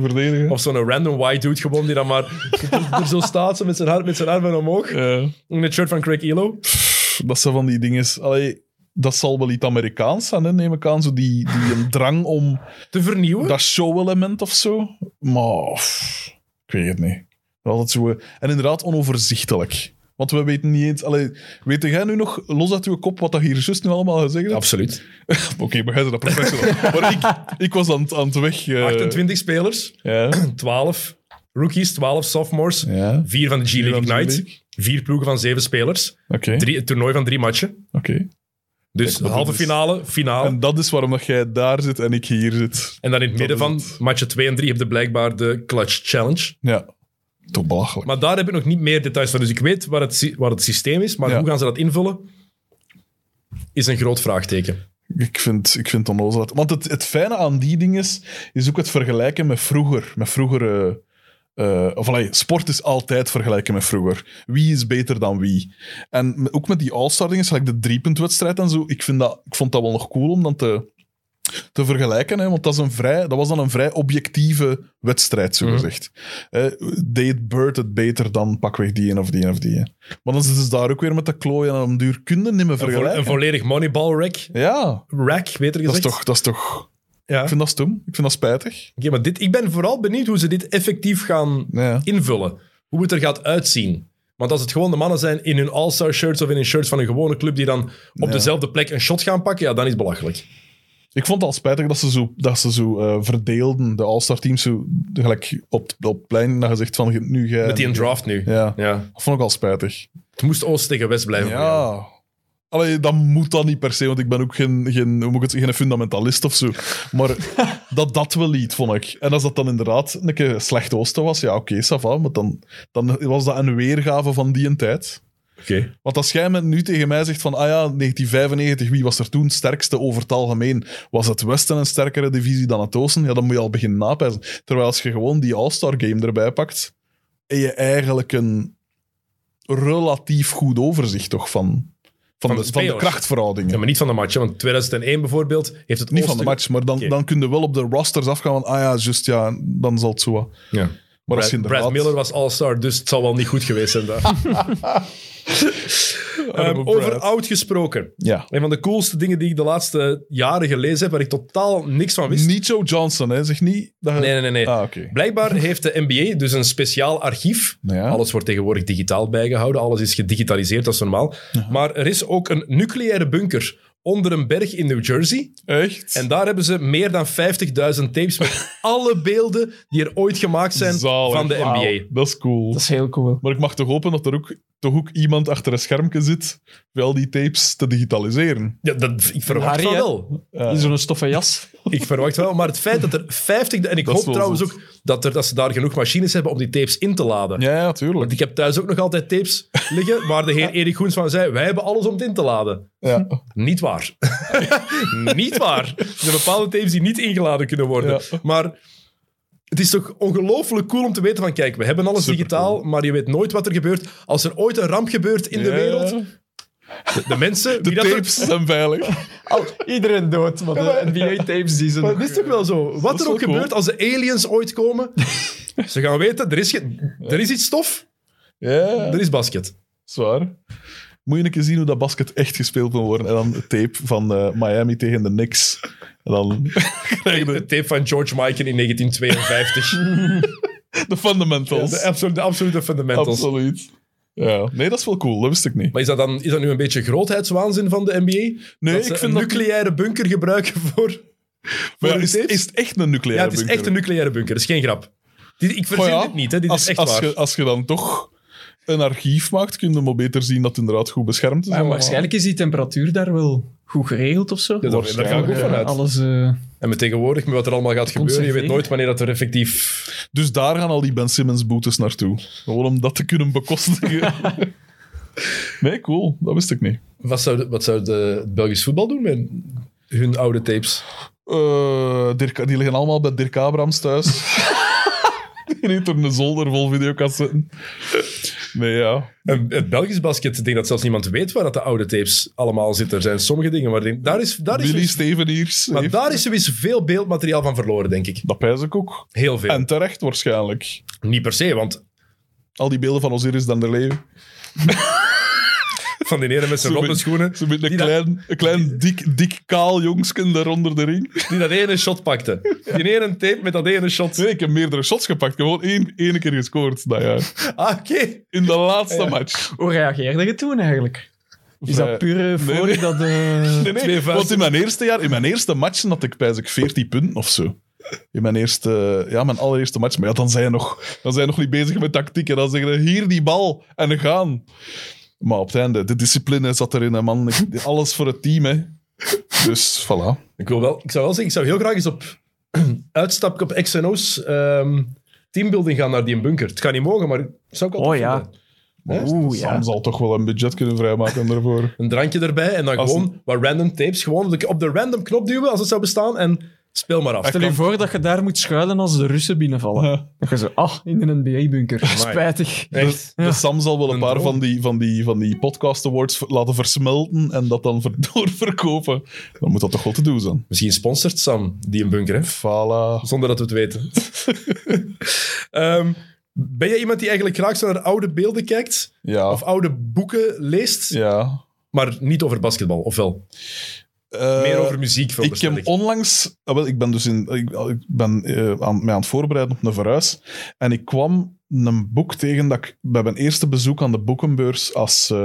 verdedigen. Of zo'n random white dude gewoon die dan maar er zo staat zo met zijn, haar- met zijn armen omhoog. Eh, In het shirt van Craig Elo. dat ze van die dingen... Allee, dat zal wel iets Amerikaans zijn, hè, neem ik aan. Zo die, die een drang om Te vernieuwen. dat show-element of zo. Maar pff, ik weet het niet. Altijd zo, eh, en inderdaad onoverzichtelijk. Want we weten niet eens... Allee, weet jij nu nog, los uit je kop, wat dat hier juist nu allemaal gezegd hebt? Absoluut. Oké, maar jij bent dat professional. maar ik, ik was aan, het- aan het weg... eh, 28 spelers. Ja. 12 rookies, 12 sophomores. ja. Vier van de G-League Vier van de Ignite. G-League. Vier ploegen van zeven spelers. Oké. Drie, het toernooi van drie matchen. Oké. Dus Kijk, halve dat is- finale, finale. En, En dat is waarom dat jij daar zit en ik hier zit. dan in het midden is van het. matchen 2 en 3 heb je blijkbaar de Clutch Challenge. Ja. Toch belachelijk. Maar daar heb ik nog niet meer details van. Dus ik weet waar het, sy- waar het systeem is. Maar Ja. hoe gaan ze dat invullen? Is een groot vraagteken. Ik vind, ik vind het onnozel. Want het, het fijne aan die dingen is, is ook het vergelijken met vroeger. Met vroeger... eh, eh, of allee, sport is altijd vergelijken met vroeger. Wie is beter dan wie? En m- ook met die All-Star dingen, gelijk de driepuntwedstrijd en zo, ik, vind dat, ik vond dat wel nog cool om dan te, te vergelijken. Hè, want dat, is een vrij, dat was dan een vrij objectieve wedstrijd, zo gezegd. Eh, deed Bird het beter dan pakweg die en of die en of die. hè. Maar dan zitten ze daar ook weer met de klooien en om duur kunnen niet meer Een, vo- een vergelijken. volledig moneyball rack. Ja, Rack, beter dat is gezegd. toch... Dat is toch Ja. ik vind dat stom. Ik vind dat spijtig. Oké, maar dit, ik ben vooral benieuwd hoe ze dit effectief gaan Ja. invullen. Hoe het er gaat uitzien. Want als het gewoon de mannen zijn in hun all-star shirts of in hun shirts van een gewone club die dan op Ja. dezelfde plek een shot gaan pakken, ja, dan is het belachelijk. Ik vond het al spijtig dat ze zo, dat ze zo eh, verdeelden, de All-Star teams, zo, gelijk op, op het plein, dat je zegt van nu jij... Met die draft nu. Ja, Ja. dat vond ik al spijtig. Het moest Oost tegen West blijven. Ja. Allee, dat moet dan niet per se, want ik ben ook geen, geen, hoe moet ik het, zeggen, geen fundamentalist of zo. Maar dat dat wel liet, vond ik. En als dat dan inderdaad een keer slecht oosten was, ja, oké, ça va. Maar dan, dan was dat een weergave van die een tijd. Oké. Want als jij me nu tegen mij zegt van, ah ja, 1995, wie was er toen het sterkste over het algemeen? Was het Westen een sterkere divisie dan het Oosten? Ja, dan moet je al beginnen napijzen. Terwijl als je gewoon die All-Star game erbij pakt, en je eigenlijk een relatief goed overzicht toch van, de van, de, van de spelers. krachtverhoudingen. Ja, maar niet van de match. hè, Want 2001 bijvoorbeeld heeft het Niet van Oosten- de match, maar dan, Oké. dan kun je wel op de rosters afgaan van, ah ja, just ja, dan zal het zo wat. Ja. Maar als je Brad, inderdaad... Brad Miller was all-star, dus het zal wel niet goed geweest zijn daar. Ehm, Brad. over oud gesproken. Ja. Een van de coolste dingen die ik de laatste jaren gelezen heb, waar ik totaal niks van wist. Niet Joe Johnson, hè. Zeg niet... Dat je- Nee, nee, nee. nee. Ah, oké. Blijkbaar heeft de NBA dus een speciaal archief. Ja. Alles wordt tegenwoordig digitaal bijgehouden. Alles is gedigitaliseerd, dat is normaal. Maar er is ook een nucleaire bunker onder een berg in New Jersey. Echt? En daar hebben ze meer dan 50.000 tapes met alle beelden die er ooit gemaakt zijn Zalig. van de NBA. Wauw, dat is cool. Dat is heel cool. Maar ik mag toch hopen dat er ook, toch ook iemand achter een schermpje zit bij al die tapes te digitaliseren. Eh, Ja, dat, ik verwacht Harry, van hè? wel. Ja. In Zo'n stoffen jas. Ik verwacht wel. Maar het feit dat er 50... En ik Dat is hoop wel trouwens zot. ook dat, er, dat ze daar genoeg machines hebben om die tapes in te laden. Ja, ja, tuurlijk. Want ik heb thuis ook nog altijd tapes liggen waar de heer Erik Goens van zei, wij hebben alles om het in te laden. Ja. Niet waar. niet waar. Er zijn bepaalde tapes die niet ingeladen kunnen worden. Ja. Maar het is toch ongelooflijk cool om te weten van, kijk, we hebben alles Supercool. digitaal, maar je weet nooit wat er gebeurt. Als er ooit een ramp gebeurt in de Ja. wereld, de, de mensen... De wie dat er- tapes zijn veilig. iedereen dood, maar de NBA-tapes die Maar zijn... het is toch wel zo. Wat is er ook wel cool. gebeurt als de aliens ooit komen, ze gaan weten, er is, ge- er is iets stof, Ja, er is basket. zwaar. Moet je een keer zien hoe dat basket echt gespeeld kan worden. En dan de tape van eh, Miami tegen de Knicks. En dan De tape van George Michael in 1952. de fundamentals. De, absolu- de absolute fundamentals. Absoluut. Ja. Nee, dat is wel cool. Dat wist ik niet. Maar is dat, dan, is dat nu een beetje grootheidswaanzin van de NBA? Nee, dat ze ik vind een dat... nucleaire bunker gebruiken voor... voor Maar ja, hun is, tapes? is het echt een ja, nucleaire het is bunker? echt een nucleaire bunker. Dat is geen grap. Dit- ik verzin Maar ja, dit niet, hè. dit als, is echt als, waar. Je, als je dan toch een archief maakt, kun je maar beter zien dat het inderdaad goed beschermd is. Maar waarschijnlijk is die temperatuur daar wel goed geregeld of zo. Ja, daar, daar ga ik ook Ja, vanuit. Alles... eh, En met tegenwoordig, met wat er allemaal gaat gebeuren, je weet Conserveren. nooit wanneer dat er effectief... Dus daar gaan al die Ben Simmons boetes naartoe. Gewoon om dat te kunnen bekostigen. nee, cool. Dat wist ik niet. Wat zou, de- wat zou de, het Belgisch voetbal doen met hun oude tapes? Eh, Dirk, die liggen allemaal bij Dirk Abrams thuis. die heeft er een zolder vol videocassetten. Nee, ja. En Het Belgisch basket, ik denk dat zelfs niemand weet waar dat de oude tapes allemaal zitten. Er zijn sommige dingen waar... Daar is, daar is, Billy zoiets- Steveniers. maar heeft- daar is sowieso veel beeldmateriaal van verloren, denk ik. Dat pijs ik ook. Heel veel. En terecht waarschijnlijk. Niet per se, want Al die beelden van Osiris dan der leven. van die ene met zijn Zo rotte ben- schoenen, Zo met een Die dat- klein, een klein dik, dik kaal jongsken daar onder de ring. die dat ene shot pakte. Die ene tape met dat ene shot. Nee, ik heb meerdere shots gepakt. Gewoon één, één keer gescoord dat jaar. Ah, oké. In de laatste match. Hoe reageerde je toen eigenlijk? Is Vrij- Eh, dat puur Nee, voor nee. dat... eh, Nee, nee, Twee vuisten. want in mijn eerste jaar, in mijn eerste match had ik bijzonder 14 punten of zo. In mijn eerste, ja, mijn allereerste match. Maar ja, dan zijn je nog, dan zijn je nog niet bezig met tactiek. En dan zeggen ze, hier die bal en gaan. Maar op het einde, de discipline zat erin, hè, man. Ik- alles voor het team, hè. Dus, voilà. Ik, wil wel, ik zou wel zeggen, ik zou heel graag eens op uitstap op XNO's ehm teambuilding gaan naar die bunker. Het kan niet mogen, maar het zou ik wel Oh, tof ja. vinden. Maar Oeh, Sam ja. zal toch wel een budget kunnen vrijmaken daarvoor. Een drankje erbij en dan Als- gewoon wat random tapes. Gewoon op de, op de random knop duwen als het zou bestaan en speel maar af. Stel je voor dat je daar moet schuilen als de Russen binnenvallen. Ja. Dat je zo, ah, in een NBA-bunker. Spijtig. Echt. Dus Sam zal wel een Een paar droom. van die, van, die, van die podcast awards ver- laten versmelten en dat dan ver- doorverkopen. Dan moet dat toch wel te doen zijn. Misschien sponsort Sam die een bunker, hè? Voilà. Zonder dat we het weten. Ehm, ben jij iemand die eigenlijk graag zo naar oude beelden kijkt? Ja. Of oude boeken leest? Oh. Ja. Maar niet over basketbal, of wel? Eh, Meer over muziek, ik veronderstel heb onlangs, ah, wel, ik ben dus in, ik, ik ben eh, aan, mij aan het voorbereiden op een verhuis. En ik kwam een boek tegen dat ik bij mijn eerste bezoek aan de boekenbeurs, als, eh,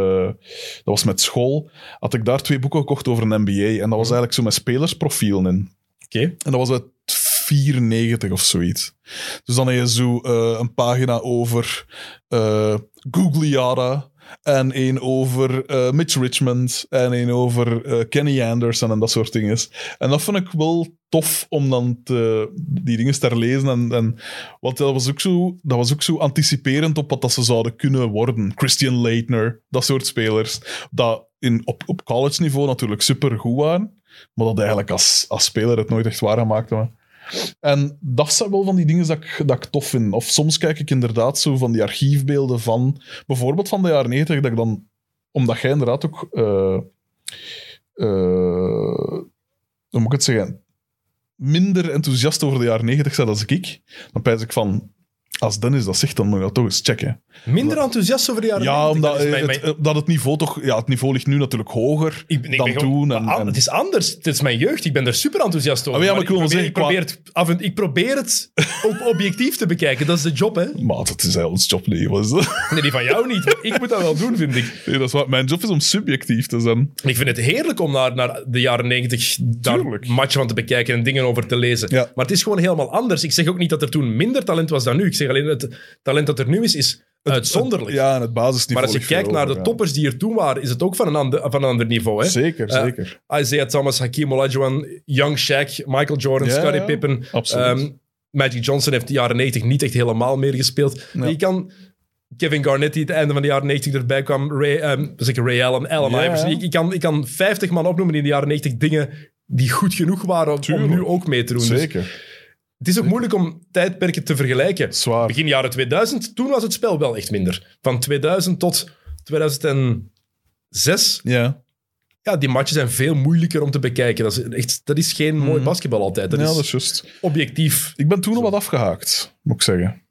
dat was met school, had ik daar twee boeken gekocht over een NBA. En dat was eigenlijk zo met spelersprofielen in. Oké. En dat was uit 94 of zoiets. Dus dan heb je zo eh, een pagina over eh Gugliara. En één over eh, Mitch Richmond. En één over eh, Kenny Anderson en dat soort dingen. En dat vond ik wel tof om dan te- die dingen te herlezen. En, en, want dat was, ook zo, dat was ook zo anticiperend op wat dat ze zouden kunnen worden. Christian Leitner, dat soort spelers. Dat in, op, op college niveau natuurlijk super goed waren. Maar dat eigenlijk als, als speler het nooit echt waar gemaakt hebben. En dat zijn wel van die dingen dat ik, dat ik tof vind. Of soms kijk ik inderdaad zo van die archiefbeelden van... Bijvoorbeeld van de jaren 90, dat ik dan... Omdat jij inderdaad ook... eh, eh, hoe moet ik het zeggen? Minder enthousiast over de jaren 90 zijn als ik. Dan pijs ik van... Als Dennis dat zegt, dan moet je dat toch eens checken. Minder enthousiast over de jaren 90. Ja, omdat Dat is mijn- eh, mijn- het, eh, dat het niveau toch... Ja, het niveau ligt nu natuurlijk hoger Ik ben- ik dan ben gewoon- toen. En, maar en- Het is anders. Het is mijn jeugd. Ik ben er super enthousiast over. Ah, ja, maar ik wil probeer, maar zeggen, probeer het, af en- ik probeer het op objectief te bekijken. Dat is de job, hè? Maar dat is eigenlijk ons job niet. Wat is dat? Nee, die van jou niet. maar Ik moet dat wel doen, vind ik. Nee, dat is wat, mijn job is om subjectief te zijn. Ik vind het heerlijk om naar, naar de jaren negentig daar Tuurlijk. matchen van te bekijken en dingen over te lezen. Ja. Maar het is gewoon helemaal anders. Ik zeg ook niet dat er toen minder talent was dan nu. Ik zeg alleen dat het talent dat er nu is, is uitzonderlijk. Ja, en het basisniveau. maar als je ligt veel kijkt naar hoger, de ja. toppers die er toen waren, is het ook van een ander, van een ander niveau. Hè? Zeker, Eh, zeker. Isaiah Thomas, Hakim Olajuwon, Young Shaq, Michael Jordan, Ja, Scottie ja, Pippen. absoluut. ehm, Magic Johnson heeft de jaren 90 niet echt helemaal meer gespeeld. Ja. Die kan... Kevin Garnett, die het einde van de jaren 90 erbij kwam. Ray, ehm, zeker Ray Allen, Allen Ja, Iverson. ja. Ik, ik kan, ik kan 50 man opnoemen die in de jaren 90 dingen die goed genoeg waren om, om Tuurlijk. nu ook mee te doen. Dus zeker. het is ook moeilijk om tijdperken te vergelijken. Zwaar. dus- Begin jaren 2000, toen was het spel wel echt minder. Van 2000 tot 2006 Ja. ja, die matchen zijn veel moeilijker om te bekijken. Dat is, echt, dat is geen mooi basketbal altijd. Dat Mm. ja, is dat is juist. objectief. Ik ben toen al wat afgehaakt, moet ik zeggen.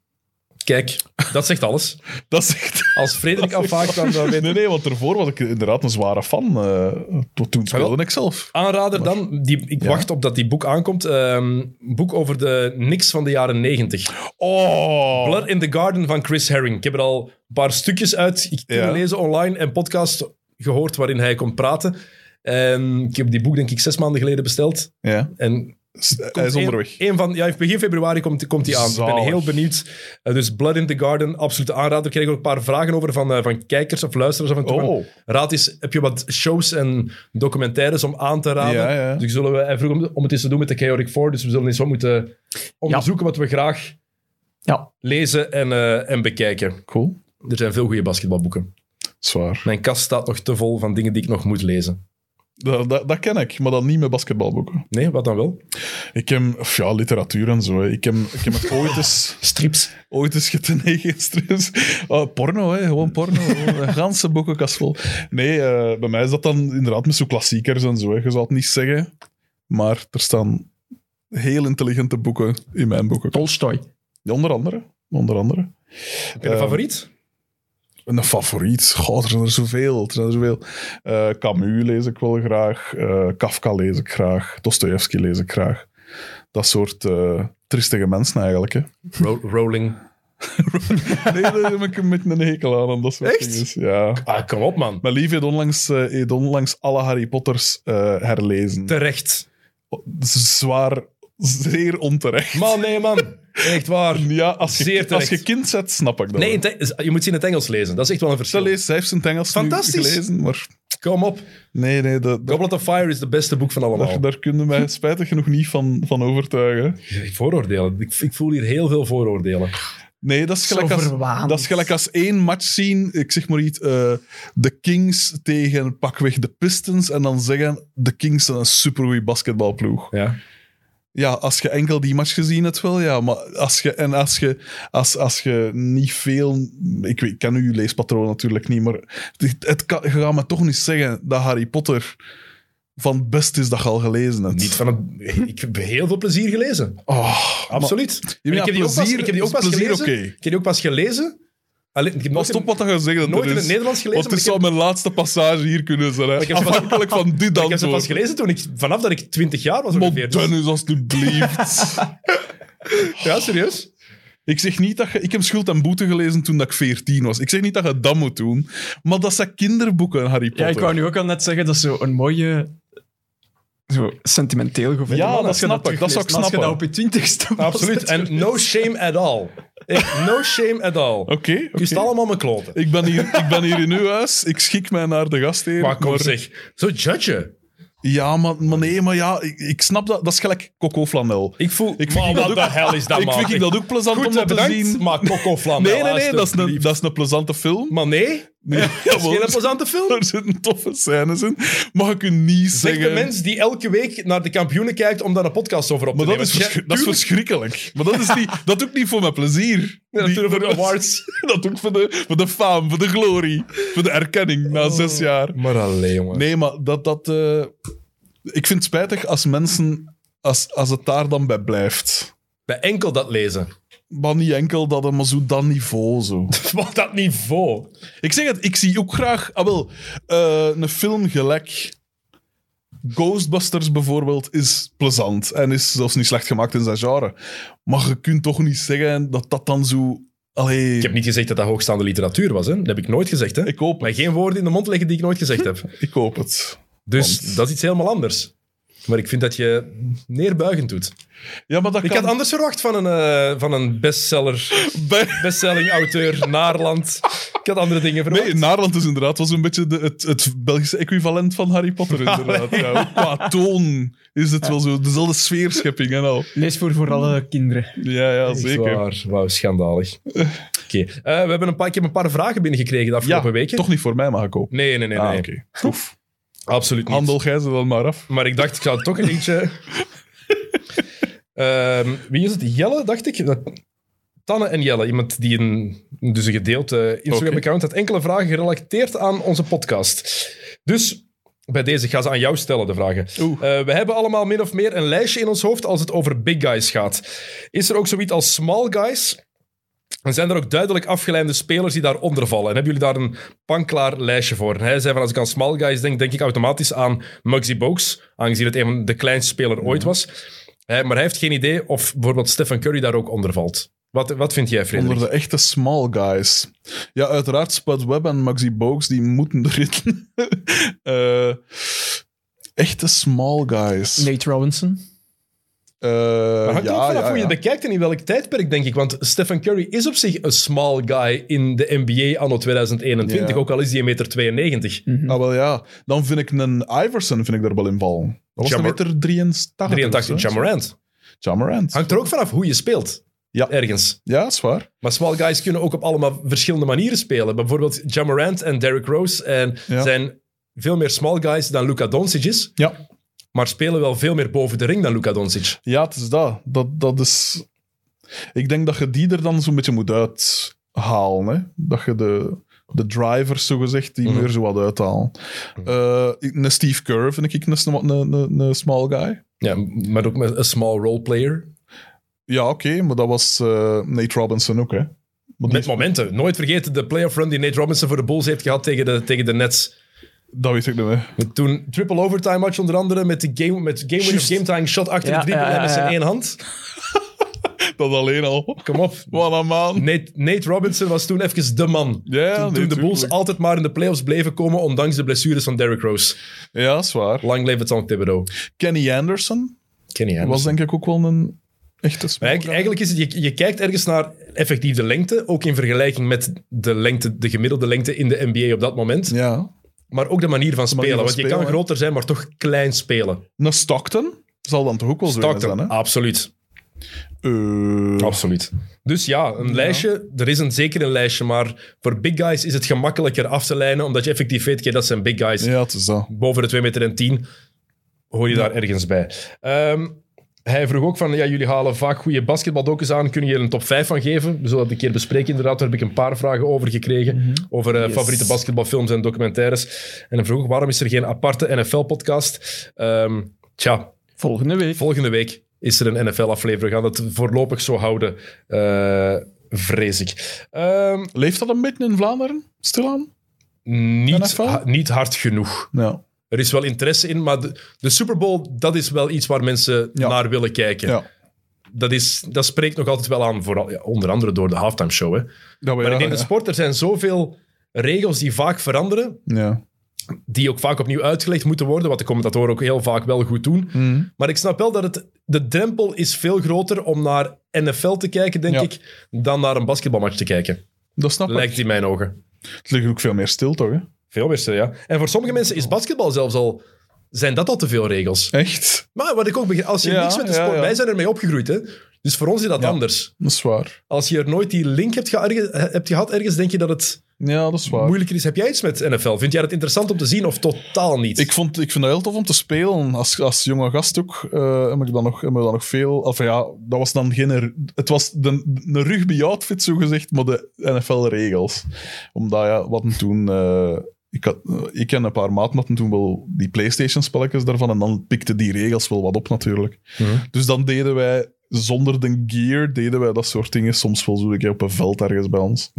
Kijk, dat zegt alles. Dat is echt... Als Frederik afhaakt, dan dan weet Nee, nee, want daarvoor was ik inderdaad een zware fan. eh, tot toen speelde ik zelf. Aanrader dan, die, ik Ja. wacht op dat die boek aankomt. Ehm, boek over de niks van de jaren 90. Oh! Blood in the Garden van Chris Herring. Ik heb er al een paar stukjes uit ik kunnen Ja. lezen online en podcast gehoord waarin hij komt praten. En ik heb die boek denk ik zes maanden geleden besteld. Ja, En S- hij Komt is één- onderweg. één van, ja, begin februari komt, komt die aan. Ik ben Zalig. heel benieuwd. Eh, dus Blood in the Garden, absolute aanrader. Ik kreeg ook een paar vragen over van, eh, van kijkers of luisteraars. Af en toe. Oh. Raad is, heb je wat shows en documentaires om aan te raden? Ja, ja. Dus zullen we, hij vroeg om, om het eens te doen met de Chaotic Four. Dus we zullen eens wat moeten onderzoeken wat we graag Ja. lezen en, eh, en bekijken. Cool. Er zijn veel goede basketbalboeken. Zwaar. Mijn kast staat nog te vol van dingen die ik nog moet lezen. Dat, dat, dat ken ik, maar dan niet met basketbalboeken. Nee, wat dan wel? Ik heb... of ja, literatuur en zo. hè. Ik heb, ik heb het ooit eens... Strips. Ooit eens getenen gisteren. Oh, porno, hè? gewoon porno. Gewoon Een ganse boekenkast vol. Nee, eh, bij mij is dat dan inderdaad met zo klassiekers en zo. Hè. Je zou het niet zeggen, maar er staan heel intelligente boeken in mijn boeken. Tolstoy. Onder andere. Onder andere. Heb je een Eh, favoriet? Een favoriet. Goh, er zijn er zoveel. Er zijn er zoveel. Eh, Camus lees ik wel graag. Eh, Kafka lees ik graag. Dostoevsky lees ik graag. Dat soort eh, triestige mensen eigenlijk. Hè. Ro- rolling. Nee, daar heb ik een beetje een hekel aan. aan dat soort Echt? dinges. Ja. Ah, kom op man. Mijn lief heeft onlangs, eh, heeft onlangs alle Harry Potters eh, herlezen. Terecht. Z- Zwaar, zeer onterecht. Man, nee, man. Echt waar. ja, als Zeer je, als terecht. je kind zet, snap ik dat. Nee, wel. in het Eng- je moet ze in het Engels lezen. Dat is echt wel een Ze verschil. leest, zij heeft zijn Engels nu Fantastisch. gelezen, maar Kom op. nee, nee, dat, dat- Goblet of Fire is de beste boek van allemaal. daar, daar kunnen mij spijtig genoeg niet van, van overtuigen. Vooroordelen. Ik, ik voel hier heel veel vooroordelen. Nee, dat is Zo gelijk, als, verwaand. dat is gelijk als één match zien, ik zeg maar iets, eh, de Kings tegen pakweg de Pistons, en dan zeggen de Kings zijn een supergoeie basketbalploeg. Ja. Ja, als je enkel die match gezien hebt wel, ja. Maar als je, en als je, als, als je niet veel... Ik, weet, ik ken uw leespatroon natuurlijk niet, maar het, het kan, je gaat me toch niet zeggen dat Harry Potter van het best is dat je al gelezen hebt. Niet van het, ik heb heel veel plezier gelezen. Oh, maar- Absoluut. En ja, ik, heb die ook pas, plezier- ik heb die ook pas plezier, gelezen. oké. Ik heb die ook pas gelezen. Alleen, ik heb Pas nooit, op in, wat je gaat zeggen. dat nooit er in is. het Nederlands gelezen. Want maar het ik zou heb, mijn laatste passage hier kunnen zijn. Hè. ik heb ze pas- Afhankelijk van dit ik heb ze pas antwoord. gelezen toen ik, vanaf dat ik 20 jaar was Maar ongeveer. Dus- Dennis, alsjeblieft. ja, serieus? Ik zeg niet dat je... Ik heb Schuld en Boete gelezen toen dat ik 14 was. Ik zeg niet dat je dat moet doen, maar dat zijn kinderboeken, Harry Potter. Ja, ik wou nu ook al net zeggen, dat is zo een mooie... Zo sentimenteel gevoel. Ja, Als dat je snap ik, dat terugleest, zou ik maar Als je snappen. dat op je twintigste was, Absoluut. dat En no shame at all. Echt, no shame at all. Oké, oké. Kust allemaal mijn kloten. Ik ben, hier, ik ben hier in uw huis, ik schik mij naar de gastheer. Maar kom maar- zeg, zo judgen. Ja, maar, maar nee, maar ja, ik, ik snap dat. Dat is gelijk cocoflanel. Ik voel, Ik ik vind maar dat wat ook- de hel is dat, ik man? vind ik dat ook plezant Goed, om dat te bedankt, zien. maar Coco Flam. Nee, nee, nee, dat is, een, alsjeblieft. dat is een plezante film. Maar nee, Nee, dat is jawel, geen plezante film. Er zitten toffe scènes in. Mag ik u niet Zeg de zeggen... mens die elke week naar de kampioenen kijkt om daar een podcast over op te maar dat nemen. is, verschri- dat is verschrikkelijk. Maar dat is niet, dat doe ik niet voor mijn plezier. Ja, Die- natuurlijk voor de awards. Dat doe ik voor de, voor de faam, voor de glorie, voor de erkenning Oh. na zes jaar. Maar alleen, jongen. Nee, maar dat... dat eh, ik vind het spijtig als mensen... Als, als het daar dan bij blijft. Bij enkel dat lezen. Maar niet enkel dat, eh, maar zo dat niveau zo. Wat dat niveau. Ik zeg het, ik zie ook graag... Ah, wel, eh, een film gelijk... Ghostbusters bijvoorbeeld is plezant en is zelfs niet slecht gemaakt in zijn genre. Maar je kunt toch niet zeggen dat dat dan zo... Allee, Ik heb niet gezegd dat dat hoogstaande literatuur was. Hè? Dat heb ik nooit gezegd. Hè? ik hoop Maar het. geen woorden in de mond leggen die ik nooit gezegd heb. Ik hoop het. Dus Want- dat is iets helemaal anders. Maar ik vind dat je neerbuigend doet. Ja, maar dat Ik kan... had anders verwacht van een, eh, van een bestseller, bij- bestselling auteur, Naarland. Ik had andere dingen verwacht. Nee, Naarland is inderdaad was een beetje de, het, het Belgische equivalent van Harry Potter, inderdaad. Ja, qua toon is het wel zo, dezelfde sfeerschepping en al. Lees voor voor alle kinderen. Ja, ja, Echt zeker. waar. Wauw, schandalig. Oké, eh, we hebben een paar, ik heb een paar vragen binnengekregen de afgelopen Ja, weken. toch niet voor mij, mag ik kopen. Nee, nee, nee. Ah, nee. oké. Oef. Absoluut niet. Handel jij ze dan maar af. Maar ik dacht, ik ga toch een eentje... Ehm, wie is het? Jelle, dacht ik? Dat- Tanne en Jelle, iemand die een, dus een gedeelte Instagram-account had enkele vragen gerelateerd aan onze podcast. Dus bij deze, ik ga ze aan jou stellen, de vragen. Oeh. Eh, we hebben allemaal min of meer een lijstje in ons hoofd als het over big guys gaat. Is er ook zoiets als small guys? En zijn er ook duidelijk afgeleide spelers die daaronder vallen? En hebben jullie daar een panklaar lijstje voor? En hij zei van, als ik aan small guys denk, denk ik automatisch aan Muggsy Bogues, aangezien het een van de kleinste speler ooit Mhm. was. Hè, maar hij heeft geen idee of bijvoorbeeld Stephen Curry daar ook onder valt. Wat, wat vind jij, Frederik? Onder de echte small guys. Ja, uiteraard Spud Webb en Maxi Bogues, die moeten erin. Eh echte small guys. Nate Robinson. Eh, Maar hangt er ja, ook vanaf ja, hoe je ja. bekijkt en in welk tijdperk, denk ik. Want Stephen Curry is op zich een small guy in de NBA anno 2021, Ja. ook al is hij 1,92 meter. 92. Ah, wel ja. Dan vind ik een Iverson vind ik daar wel in vallen. Dat was een Jammer- meter 83. 83, of zo. Jamorant. Jammerant. Hangt er ook vanaf hoe je speelt. Ja. Ergens. Ja, is waar. Maar small guys kunnen ook op allemaal verschillende manieren spelen. Bijvoorbeeld Jamorant en Derrick Rose en Ja. zijn veel meer small guys dan Luka Doncic is. Ja. Maar spelen wel veel meer boven de ring dan Luka Doncic. Ja, het is dat. Dat, dat is... Ik denk dat je die er dan zo'n beetje moet uithalen. Hè? Dat je de, de drivers, zogezegd, die Mhm. meer zo wat uithalen. Eh, ik- een Steve Kerr vind ik een, een, een, een small guy. Ja, maar ook met een small role player. Ja, oké, maar dat was eh, Nate Robinson ook, hè. Maar die- Met momenten. Nooit vergeten de playoff run die Nate Robinson voor de Bulls heeft gehad tegen de, tegen de Nets. dat weet ik niet meer. Toen triple overtime match onder andere met de game, met game winner Juist. game time shot achter Ja, de driepuntlijn ja, ja, met zijn ja. één hand. Dat alleen al. Kom op. Wat een man. Nate, Nate Robinson was toen even de man. Ja, toen, nee, toen de Bulls tuurlijk. altijd maar in de playoffs bleven komen, ondanks de blessures van Derrick Rose. Ja, is waar. Lang leef het Sam Thibodeau. Kenny Anderson Kenny was denk ik ook wel een echte small guy. Eigenlijk is het, je, je kijkt ergens naar effectief de lengte, ook in vergelijking met de, lengte, de gemiddelde lengte in de NBA op dat moment. Ja. Maar ook de manier van spelen, manier van want je spelen, kan hè. groter zijn, maar toch klein spelen. Een Stockton zal dan toch ook wel zo een zijn, Stockton, Ah. hè? absoluut. Eh, Absoluut. Dus ja, een lijstje. Er is een, zeker een lijstje, maar voor big guys is het gemakkelijker af te lijnen, omdat je effectief weet, oké, dat zijn big guys. Ja, het is dat. Boven de 2 meter en 10 hoor je daar ergens bij. Ehm, hij vroeg ook van, ja, jullie halen vaak goede basketbaldocus aan, kunnen jullie er een top 5 van geven? We zullen dat een keer bespreken, inderdaad. Daar heb ik een paar vragen over gekregen, over eh, Mhm. Yes. favoriete basketbalfilms en documentaires. En hij vroeg, ook, waarom is er geen aparte NFL-podcast? Ehm tja, Volgende week. Volgende week is er een NFL-aflevering. We gaan het voorlopig zo houden, eh, vrees ik. Ehm, Leeft dat een beetje in Vlaanderen, stilaan? niet, NFL? ha- niet hard genoeg. Ja. Er is wel interesse in, maar de, de Super Bowl, dat is wel iets waar mensen Ja. naar willen kijken. ja. dat, is, dat spreekt nog altijd wel aan, vooral, ja, onder andere door de halftime show. Hè. Dat we- Maar ja, ik denk ja. de sport, er zijn zoveel regels die vaak veranderen, Ja. die ook vaak opnieuw uitgelegd moeten worden, wat de commentatoren ook heel vaak wel goed doen. Maar ik snap wel dat het, de drempel is veel groter om naar NFL te kijken, denk Ja. ik, dan naar een basketbalmatch te kijken. Dat snap ik. Lijkt in mijn ogen. Het ligt ook veel meer stil, toch? Hè? Veel meer, ja. En voor sommige mensen is basketbal zelfs al... Zijn dat al te veel regels? Echt? Maar wat ik ook begrijp, als je Ja, niks met de ja, sport... ja. Wij zijn ermee opgegroeid, hè. Dus voor ons is dat Ja. anders. Dat is waar. Als je er nooit die link hebt, gearge- hebt gehad ergens, denk je dat het Ja, dat is waar. moeilijker is. Heb jij iets met NFL? Vind jij dat interessant om te zien of totaal niet? Ik, vond, ik vind dat heel tof om te spelen. Als, als jonge gast ook eh, heb, ik dan nog, heb ik dan nog veel... Of ja, dat was dan geen... r- Het was de, een rugby-outfit, zogezegd, maar de NFL-regels. Omdat, ja, wat toen... eh, ik, had, eh, ik en een paar maatmatten toen wel die PlayStation-spelletjes daarvan. En dan pikten die regels wel wat op, natuurlijk. Mhm. Dus dan deden wij... Zonder de gear deden wij dat soort dingen soms wel zo een keer op een veld ergens bij ons.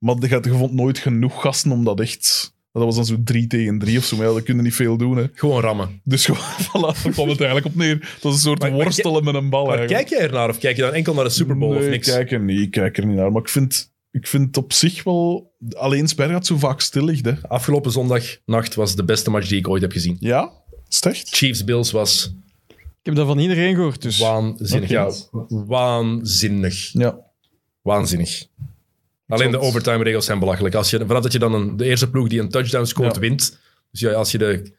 Maar je had- je vond nooit genoeg gasten om dat echt... Dat was dan zo drie tegen drie of zo. Maar ja, dat kun je niet veel doen, hè. Gewoon rammen. Dus gewoon, voilà, daar kwam het eigenlijk op neer. Dat is een soort Maar- maar worstelen met een bal Maar eigenlijk. kijk jij ernaar of kijk je dan enkel naar de Super Bowl Oh, nee, of niks? Ik kijk er niet, ik kijk er niet naar. Maar ik vind, ik vind het op zich wel... Alleen Spergat zo vaak stil ligt, hè. Afgelopen zondagnacht was de beste match die ik ooit heb gezien. Ja? Is het echt? Chiefs-Bills was Ik heb dat van iedereen gehoord, dus... waanzinnig. Ja, waanzinnig. Ja. Waanzinnig. Alleen de zal het- overtime-regels zijn belachelijk. Als je, vanaf dat je dan een, de eerste ploeg die een touchdown scoort, Ja. wint. Dus ja, als je de,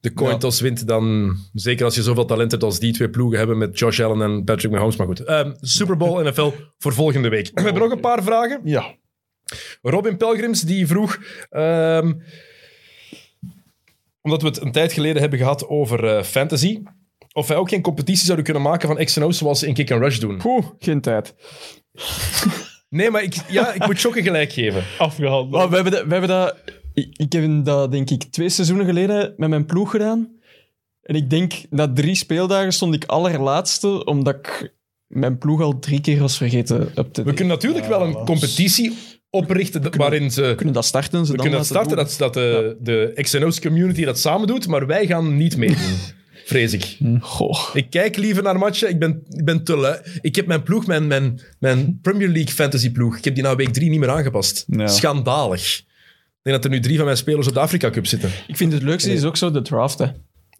de coin Ja. toss wint, dan... Zeker als je zoveel talent hebt als die twee ploegen hebben met Josh Allen en Patrick Mahomes. Maar goed, Ehm, Super Bowl NFL voor volgende week. We hebben nog een paar vragen. Ja. Robin Pelgrims die vroeg. ehm, omdat we het een tijd geleden hebben gehad over eh, fantasy. Of wij ook geen competitie zouden kunnen maken van X&O's zoals ze in Kick and Rush doen. Poeh, geen tijd. Nee, maar ik, ja, ik moet Jokke gelijk geven. Afgehandeld. Maar we hebben dat, we hebben dat, ik, ik heb dat denk ik twee seizoenen geleden met mijn ploeg gedaan. En ik denk, na drie speeldagen stond ik allerlaatste, omdat ik mijn ploeg al drie keer was vergeten op te We kunnen natuurlijk wel een competitie oprichten d- waarin ze... kunnen dat starten. Ze We dan kunnen dat laten starten, dat, dat de, de X&O's community dat samen doet, maar wij gaan niet meedoen. Vrees ik. doen. Goh. Ik kijk liever naar matchen. Ik ben, ik ben te lui. Ik heb mijn ploeg, mijn, mijn, mijn Premier League fantasy ploeg, ik heb die na week drie niet meer aangepast. Ja. Schandalig. Ik denk dat er nu drie van mijn spelers op de Afrika Cup zitten. Dat Ik vind het leukste is ook zo de draft, hè.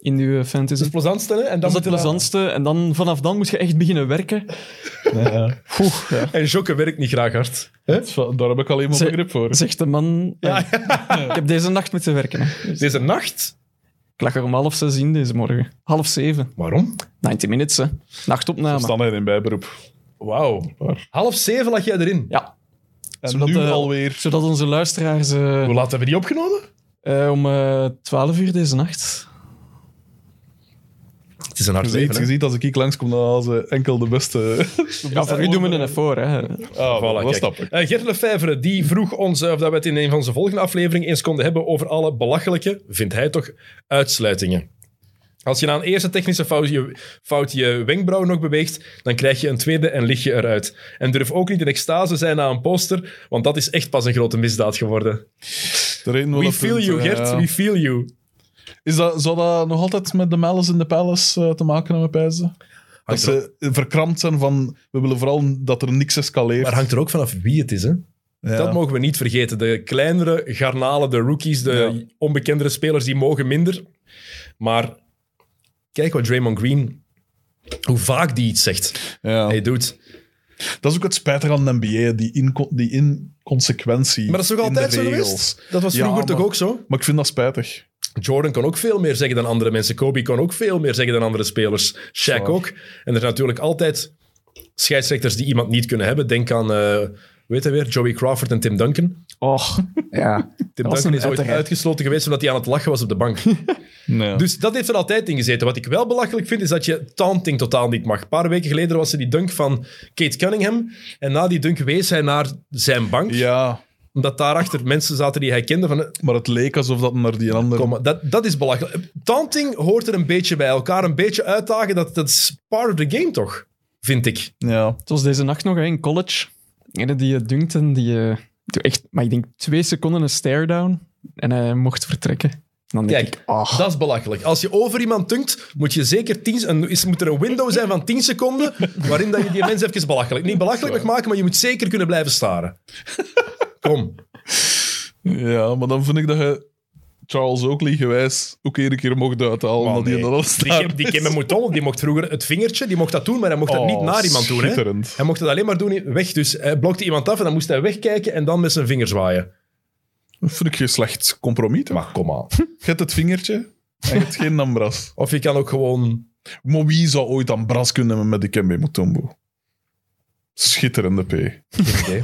In uw is fantasy. het plezantste, hè? En dan Dat is het moeten we- plezantste. En dan, vanaf dan moet je echt beginnen werken. Poeh, ja. En Jokke werkt niet graag hard. Dat is wel- Daar heb ik alleen maar Ze- begrip voor. Zegt de man... Ik heb deze nacht moeten werken. hè. Deze nacht? Ik lag er om half zes in deze morgen. Half zeven. Waarom? 90 minutes, hè. Dat Nachtopname. staan er in bijberoep. Wauw. Half zeven lag jij erin. Ja. En Zodat, nu eh, alweer... Zodat onze luisteraars eh, Hoe laat hebben we die opgenomen? eh, om eh 12 uur deze nacht. Het is een hard Je ziet, je leven, ziet als ik hier langskom, dan halen ze enkel de beste... Ja, voor u doen we een voor, hè? Ah, Voilà, dat kijk. snap ik. Eh, Gert Lefevre die vroeg ons eh, of dat we het in een van zijn volgende afleveringen eens konden hebben over alle belachelijke, vindt hij toch, uitsluitingen. Als je na een eerste technische fout je, fout je wenkbrauw nog beweegt, dan krijg je een tweede en lig je eruit. En durf ook niet in extase zijn na een poster, want dat is echt pas een grote misdaad geworden. Er is nog We dat feel punt, you, ja, Gert, ja. we feel you. Is dat, zou dat nog altijd met de Malice in the Palace eh, te maken hebben, Ah, Pijzen? Dat Hangt er ze verkrampt zijn van... We willen vooral dat er niks escaleert. Maar hangt er ook vanaf wie het is, hè? Ja. Dat mogen we niet vergeten. De kleinere garnalen, de rookies, de Ja. onbekendere spelers, die mogen minder. Maar kijk wat Draymond Green, hoe vaak die iets zegt. Ja. Hey, doet. Dat is ook het spijtige aan de NBA, die, inco die inconsequentie Maar dat is toch in altijd de zo regels. geweest? Dat was Ja, vroeger toch maar- ook zo? Maar ik vind dat spijtig. Jordan kon ook veel meer zeggen dan andere mensen. Kobe kon ook veel meer zeggen dan andere spelers. Shaq Zwaar. ook. En er zijn natuurlijk altijd scheidsrechters die iemand niet kunnen hebben. Denk aan, eh, weet je weer, Joey Crawford en Tim Duncan. Och, ja. Tim was Duncan een is ooit uiteraard. uitgesloten geweest omdat hij aan het lachen was op de bank. Dus Dus dat heeft er altijd in gezeten. Wat ik wel belachelijk vind, is dat je taunting totaal niet mag. Een paar weken geleden was er die dunk van Kate Cunningham. En na die dunk wees hij naar zijn bank. ja, Omdat daarachter mensen zaten die hij kende. Van, eh, maar het leek alsof dat naar die andere... kom, maar, dat, dat is belachelijk. Taunting hoort er een beetje bij. Elkaar een beetje uitdagen, dat, dat is part of the game toch? Vind ik. Ja. Het was deze nacht nog hè, in college. Ene die eh, dunkt en die... eh, doe echt, maar ik denk twee seconden een stare-down. En hij mocht vertrekken. Dan denk Kijk, ik, ah, dat is belachelijk. Als je over iemand tunkt, moet, je zeker 10, een, is, moet er een window zijn van 10 seconden waarin dat je die mensen even belachelijk... Niet belachelijk mag maken, maar je moet zeker kunnen blijven staren. Kom. Ja, maar dan vind ik dat je Charles Oakley gewijs ook een keer mocht uithalen. Oh, dat nee. hij dan al Die Kim, die Oh. Kim Mouton, die mocht vroeger het vingertje, die mocht dat doen, maar hij mocht dat niet naar iemand doen. Hè? Schitterend. Hij mocht het alleen maar doen in- weg. Dus hij blokte iemand af en dan moest hij wegkijken en dan met zijn vinger zwaaien. Dat vind ik geen slecht compromis. toch? Maar kom aan. Je hebt het vingertje en je hebt geen ambras. Of je kan ook gewoon... Maar wie zou ooit ambras kunnen hebben met die Kembe Mutombo? Schitterende P. Geen idee.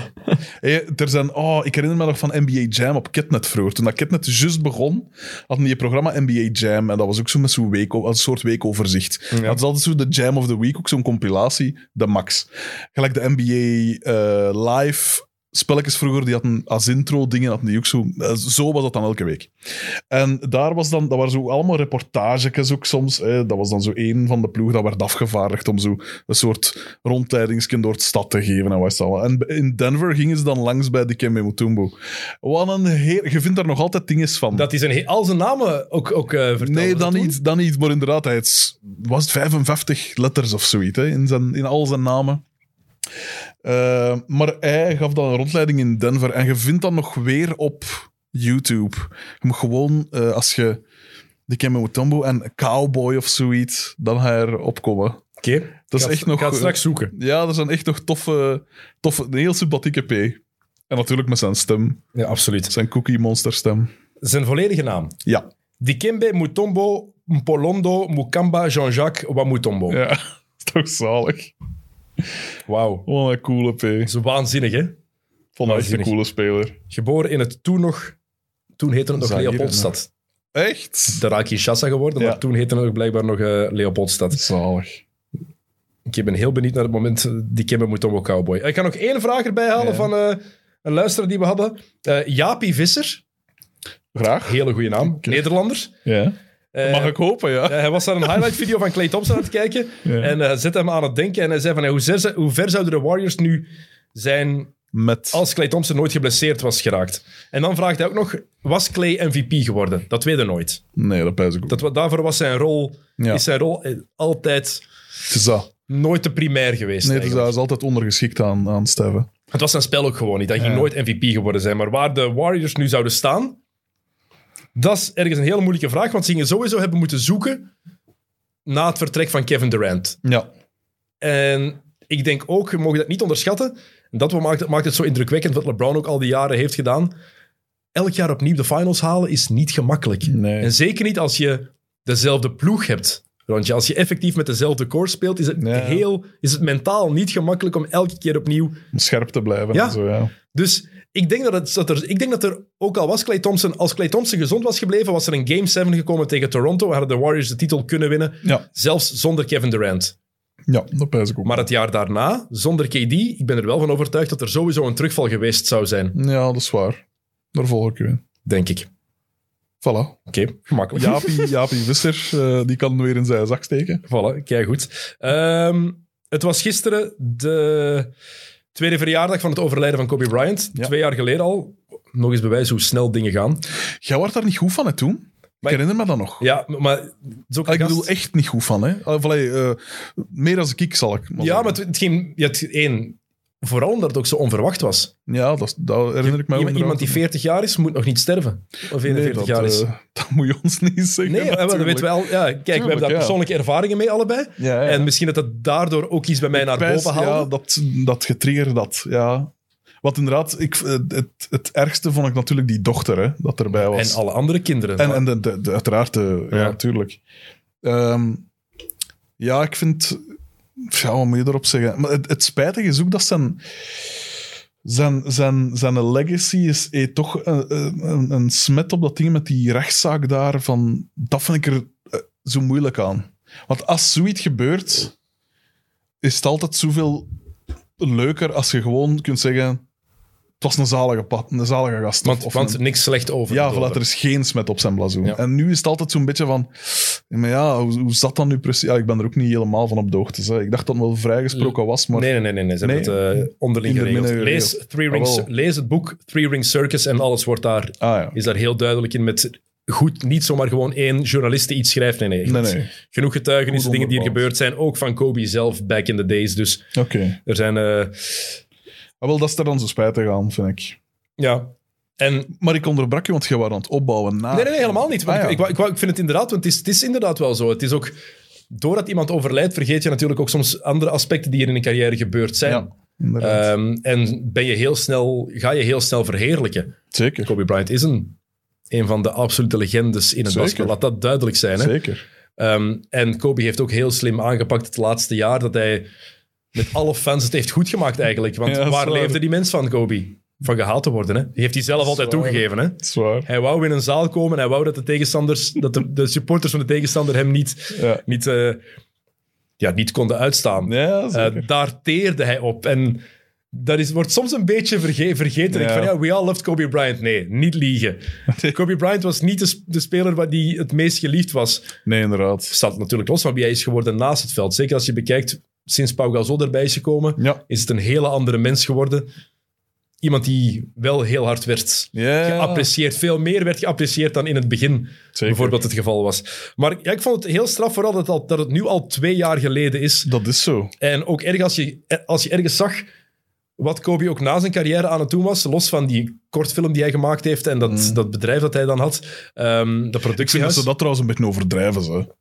Hey, er zijn, oh, ik herinner me nog van NBA Jam op Kidnet vroeger. Toen dat Kidnet juist begon, hadden die het programma NBA Jam. En dat was ook zo met zo'n week, als een soort weekoverzicht. Ja. Dat is altijd zo de Jam of the Week, ook zo'n compilatie, de max. Gelijk de NBA eh, Live spelletjes vroeger, die hadden als intro dingen, hadden die ook zo. eh, zo was dat dan elke week. En daar was dan, dat waren zo allemaal reportages ook soms. eh, dat was dan zo één van de ploeg dat werd afgevaardigd om zo een soort rondleidingsje door de stad te geven. En, wat is dat allemaal. en in Denver gingen ze dan langs bij Dikembe Mutombo. Wat een heer... Je vindt daar nog altijd dingen van. Dat is een... he- Al zijn namen ook, ook eh vertellen. nee, Dat dan doen? niet, dan niet. Maar inderdaad, hij had- was het 55 letters of zoiets hè, in, zijn, in al zijn namen. Eh, maar hij gaf dan een rondleiding in Denver. En je vindt dat nog weer op YouTube. Je moet gewoon, eh, als je Dikembe Mutombo en Cowboy of zoiets, dan ga je erop komen. Oké. Dat is Ga- echt nog... eh, Ga het straks zoeken. Ja, er zijn echt nog toffe, toffe een heel sympathieke P. En natuurlijk met zijn stem, Ja, absoluut. zijn Cookie Monster stem. Zijn volledige naam. Ja. Dikembe Mutombo Mpolondo Mukamba Jean-Jacques Wamutombo. Ja, is toch zalig. Wauw. Wat een coole Dat P. is waanzinnig, hè? Vond hij echt een Waanzinnig. coole speler. Geboren in het toen nog... Toen heette het nog Zaire, Leopoldstad. Echt? Daarna Kinshasa geworden, Ja. maar toen heette het nog blijkbaar nog eh, Leopoldstad. Zalig. Ik ben heel benieuwd naar het moment eh, die Kimmer moet om cowboy. Ik kan nog één vraag erbij halen Ja. van eh, een luisteraar die we hadden. Eh Jaapie Visser, Graag. hele goede naam, Oké. Nederlander. Ja. Eh, Mag ik hopen, ja. eh, hij was naar een highlight-video van Clay Thompson aan het kijken. Ja. En eh zette hem aan het denken. En hij zei van, eh, hoe, ver, ze- hoe ver zouden de Warriors nu zijn Met... als Clay Thompson nooit geblesseerd was geraakt? En dan vraagt hij ook nog, was Clay MVP geworden? Dat weten we nooit. Nee, dat pijs ik ook. Dat, wa- daarvoor was zijn rol, Ja. is zijn rol eh, altijd Het is dat. nooit de primair geweest. Nee, het is, eigenlijk. dat. Hij is altijd ondergeschikt aan, aan Steven. Het was zijn spel ook gewoon niet. Hij ging nooit MVP geworden zijn. Maar waar de Warriors nu zouden staan, dat is ergens een hele moeilijke vraag. Want ze gingen sowieso hebben moeten zoeken na het vertrek van Kevin Durant. Ja. En ik denk ook, we mogen dat niet onderschatten. En dat maakt het, maakt het zo indrukwekkend wat LeBron ook al die jaren heeft gedaan. Elk jaar opnieuw de finals halen is niet gemakkelijk. Nee. En zeker niet als je dezelfde ploeg hebt. Want als je effectief met dezelfde core speelt, is het, Ja. heel, is het mentaal niet gemakkelijk om elke keer opnieuw Om scherp te blijven Ja. en zo, ja. dus ik denk dat, het, dat er, ik denk dat er, ook al was Clay Thompson, als Clay Thompson gezond was gebleven, was er een Game 7 gekomen tegen Toronto. Hadden de Warriors de titel kunnen winnen, Ja, zelfs zonder Kevin Durant. ja dat pijs ik ook. Maar het jaar daarna, zonder KD, ik ben er wel van overtuigd dat er sowieso een terugval geweest zou zijn, Ja, dat is waar. Daar volg ik u in. denk ik. Voilà. Oké, gemakkelijk. Jaapie, Jaapie Visser, eh, die kan weer in zijn zak steken. Voilà, kijk goed. Ehm, het was gisteren de tweede verjaardag van het overlijden van Kobe Bryant. Ja. Twee jaar geleden al. Nog eens bewijs hoe snel dingen gaan. Jij werd daar niet goed van, hè, toen? Maar- ik herinner me dat nog. Ah, Ja, maar... het is ook een ik gast- bedoel, echt niet goed van, hè? Of, allee, eh, meer als ik, zal ik. Ja, zeggen. maar het, het ging... Ja, het, één, vooral omdat het ook zo onverwacht was. Ja, dat, is- dat herinner ik me Iemand, ook iemand die 40 jaar is, moet nog niet sterven. Of 41 Nee, dat, jaar is. eh, dat moet je ons niet zeggen. nee, maar dat natuurlijk. weten we al. Ja, kijk, we hebben daar ja. persoonlijke ervaringen mee allebei. Ja, ja. En misschien dat dat daardoor ook iets bij mij naar Pijs, boven haalde. Ja, dat, dat getriggerd dat, ja. Want inderdaad, ik, eh, het, het ergste vond ik natuurlijk die dochter, hè, dat erbij was. en alle andere kinderen. En, en de, de, de- uiteraard, de, ja, Ja. natuurlijk. Ehm, ja, ik vind... Ja, wat moet je erop zeggen? Maar het, het spijtige is ook dat zijn... Zijn, zijn, zijn legacy is eh, toch een, een, een smet op dat ding met die rechtszaak daar. Van, dat vind ik er eh, zo moeilijk aan. Want als zoiets gebeurt, is het altijd zoveel leuker als je gewoon kunt zeggen... Het was een zalige, pad, een zalige gast. of- want of want een- niks slecht over. ja, de voilà, er doden. is geen smet op zijn blazoen. Ja. En nu is het altijd zo'n beetje van... Maar ja, hoe, hoe zat dat nu precies? Ja, ik ben er ook niet helemaal van op de hoogte. Hè. Ik dacht dat het wel vrijgesproken was, maar... Nee, nee, nee, nee, nee. Ze Nee. hebben het eh, onderling In de Ah, geregeld. midden Lees, geregeld. Three Rings- Jawel. lees het boek Three Ring Circus en alles wordt daar, Ah ja. is daar heel duidelijk in met goed niet zomaar gewoon één journaliste iets schrijft. Nee, nee. je Nee, hebt nee. Genoeg getuigenissen, Goed dingen die er onderbouwd. gebeurd zijn. Ook van Kobe zelf, back in the days. Dus Oké. er zijn... eh, Ah, wel, dat is er dan zo spijtig aan, vind ik. ja. En Maar ik onderbrak je, want je was aan het opbouwen na. Nee, nee, nee, helemaal niet. Want Ah, ik- ja. ik, wou- ik, wou- ik vind het inderdaad, want het is, het is inderdaad wel zo. Het is ook, doordat iemand overlijdt, vergeet je natuurlijk ook soms andere aspecten die er in een carrière gebeurd zijn. Ja, inderdaad. Ehm, en ben je heel snel, ga je heel snel verheerlijken. Zeker. Kobe Bryant is een, een van de absolute legendes in het Zeker. basketbal. Laat dat duidelijk zijn. Hè? Zeker. Ehm, en Kobe heeft ook heel slim aangepakt het laatste jaar dat hij met alle fans het heeft goed gemaakt eigenlijk. Want Ja, dat is waar waar. leefde die mens van, Kobe? Van gehaald te worden. Hè? Die heeft hij zelf altijd waar. toegegeven. Hè? Zwaar. Hij wou in een zaal komen. Hij wou dat de tegenstanders, dat de, de supporters van de tegenstander hem niet, Ja, niet, eh, ja, niet konden uitstaan. ja Eh, zeker. daar teerde hij op. En dat is, wordt soms een beetje verge- vergeten. Ik Ja. van, ja, we all loved Kobe Bryant. Nee, niet liegen. Kobe Bryant was niet de, s- de speler waar die het meest geliefd was. nee, inderdaad. Staat natuurlijk los van wie hij is geworden naast het veld. Zeker als je bekijkt, sinds Pau Gasol erbij is gekomen, Ja. is het een hele andere mens geworden. Iemand die wel heel hard werd Ja, geapprecieerd. Veel meer werd geapprecieerd dan in het begin Eh, Zeker. bijvoorbeeld het geval was. Maar ja, ik vond het heel straf vooral dat, het al- dat het nu al twee jaar geleden is. Dat is zo. En ook erg als je, eh, als je ergens zag wat Kobe ook na zijn carrière aan het doen was, los van die kortfilm die hij gemaakt heeft en dat, dat bedrijf dat hij dan had, ehm dat Mm. Ik vind dat productiehuis. ze dat trouwens een beetje overdrijven, ze.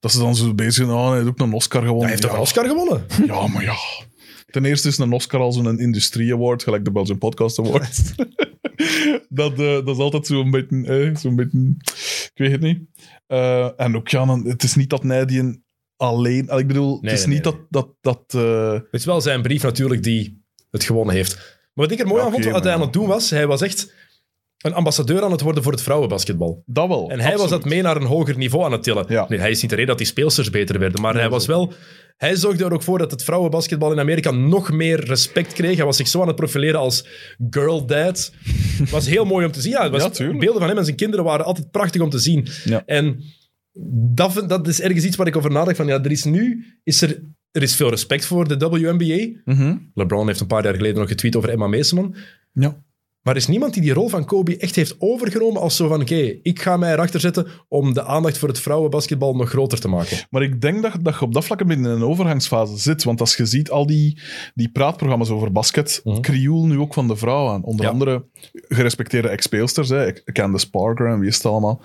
Dat ze dan zo bezig zijn, oh, hij heeft ook een Oscar gewonnen. hij heeft toch ja, een Oscar gewonnen? Ja, maar ja. Ten eerste is een Oscar al zo'n industrie-award, gelijk de Belgian Podcast Award. dat, eh, dat is altijd zo'n beetje, eh, zo'n beetje... Ik weet het niet. Eh, en ook, ja, dan- het is niet dat Nijdiën alleen... Ah, Ik bedoel, Nee, het is nee, niet nee, dat... dat, dat eh, Het is wel zijn brief natuurlijk die het gewonnen heeft. Maar wat ik er mooi Ja, aan vond, oké, wat hij aan maar- het doen was, hij was echt een ambassadeur aan het worden voor het vrouwenbasketbal. dat wel. En hij was dat absoluut. mee naar een hoger niveau aan het tillen. Ja. Nee, hij is niet de reden dat die speelsters beter werden, maar hij was wel... Hij zorgde er ook voor dat het vrouwenbasketbal in Amerika nog meer respect kreeg. Hij was zich zo aan het profileren als girl dad. Het was heel mooi om te zien. Ja, het was- Ja, tuurlijk. beelden van hem en zijn kinderen waren altijd prachtig om te zien. Ja. En dat, vind- dat is ergens iets waar ik over nadacht. Van, ja, er is nu is er, er is veel respect voor de WNBA. Mhm. LeBron heeft een paar jaar geleden nog getweet over Emma Meesman. Ja. Maar er is niemand die die rol van Kobe echt heeft overgenomen als zo van, oké, ik ga mij erachter zetten om de aandacht voor het vrouwenbasketbal nog groter te maken. Maar ik denk dat, dat je op dat vlak een beetje in een overgangsfase zit. Want als je ziet al die, die praatprogramma's over basket, Mhm. krioel nu ook van de vrouw aan. Onder Ja. andere gerespecteerde ex-speelsters, hè, Candace Parker en wie is het allemaal.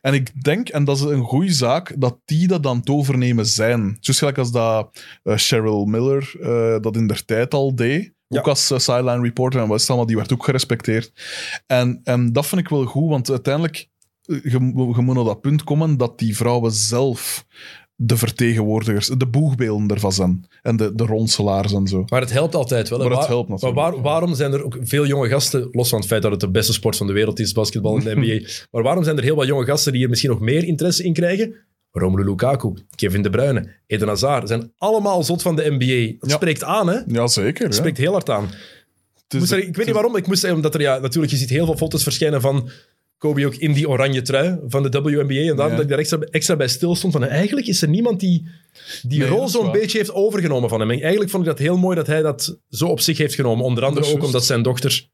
En ik denk, en dat is een goede zaak, dat die dat aan het overnemen zijn. Zoals gelijk als dat eh, Cheryl Miller eh, dat in der tijd al deed. Ja. Ook als eh, sideline reporter en wat is het allemaal, die werd ook gerespecteerd. En, en dat vind ik wel goed, want uiteindelijk eh, je, mo- je moet naar dat punt komen dat die vrouwen zelf de vertegenwoordigers, de boegbeelden ervan zijn. En de, de ronselaars en zo. Maar het helpt altijd wel. hè. Maar het Waar- helpt natuurlijk, Maar waar- ja. waarom zijn er ook veel jonge gasten, los van het feit dat het de beste sport van de wereld is, basketbal en de NBA, maar waarom zijn er heel wat jonge gasten die hier misschien nog meer interesse in krijgen? Romelu Lukaku, Kevin De Bruyne, Eden Hazard, zijn allemaal zot van de NBA. Dat Ja. spreekt aan, hè? Jazeker. Dat Ja. spreekt heel hard aan. Het is Moest de- er- ik weet niet waarom, ik moest zeggen, omdat er ja, natuurlijk, je ziet heel veel foto's verschijnen van Kobe ook in die oranje trui van de WNBA. En daarom Ja. dat ik daar extra, extra bij stilstond van eigenlijk is er niemand die die Nee, dat rol is zo'n waar. beetje heeft overgenomen van hem. En eigenlijk vond ik dat heel mooi dat hij dat zo op zich heeft genomen. Onder andere ook Dat is juist. omdat zijn dochter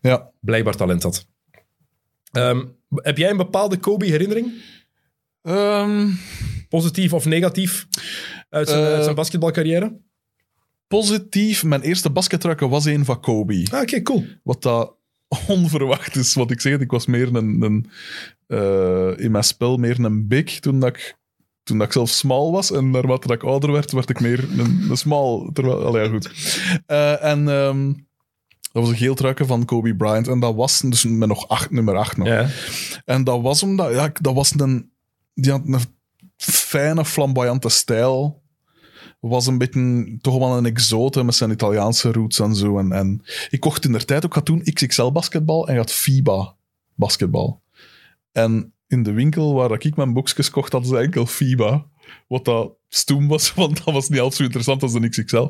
Ja. blijkbaar talent had. Ehm, heb jij een bepaalde Kobe-herinnering? Ehm, Positief of negatief? Uit zijn, Eh. uit zijn basketbalcarrière? positief, mijn eerste basketruiken was een van Kobe. Ah, oké, cool. Wat dat onverwacht is. Wat ik zeg, ik was meer een, een eh, in mijn spel meer een big toen dat ik, toen dat ik zelf smal was. En naarmate dat ik ouder werd, werd ik meer een, een smal. Terwijl, allee, ja, goed. Eh, en ehm, dat was een geel truiken van Kobe Bryant. En dat was dus met nog acht, nummer 8 nog. Ja. En dat was omdat, ja, ik- dat was een, die had een fijne, flamboyante stijl. Was een beetje toch wel een exote met zijn Italiaanse roots en zo. En, en ik kocht in der tijd ook, gaat toen XXL basketbal en gaat FIBA basketbal. En in de winkel waar ik mijn boekjes kocht, hadden ze enkel FIBA. Wat dat stoem was, want dat was niet half zo interessant als de XXL.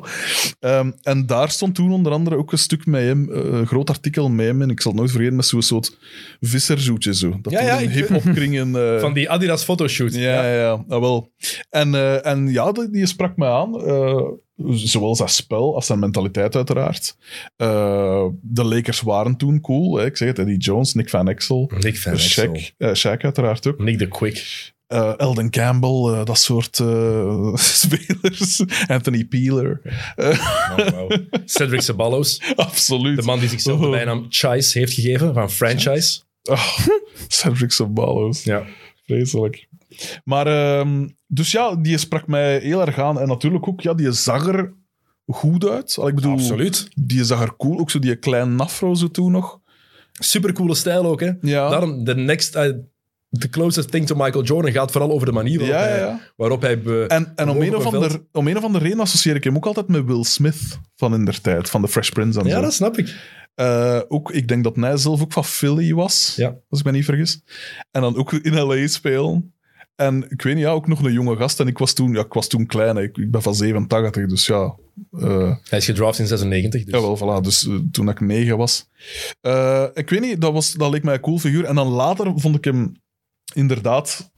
Ehm, en daar stond toen onder andere ook een stuk met hem, eh, een groot artikel met hem, en ik zal het nooit vergeten, met zo'n soort visserzoetje zo. Dat Ja, toen ja, een ik- hip opkring en... eh, Van die Adidas fotoshoot. ja, ja, ja, ah, wel. En, eh, en ja, die, die sprak mij aan. eh, zowel zijn spel als zijn mentaliteit, uiteraard. Eh, de Lakers waren toen cool. Hè. Ik zeg het, Eddie Jones, Nick Van Exel, Nick Van Exel. Shaq, eh, Shaq uiteraard ook. Nick de Quick. Eh, Elden Campbell, eh, dat soort eh, spelers. Anthony Peeler, Oh, wow. Cedric Ceballos. absoluut. De man die zichzelf de bijnaam Chice heeft gegeven, van franchise. Oh, Cedric Sabalos. Ja. Vreselijk. Maar, ehm, dus ja, die sprak mij heel erg aan. En natuurlijk ook, ja, die zag er goed uit. Al, ik bedoel, Absoluut. die zag er cool. Ook zo die kleine nafro zo toen nog. Supercoole stijl ook, hè. Ja. Daarom, the next... eh, the closest thing to Michael Jordan gaat vooral over de manier waarop Ja, ja, hij... ja. Waarop hij be- En, en om, Hoog een of op een ander, om een of andere reden associeer ik hem ook altijd met Will Smith van in der tijd, van de Fresh Prince en ja, zo. dat snap ik. Eh, ook, ik denk dat hij zelf ook van Philly was, Ja. als ik me niet vergis. En dan ook in LA spelen. En ik weet niet, ja, ook nog een jonge gast. En ik was toen, ja, ik was toen klein, hè. ik, ik ben van 87, dus ja. eh Hij is gedraft in 96, dus... Jawel, voilà, dus eh, toen ik negen was. Eh, ik weet niet, dat, was, dat leek mij een cool figuur. En dan later vond ik hem inderdaad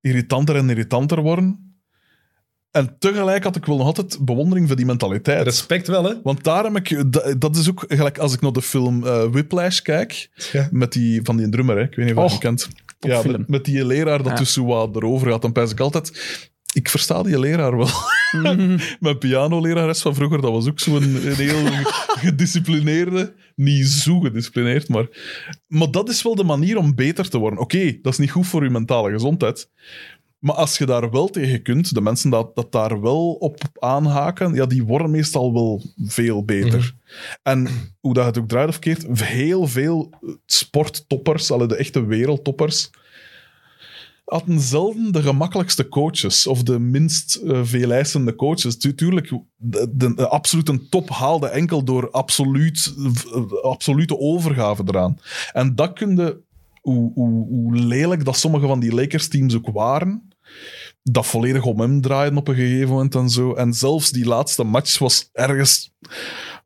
irritanter en irritanter worden. En tegelijk had ik wel nog altijd bewondering voor die mentaliteit. Respect wel, hè. Want daar heb ik, dat, dat is ook gelijk als ik naar de film eh, Whiplash kijk, Ja. met die, van die drummer, hè, ik weet niet of je Och, hem kent. Ja, film. met, met die leraar dat Ja. tussen wat erover gaat, dan pijs ik altijd. Ik versta die leraar wel. Mijn pianolerares van vroeger, dat was ook zo'n een heel gedisciplineerde. Niet zo gedisciplineerd, maar... Maar dat is wel de manier om beter te worden. Oké, dat is niet goed voor je mentale gezondheid. Maar als je daar wel tegen kunt, de mensen dat, dat daar wel op aanhaken, ja, die worden meestal wel veel beter. En hoe dat het ook draait of keert, heel veel sporttoppers, alle de echte wereldtoppers, hadden zelden de gemakkelijkste coaches of de minst eh, veel eisende coaches. Tu- tuurlijk, de, de, de absolute top haalde enkel door absoluut, v- eh, absolute overgave eraan. En dat kunde, hoe, hoe, hoe lelijk dat sommige van die Lakers-teams ook waren, dat volledig om hem draaien op een gegeven moment en zo. En zelfs die laatste match was ergens...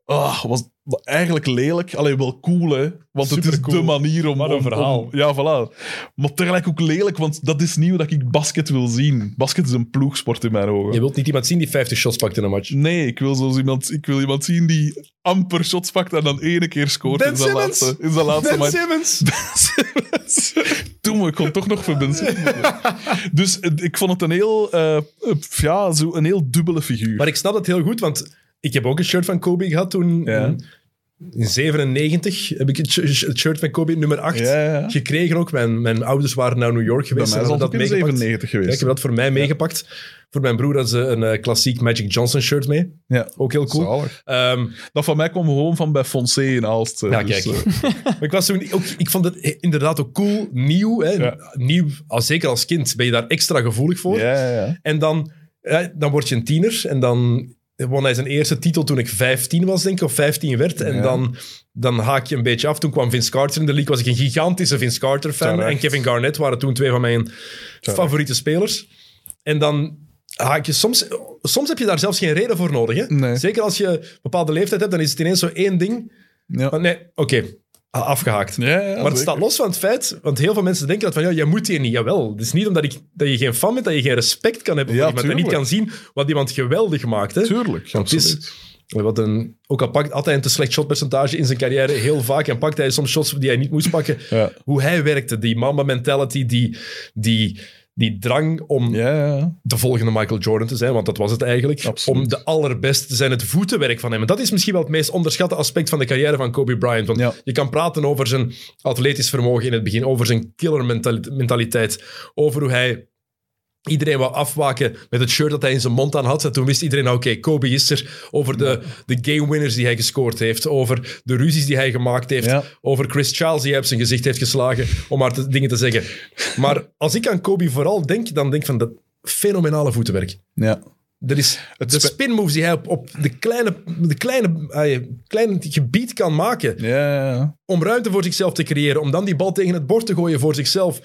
ah, was eigenlijk lelijk. Alleen wel cool, hè. Want het is Supercool. de manier om... Maar een om- verhaal. om- ja, voilà. Maar tegelijk ook lelijk, want dat is niet hoe dat ik basket wil zien. Basket is een ploegsport in mijn ogen. Je wilt niet iemand zien die 50 shots pakt in een match. Nee, ik wil, zoals iemand, ik wil iemand zien die amper shots pakt en dan ene keer scoort Ben in zijn Simmons! laatste, in zijn laatste Ben match. Simmons! Toen, maar ik kon toch nog voor Ben Simmons. Dus eh, ik vond het een heel, eh, eh, ja, zo een heel dubbele figuur. Maar ik snap dat heel goed, want ik heb ook een shirt van Kobe gehad toen. Ja. In, in 97 heb ik het sh- het shirt van Kobe nummer 8 Ja, ja, ja. gekregen ook. Mijn, mijn ouders waren naar New York Bij geweest. mij is en dat hadden ook in meegepakt. 97 Ja, ik geweest. heb dat voor mij meegepakt. Voor mijn broer hadden ze een eh, klassiek Magic Johnson shirt mee. Ja. Ook heel cool. Zalig. Ehm, Dat van mij kwam gewoon van bij Fonse in Aalst. eh, Ja, dus, kijk. eh, Maar ik, was toen, ook, ik vond het inderdaad ook cool, nieuw. Hè? Ja. nieuw als, zeker als kind ben je daar extra gevoelig voor. ja, ja, ja. En dan, eh, dan word je een tiener. En dan won hij zijn eerste titel toen ik 15 was, denk ik, of 15 werd. En Ja. dan, dan haak je een beetje af. Toen kwam Vince Carter in de league. Was ik een gigantische Vince Carter-fan. Terecht. En Kevin Garnett waren toen twee van mijn favoriete spelers. En dan haak je soms... Soms heb je daar zelfs geen reden voor nodig. Hè? Nee. Zeker als je een bepaalde leeftijd hebt, dan is het ineens zo één ding. Ja. Maar nee, oké, a- afgehaakt. Ja, ja, Maar het zeker. staat los van het feit, want heel veel mensen denken dat van, ja, jij moet hier niet. Jawel, het is niet omdat ik, dat je geen fan bent, dat je geen respect kan hebben voor Ja, iemand en niet kan tuurlijk. zien wat iemand geweldig maakt. Hè? Tuurlijk, Want het is- absoluut. Wat een, ook al pakt, had hij een te slecht shotpercentage in zijn carrière heel vaak en pakt hij soms shots die hij niet moest pakken. Ja. Hoe hij werkte, die mama mentality, die, die, die drang om Ja, ja, ja. de volgende Michael Jordan te zijn, want dat was het eigenlijk. Absoluut. Om de allerbeste te zijn, het voetenwerk van hem. En dat is misschien wel het meest onderschatte aspect van de carrière van Kobe Bryant. Want Ja. je kan praten over zijn atletisch vermogen in het begin, over zijn killer mentali- mentaliteit, over hoe hij iedereen wou afwaken met het shirt dat hij in zijn mond aan had. En toen wist iedereen, nou, oké, Kobe is er. Over de, de game winners die hij gescoord heeft, over de ruzies die hij gemaakt heeft, Ja. over Chris Charles die hij op zijn gezicht heeft geslagen, om maar te- dingen te zeggen. Maar als ik aan Kobe vooral denk, dan denk ik van dat fenomenale voetenwerk. ja. Er is Het de spe- spin moves die hij op, op de kleine, de kleine, eh, kleine gebied kan maken Ja, ja, ja. om ruimte voor zichzelf te creëren, om dan die bal tegen het bord te gooien voor zichzelf.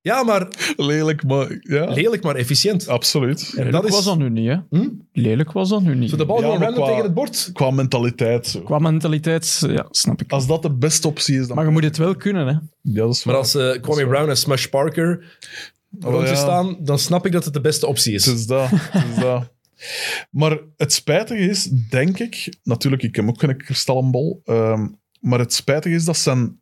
Ja, maar Lelijk, maar ja, lelijk, maar efficiënt. absoluut. En Lelijk dat is was dat nu niet, hè? Hm? Lelijk was dat nu niet. zo de bal Ja, gewoon maar random qua- tegen het bord. Qua mentaliteit. zo. Qua mentaliteit, eh, ja, snap ik. Als dat de beste optie is, dan... Maar je moet het wel kunnen, hè? ja, dat is Maar waar. Oh, als eh Kwame Brown en Smash Parker rond je ja. staan, dan snap ik dat het de beste optie is. Het is dat. het is dat. Maar het spijtige is, denk ik... Natuurlijk, ik heb ook geen kristallenbol. ehm, maar het spijtige is dat zijn,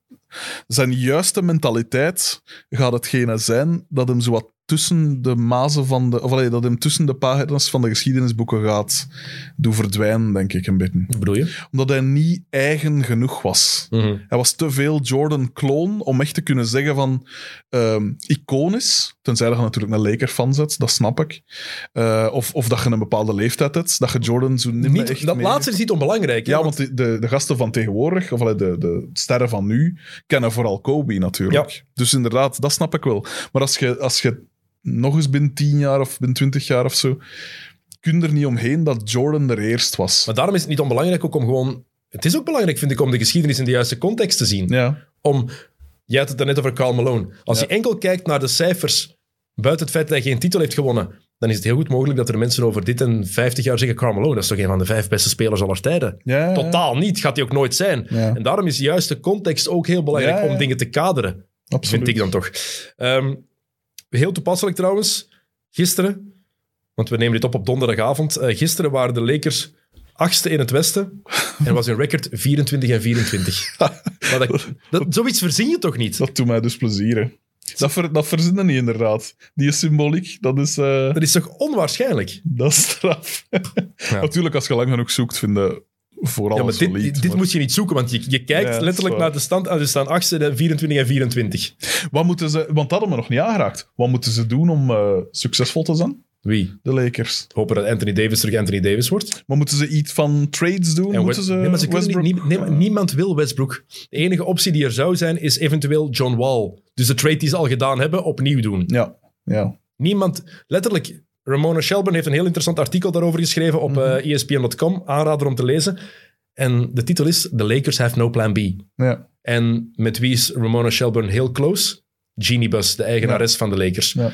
zijn juiste mentaliteit gaat hetgene zijn dat hem zo wat tussen de mazen van de... Of allee, dat hem tussen de pagina's van de geschiedenisboeken gaat doen verdwijnen, denk ik, een beetje. Wat bedoel je? Omdat hij niet eigen genoeg was. Hij was te veel Jordan-kloon om echt te kunnen zeggen van ehm iconisch. Tenzij dat je natuurlijk een Laker fan zet, dat snap ik. Eh, of, of dat je een bepaalde leeftijd hebt, dat je Jordan zo niet, meer Niet, echt dat mee- laatste is niet onbelangrijk. hè, Ja, want de, de, de gasten van tegenwoordig, of allee, de, de sterren van nu, kennen vooral Kobe natuurlijk. Dus inderdaad, dat snap ik wel. Maar als je, als je nog eens binnen 10 jaar of binnen 20 jaar of zo, kun je er niet omheen dat Jordan er eerst was. Maar daarom is het niet onbelangrijk ook om gewoon... Het is ook belangrijk, vind ik, om de geschiedenis in de juiste context te zien. Ja. Om, jij had het daarnet over Karl Malone. Als je enkel kijkt naar de cijfers, buiten het feit dat hij geen titel heeft gewonnen, dan is het heel goed mogelijk dat er mensen over dit en 50 jaar zeggen, Karl Malone, dat is toch een van de vijf beste spelers aller tijden. Ja, ja. Totaal niet, gaat hij ook nooit zijn. Ja. En daarom is juist de context ook heel belangrijk Ja, ja. om dingen te kaderen. Absoluut. Vind ik dan toch. Ehm, heel toepasselijk trouwens, gisteren, want we nemen dit op op donderdagavond. eh, gisteren waren de Lakers achtste in het Westen en was hun record 24 en 24. maar dat, dat- zoiets verzin je toch niet? Dat doet mij dus plezier. hè. Dat, ver, dat verzinnen niet, inderdaad. Die is symboliek, dat is, eh, Dat is toch onwaarschijnlijk? dat is straf. Natuurlijk, als je lang genoeg zoekt, vinden voor Ja, maar alles dit, valide, dit maar moet je niet zoeken, want je, je Ja, kijkt dat is letterlijk waar. naar de stand en er staan achtste, en 24 en 24. Wat moeten ze... Want dat hadden we nog niet aangeraakt. Wat moeten ze doen om eh, succesvol te zijn, Wie? de Lakers? Hopen dat Anthony Davis terug Anthony Davis wordt. Maar moeten ze iets van trades doen? En moeten Wes- ze, nee, maar ze kunnen Westbrook... niet- niet- nee, maar niemand wil Westbrook. De enige optie die er zou zijn, is eventueel John Wall. Dus de trade die ze al gedaan hebben, opnieuw doen. Ja, ja. Niemand, letterlijk, Ramona Shelburne heeft een heel interessant artikel daarover geschreven Mhm. op eh, ESPN.com, aanrader om te lezen. En de titel is The Lakers Have No Plan B. ja. En met wie is Ramona Shelburne heel close? Jeannie Bus, de eigenares van de Lakers. Ja.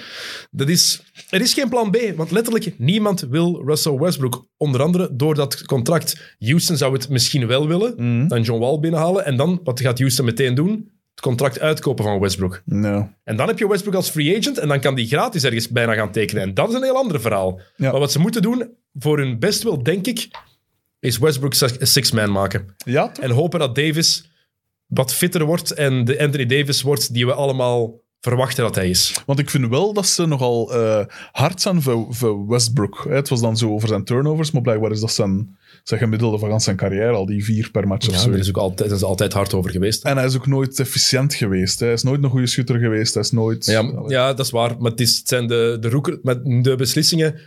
Dat is, er is geen plan B, want letterlijk niemand wil Russell Westbrook. Onder andere door dat contract. Houston zou het misschien wel willen, Mhm. dan John Wall binnenhalen. En dan, wat gaat Houston meteen doen? Het contract uitkopen van Westbrook. Ja. En dan heb je Westbrook als free agent en dan kan die gratis ergens bijna gaan tekenen. En dat is een heel ander verhaal. Ja. Maar wat ze moeten doen, voor hun best wil, denk ik, is Westbrook six- six-man maken. Ja, toch? En hopen dat Davis wat fitter wordt en de Anthony Davis wordt die we allemaal verwachten dat hij is. Want ik vind wel dat ze nogal eh, hard zijn voor, voor Westbrook. hè. Het was dan zo over zijn turnovers, maar blijkbaar is dat zijn, zijn gemiddelde van gans zijn carrière al die vier per match of Ja, zo. daar is ook altijd, daar zijn ze altijd hard over geweest. En hij is ook nooit efficiënt geweest. Hè. Hij is nooit een goede schutter geweest. Hij is nooit... Ja, Allee. maar- ja, dat is waar. Maar het, is, het zijn de, de, roeker, met de beslissingen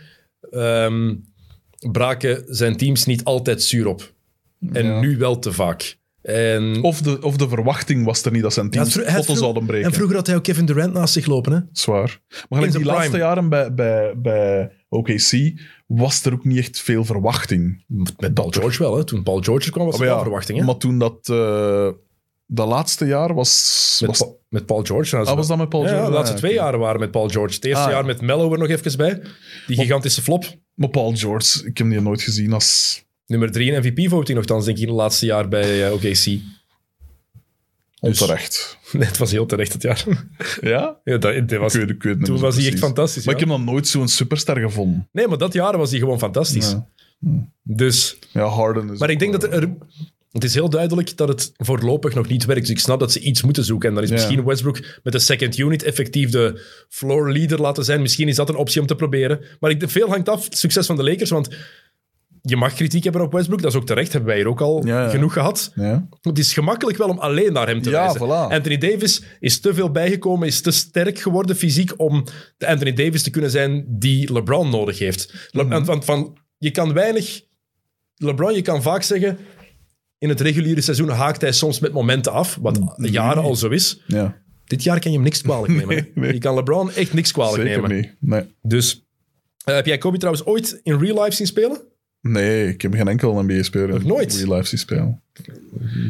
ehm, braken zijn teams niet altijd zuur op. En Ja. nu wel te vaak. En, Of, de, of de verwachting was er niet dat zijn Ja, team het vro- het potten vro- zouden breken. en vroeger had hij ook Kevin Durant naast zich lopen. Hè? Zwaar. Maar zijn gelijk die prime. laatste jaren bij, bij, bij OKC was er ook niet echt veel verwachting. Met Paul George wel. Hè? Toen Paul George er kwam, was er Oh, Maar wel ja, verwachting. Hè? Maar toen dat... eh, dat laatste jaar was... Met, was Pa- met Paul George. Nou, ah, was dat met Paul Ja, George? de laatste Ah, twee oké. jaren waren met Paul George. Het eerste Ah, ja. jaar met Mello er nog even bij. Die gigantische flop. Maar Paul George, ik heb die nooit gezien als Nummer drie in MVP-voting nogthans, denk ik, in het laatste jaar bij eh, OKC. onterecht. Nee, het was heel terecht dat jaar. Ja? Dus- ja, dat, dat was, Ik weet, ik weet het niet toen meer was hij echt precies. fantastisch. Maar ja. ik heb dan nooit zo'n superster gevonden. Nee, maar dat jaar was hij gewoon fantastisch. Ja. Dus, Ja, Harden is... maar ik denk ook, dat er... er- Het is heel duidelijk dat het voorlopig nog niet werkt. Dus ik snap dat ze iets moeten zoeken. En dan is Ja. misschien Westbrook met de second unit effectief de floor leader laten zijn. Misschien is dat een optie om te proberen. Maar ik, veel hangt af het succes van de Lakers. Want je mag kritiek hebben op Westbrook. Dat is ook terecht. Hebben wij hier ook al Ja, ja. genoeg gehad. eh, Ja. Het is gemakkelijk wel om alleen naar hem te Ja, wijzen. voilà. Anthony Davis is te veel bijgekomen, is te sterk geworden fysiek om de Anthony Davis te kunnen zijn die LeBron nodig heeft. Le- Mhm. want- Want van, je kan weinig... LeBron, je kan vaak zeggen... In het reguliere seizoen haakt hij soms met momenten af, wat Mhm. jaren al zo is. ja. Dit jaar kan je hem niks kwalijk nemen. hè. nee. Je kan LeBron echt niks kwalijk Zeker nemen. niet. Nee. Dus eh, heb jij Kobe trouwens ooit in real life zien spelen? Nee, ik heb geen enkel NBA-speler Nog in nooit? real life zien spelen.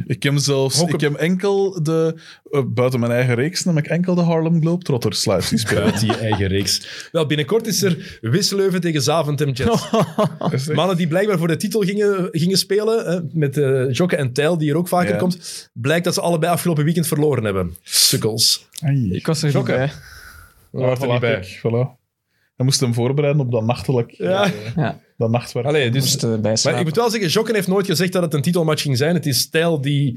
Ik heb zelfs... Ook Ik heb enkel de... eh, buiten mijn eigen reeks nam ik enkel de Harlem Globetrotters live zien spelen. Uit die eigen reeks. Wel, binnenkort is er Wisseleuven tegen Zaventem Jets. Is het? Mannen die blijkbaar voor de titel gingen, gingen spelen, hè, met eh Jokke en Tijl, die er ook vaker Ja. komt, blijkt dat ze allebei afgelopen weekend verloren hebben. Sukkels. Ai. Ik was er Jokke. niet bij. We waren er Voilà, niet bij. kijk, voilà. Hij moest hem voorbereiden op dat nachtelijk... Ja. eh, Ja. dat nachtwerk. Allee, Ik dus, moest erbij maar ik slapen. moet wel zeggen, Jokken heeft nooit gezegd dat het een titelmatch ging zijn. Het is Tijl die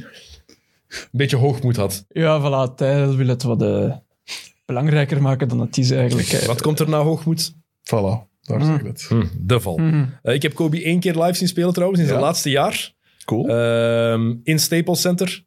een beetje hoogmoed had. Ja, voilà. Tijl wil het wat eh, belangrijker maken dan het is eigenlijk. hè. Wat komt er na hoogmoed? Voilà, daar zeg ik het. Hm, de val. Mhm. Eh, ik heb Kobe één keer live zien spelen trouwens, in zijn Ja. laatste jaar. Cool. Ehm, in Staples Center.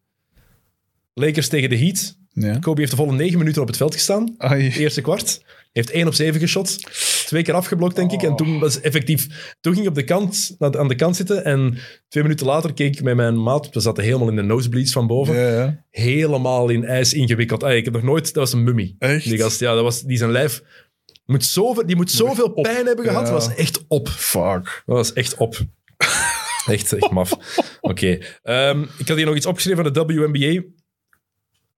Lakers tegen de Heat. ja. Kobe heeft de volle negen minuten op het veld gestaan. Ai. Eerste kwart. Heeft 1 op 7 geschot. Twee keer afgeblokt, denk ik. En toen was effectief. Toen ging ik op de kant, aan de- aan de kant zitten. En twee minuten later keek ik met mijn maat. We zaten helemaal in de nosebleeds van boven. Ja, ja. Helemaal in ijs ingewikkeld. Ah, ik heb nog nooit. Dat was een mummie. Echt? Die gast, ja, dat was, die zijn lijf. Moet zoveel, die moet zoveel op. pijn hebben gehad. Ja. Dat was echt op. Fuck. Dat was echt op. echt, echt maf. Oké. Ehm, ik had hier nog iets opgeschreven van de WNBA.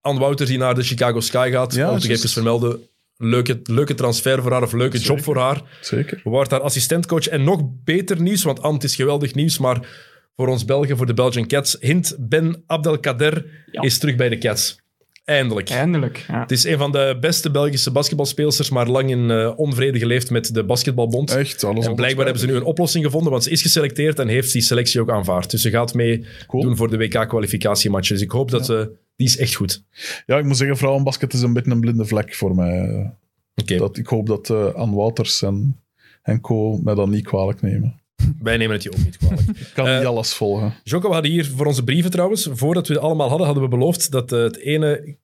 Ann Wouters die naar de Chicago Sky gaat. Ja, om te juist. even vermelden. Leuke, leuke transfer voor haar of leuke job voor haar. Zeker. Wordt haar assistentcoach. En nog beter nieuws, want Ant is geweldig nieuws, maar voor ons Belgen, voor de Belgian Cats. Hint, Ben Abdelkader Ja. is terug bij de Cats. Eindelijk. Eindelijk. Ja. Het is een van de beste Belgische basketbalspeelsters, maar lang in eh, onvrede geleefd met de Basketbalbond. Echt, alles En Dus blijkbaar hebben ze nu een oplossing gevonden, want ze is geselecteerd en heeft die selectie ook aanvaard. Dus ze gaat mee Cool. doen voor de WK-kwalificatiematch. Dus ik hoop dat ze... Die is echt goed. Ja, ik moet zeggen, vrouwenbasket is een beetje een blinde vlek voor mij. Oké, Dat, ik hoop dat eh Ann Wouters en, en co mij dat niet kwalijk nemen. wij nemen het je ook niet kwalijk. Ik kan Eh, niet alles volgen. Jocko, we hadden hier voor onze brieven trouwens, voordat we het allemaal hadden, hadden we beloofd dat eh, het ene...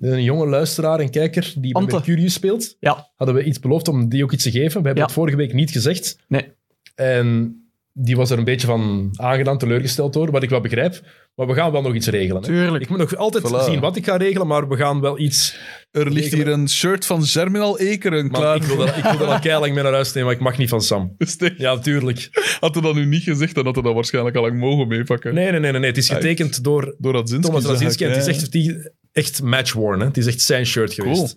Een jonge luisteraar en kijker die bij Ante. Mercurius speelt, Ja. hadden we iets beloofd om die ook iets te geven. We hebben Ja. het vorige week niet gezegd. Nee. En die was er een beetje van aangedaan, teleurgesteld door, wat ik wel begrijp. Maar we gaan wel nog iets regelen. hè. Tuurlijk. Ik moet nog altijd Voilà. zien wat ik ga regelen, maar we gaan wel iets. Er ligt regelen. hier een shirt van Germinal Ekeren Man, klaar. ik wil dat, ik wil dat al keilang mee naar huis nemen, maar ik mag niet van Sam. Steek. Ja, tuurlijk. Had hij dat nu niet gezegd, dan had hij dat waarschijnlijk al lang mogen meepakken. Nee, nee, nee, nee. nee. Het is getekend door Door dat zin. Thomas Razinski. en Het is echt, die- echt match-worn. hè. Het is echt zijn shirt geweest. Cool.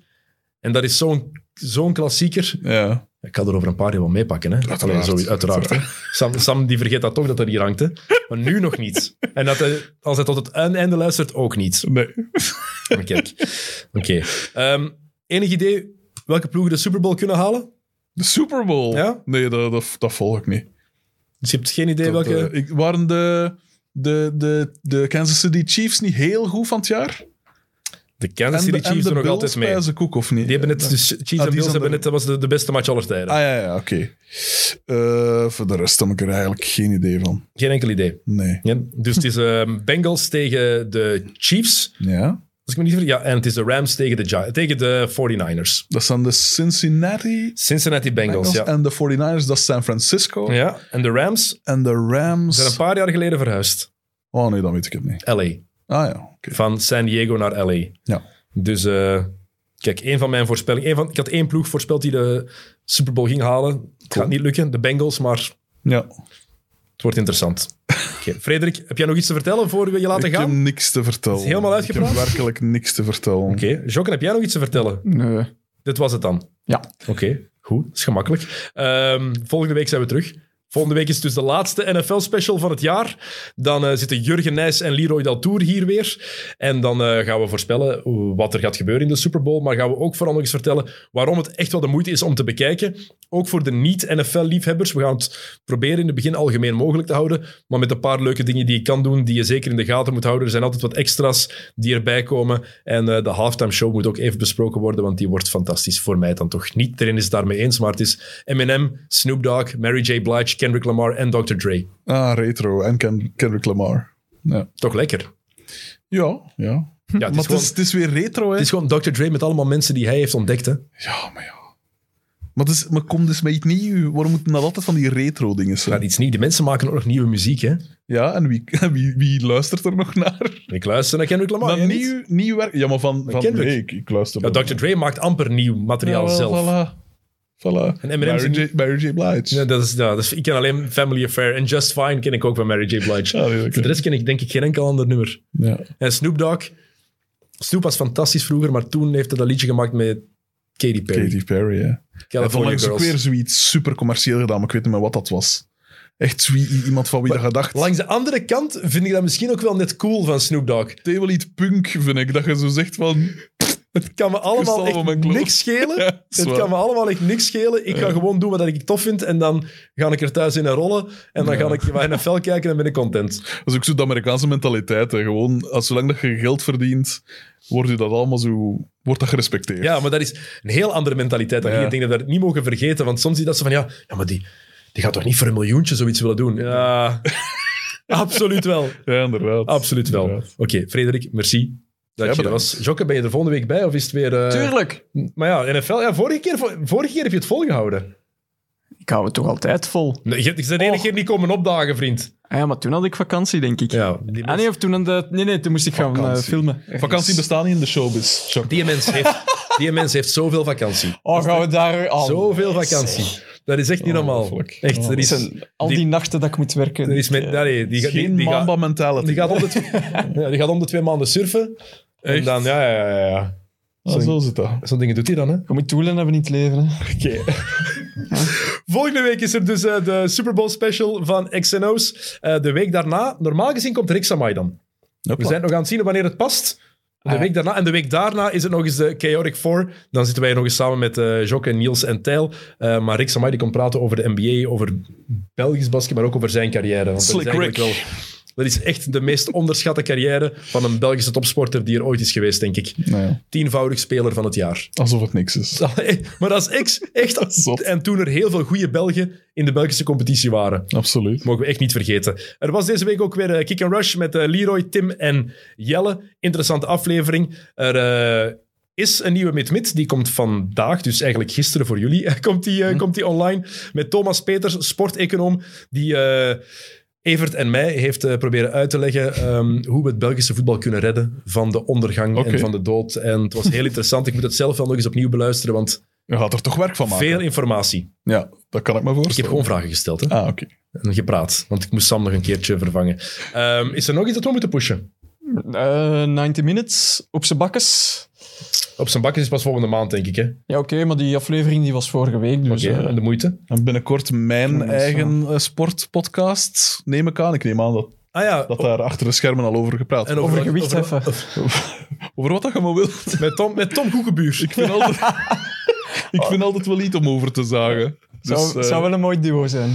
En dat is zo'n zo'n klassieker. Ja. Ik ga er over een paar jaar wel meepakken. Hè? Uiteraard. Allee, zo- uiteraard hè. Sam, Sam die vergeet dat toch dat dat hier hangt. Hè? Maar nu nog niet. En dat hij, als hij tot het einde luistert, ook niet. Nee. Maar Kijk. Oké. Ehm, enig idee welke ploegen de Super Bowl kunnen halen? De Super Bowl. Ja? Nee, dat, dat, dat volg ik niet. Dus je hebt geen idee Dat, welke... eh, ik, waren de, de, de, de Kansas City Chiefs niet heel goed van het jaar? De Kansas en de, City en Chiefs de doen nog Bills altijd mee. spijzen koek, of niet? Die hebben dus- het, Ja. de Chiefs Ah, en die Bills zijn hebben er- het, dat was de, de beste match aller tijden. Ah ja, ja oké. Eh, voor de rest heb ik er eigenlijk geen idee van. Geen enkel idee. Nee. Ja, Dus het is ehm, Bengals tegen de Chiefs, Ja. als ik me niet vergis. Ja, en het is de Rams tegen de, Gi- tegen de 49ers. Dat zijn de Cincinnati Cincinnati Bengals, Bengals en de 49ers, dat is San Francisco. ja. Ja, en de Rams En de zijn een Rams. paar jaar geleden verhuisd. Oh nee, dan weet ik het niet. LA. Ah ja, oké. Van San Diego naar LA. Ja. Dus eh, kijk, een van mijn voorspellingen. één van, ik had één ploeg voorspeld die de Super Bowl ging halen. Het gaat niet lukken, de Bengals, maar ja. Het wordt interessant. Oké, Frederik, heb jij nog iets te vertellen voor we je laten Ik heb gaan? Oké, niks te vertellen. Is helemaal uitgepraat? Ik heb werkelijk niks te vertellen. Jokken, heb jij nog iets te vertellen? Nee. Dit was het dan. Ja. Oké, goed. Dat is gemakkelijk. Ehm, volgende week zijn we terug. Volgende week is dus de laatste NFL-special van het jaar. Dan eh, zitten Jurgen Nijs en Leroy Daltour hier weer. En dan eh, gaan we voorspellen wat er gaat gebeuren in de Super Bowl. Maar gaan we ook vooral nog eens vertellen waarom het echt wel de moeite is om te bekijken. Ook voor de niet-NFL-liefhebbers. We gaan het proberen in het begin algemeen mogelijk te houden. Maar met een paar leuke dingen die je kan doen, die je zeker in de gaten moet houden. Er zijn altijd wat extra's die erbij komen. En eh, de halftime show moet ook even besproken worden, want die wordt fantastisch. Voor mij dan toch niet. Iedereen is het daarmee eens, maar het is Eminem, Snoop Dogg, Mary J. Blige, Kendrick Lamar en Dr. Dre. Ah, retro en Ken- Kendrick Lamar. Ja, Toch lekker. ja. ja. Ja, het, maar is het is, gewoon, het is weer retro, hè? het is gewoon Dr. Dre met allemaal mensen die hij heeft ontdekt. Hè. Ja, maar ja. Maar, het is, maar kom dus met iets nieuws. Waarom moeten dat altijd van die retro-dingen zijn? Maar iets nieuws. Die mensen maken ook nog nieuwe muziek. Hè. Ja, en wie, en wie, wie luistert er nog naar? Ik luister naar Kendrick Lamar. naar jij niet? nieuw, nieuw werk? Ja, maar van... van Kendrick. nee, ik, ik luister Ja, naar- Dr. Dre maakt amper nieuw materiaal Jawel, zelf. Voilà. Voilà. En M&M's Mary, in- J, Mary J. Blige. Ja, dat is, ja, dat is- ik ken alleen Family Affair en Just Fine ken ik ook van Mary J. Blige. Ja, nee, oké. Voor de rest ken ik denk ik geen enkel ander nummer. Ja. En Snoop Dogg. Snoop was fantastisch vroeger, maar toen heeft hij dat liedje gemaakt met Katy Perry. Katy Perry, ja. En California onlangs ook Girls. weer zoiets super commercieel gedaan, maar ik weet niet meer wat dat was. Echt zoiets, iemand van wie dat gedacht. Langs de andere kant vind ik dat misschien ook wel net cool van Snoop Dogg. Het is wel iets punk, vind ik. Dat je zo zegt van... Het kan me allemaal Kristal van echt mijn kloot. niks schelen. Ja, dat is het waar. kan me allemaal echt niks schelen. Ik ga gewoon doen wat ik tof vind en dan ga ik er thuis in rollen. En dan ga ik naar NFL kijken en ben ik content. Dat is ook zo de Amerikaanse mentaliteit. Hè. Gewoon, als, zolang dat je geld verdient, wordt je dat allemaal zo... Wordt dat gerespecteerd. Ja, maar dat is een heel andere mentaliteit. Dan Ja. hier. Ik denk dat we dat niet mogen vergeten. Want soms zie je dat ze van, ja, ja maar die, die gaat toch niet voor een miljoentje zoiets willen doen? Ja, absoluut wel. Ja, inderdaad. Absoluut wel. Oké, Inderdaad. Frederik, merci. Dat je er bedankt. was. Jokke, ben je er volgende week bij of is het weer... eh, Tuurlijk. Maar ja, NFL, ja, vorige, keer, vo- vorige keer heb je het volgehouden. Ik hou het toch altijd vol. Nee, je bent de enige Och. keer niet komen opdagen, vriend. Ah ja, maar toen had ik vakantie, denk ik. Ja, die Ah nee, of toen... aan de- Nee, nee, toen moest ik gaan eh, Vakantie. filmen. Vakantie bestaat niet in de showbiz. Chuck. Die mens heeft, die mens heeft zoveel vakantie. Oh, gaan we daar... al? Zoveel vakantie. Dat is echt niet normaal. Ongelooflijk. Echt, er Er is, zijn al die, die- nachten dat ik moet werken. er is met, Ik, eh, nee, die, Het ga- is die, Geen die, gaat- mamba mentality. die gaat om de, twee- ja, die gaat om de twee maanden surfen. En Echt? dan, ja, ja, ja, ja. Ah, zo zit dat. Zo'n dingen doet hij dan, hè? Je moet doelen hebben in het leven. Hè. Volgende week is er dus eh, de Super Bowl special van XNO's. Eh de week daarna, normaal gezien komt Rick Samai dan. We zijn nog aan het zien wanneer het past. De Ah, ja. week daarna. En de week daarna is het nog eens de Chaotic Four. Dan zitten wij nog eens samen met eh Jock en Niels en Tijl. Eh, maar Rick Samai die komt praten over de NBA, over Belgisch basket, maar ook over zijn carrière. Want dat is Slick eigenlijk Rick. dat is echt de meest onderschatte carrière van een Belgische topsporter die er ooit is geweest, denk ik. Nou ja, Tienvoudig speler van het jaar. alsof het niks is. maar dat is ex, echt... Zot. En toen er heel veel goede Belgen in de Belgische competitie waren. Absoluut. Mogen we echt niet vergeten. Er was deze week ook weer eh, Kick and Rush met eh, Leroy, Tim en Jelle. Interessante aflevering. Er eh, is een nieuwe Mid-Mid. Die komt vandaag, dus eigenlijk gisteren voor jullie, eh, komt die, eh, komt die online. Met Thomas Peters, sporteconoom, die... eh, Evert en mij heeft eh, proberen uit te leggen ehm, hoe we het Belgische voetbal kunnen redden van de ondergang en Oké. van de dood. En het was heel interessant. Ik moet het zelf wel nog eens opnieuw beluisteren, want Je gaat er toch werk van maken? veel informatie. Ja, dat kan ik me Ik heb voorstellen. gewoon vragen gesteld. Hè? Ah, oké. en gepraat. Want ik moest Sam nog een keertje vervangen. Ehm, is er nog iets dat we moeten pushen? Eh, 90 Minutes, op zijn bakkes. Op zijn bakken is pas volgende maand, denk ik. Hè? Ja, oké, maar die aflevering die was vorige week, dus... Oké, eh, en de moeite. En binnenkort mijn Mensen. eigen eh, sportpodcast, neem ik aan. Ik neem aan dat, Ah ja, dat daar achter de schermen al over gepraat wordt. over gewicht heffen. Over wat dat je maar wilt. Met Tom, met Tom Goegebuur. Ik vind altijd, ik vind altijd wel iets om over te zagen. Dus, zou, eh, zou wel een mooi duo zijn.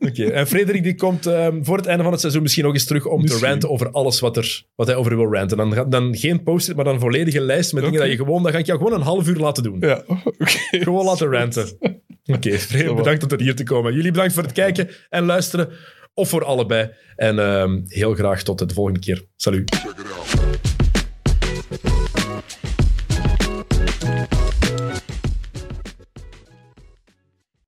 Oké. En Frederik die komt ehm, voor het einde van het seizoen misschien nog eens terug om te Misschien. ranten over alles wat, er, wat hij over wil ranten. Dan, ga- dan geen post-it, maar dan een volledige lijst met dingen Oké. dat je gewoon... Dan ga ik jou gewoon een half uur laten doen. Ja, oké. Gewoon laten ranten. Oké, Frederik, bedankt om tot hier te komen. Jullie bedankt voor het kijken en luisteren. Of voor allebei. En ehm, heel graag tot de volgende keer. Salut.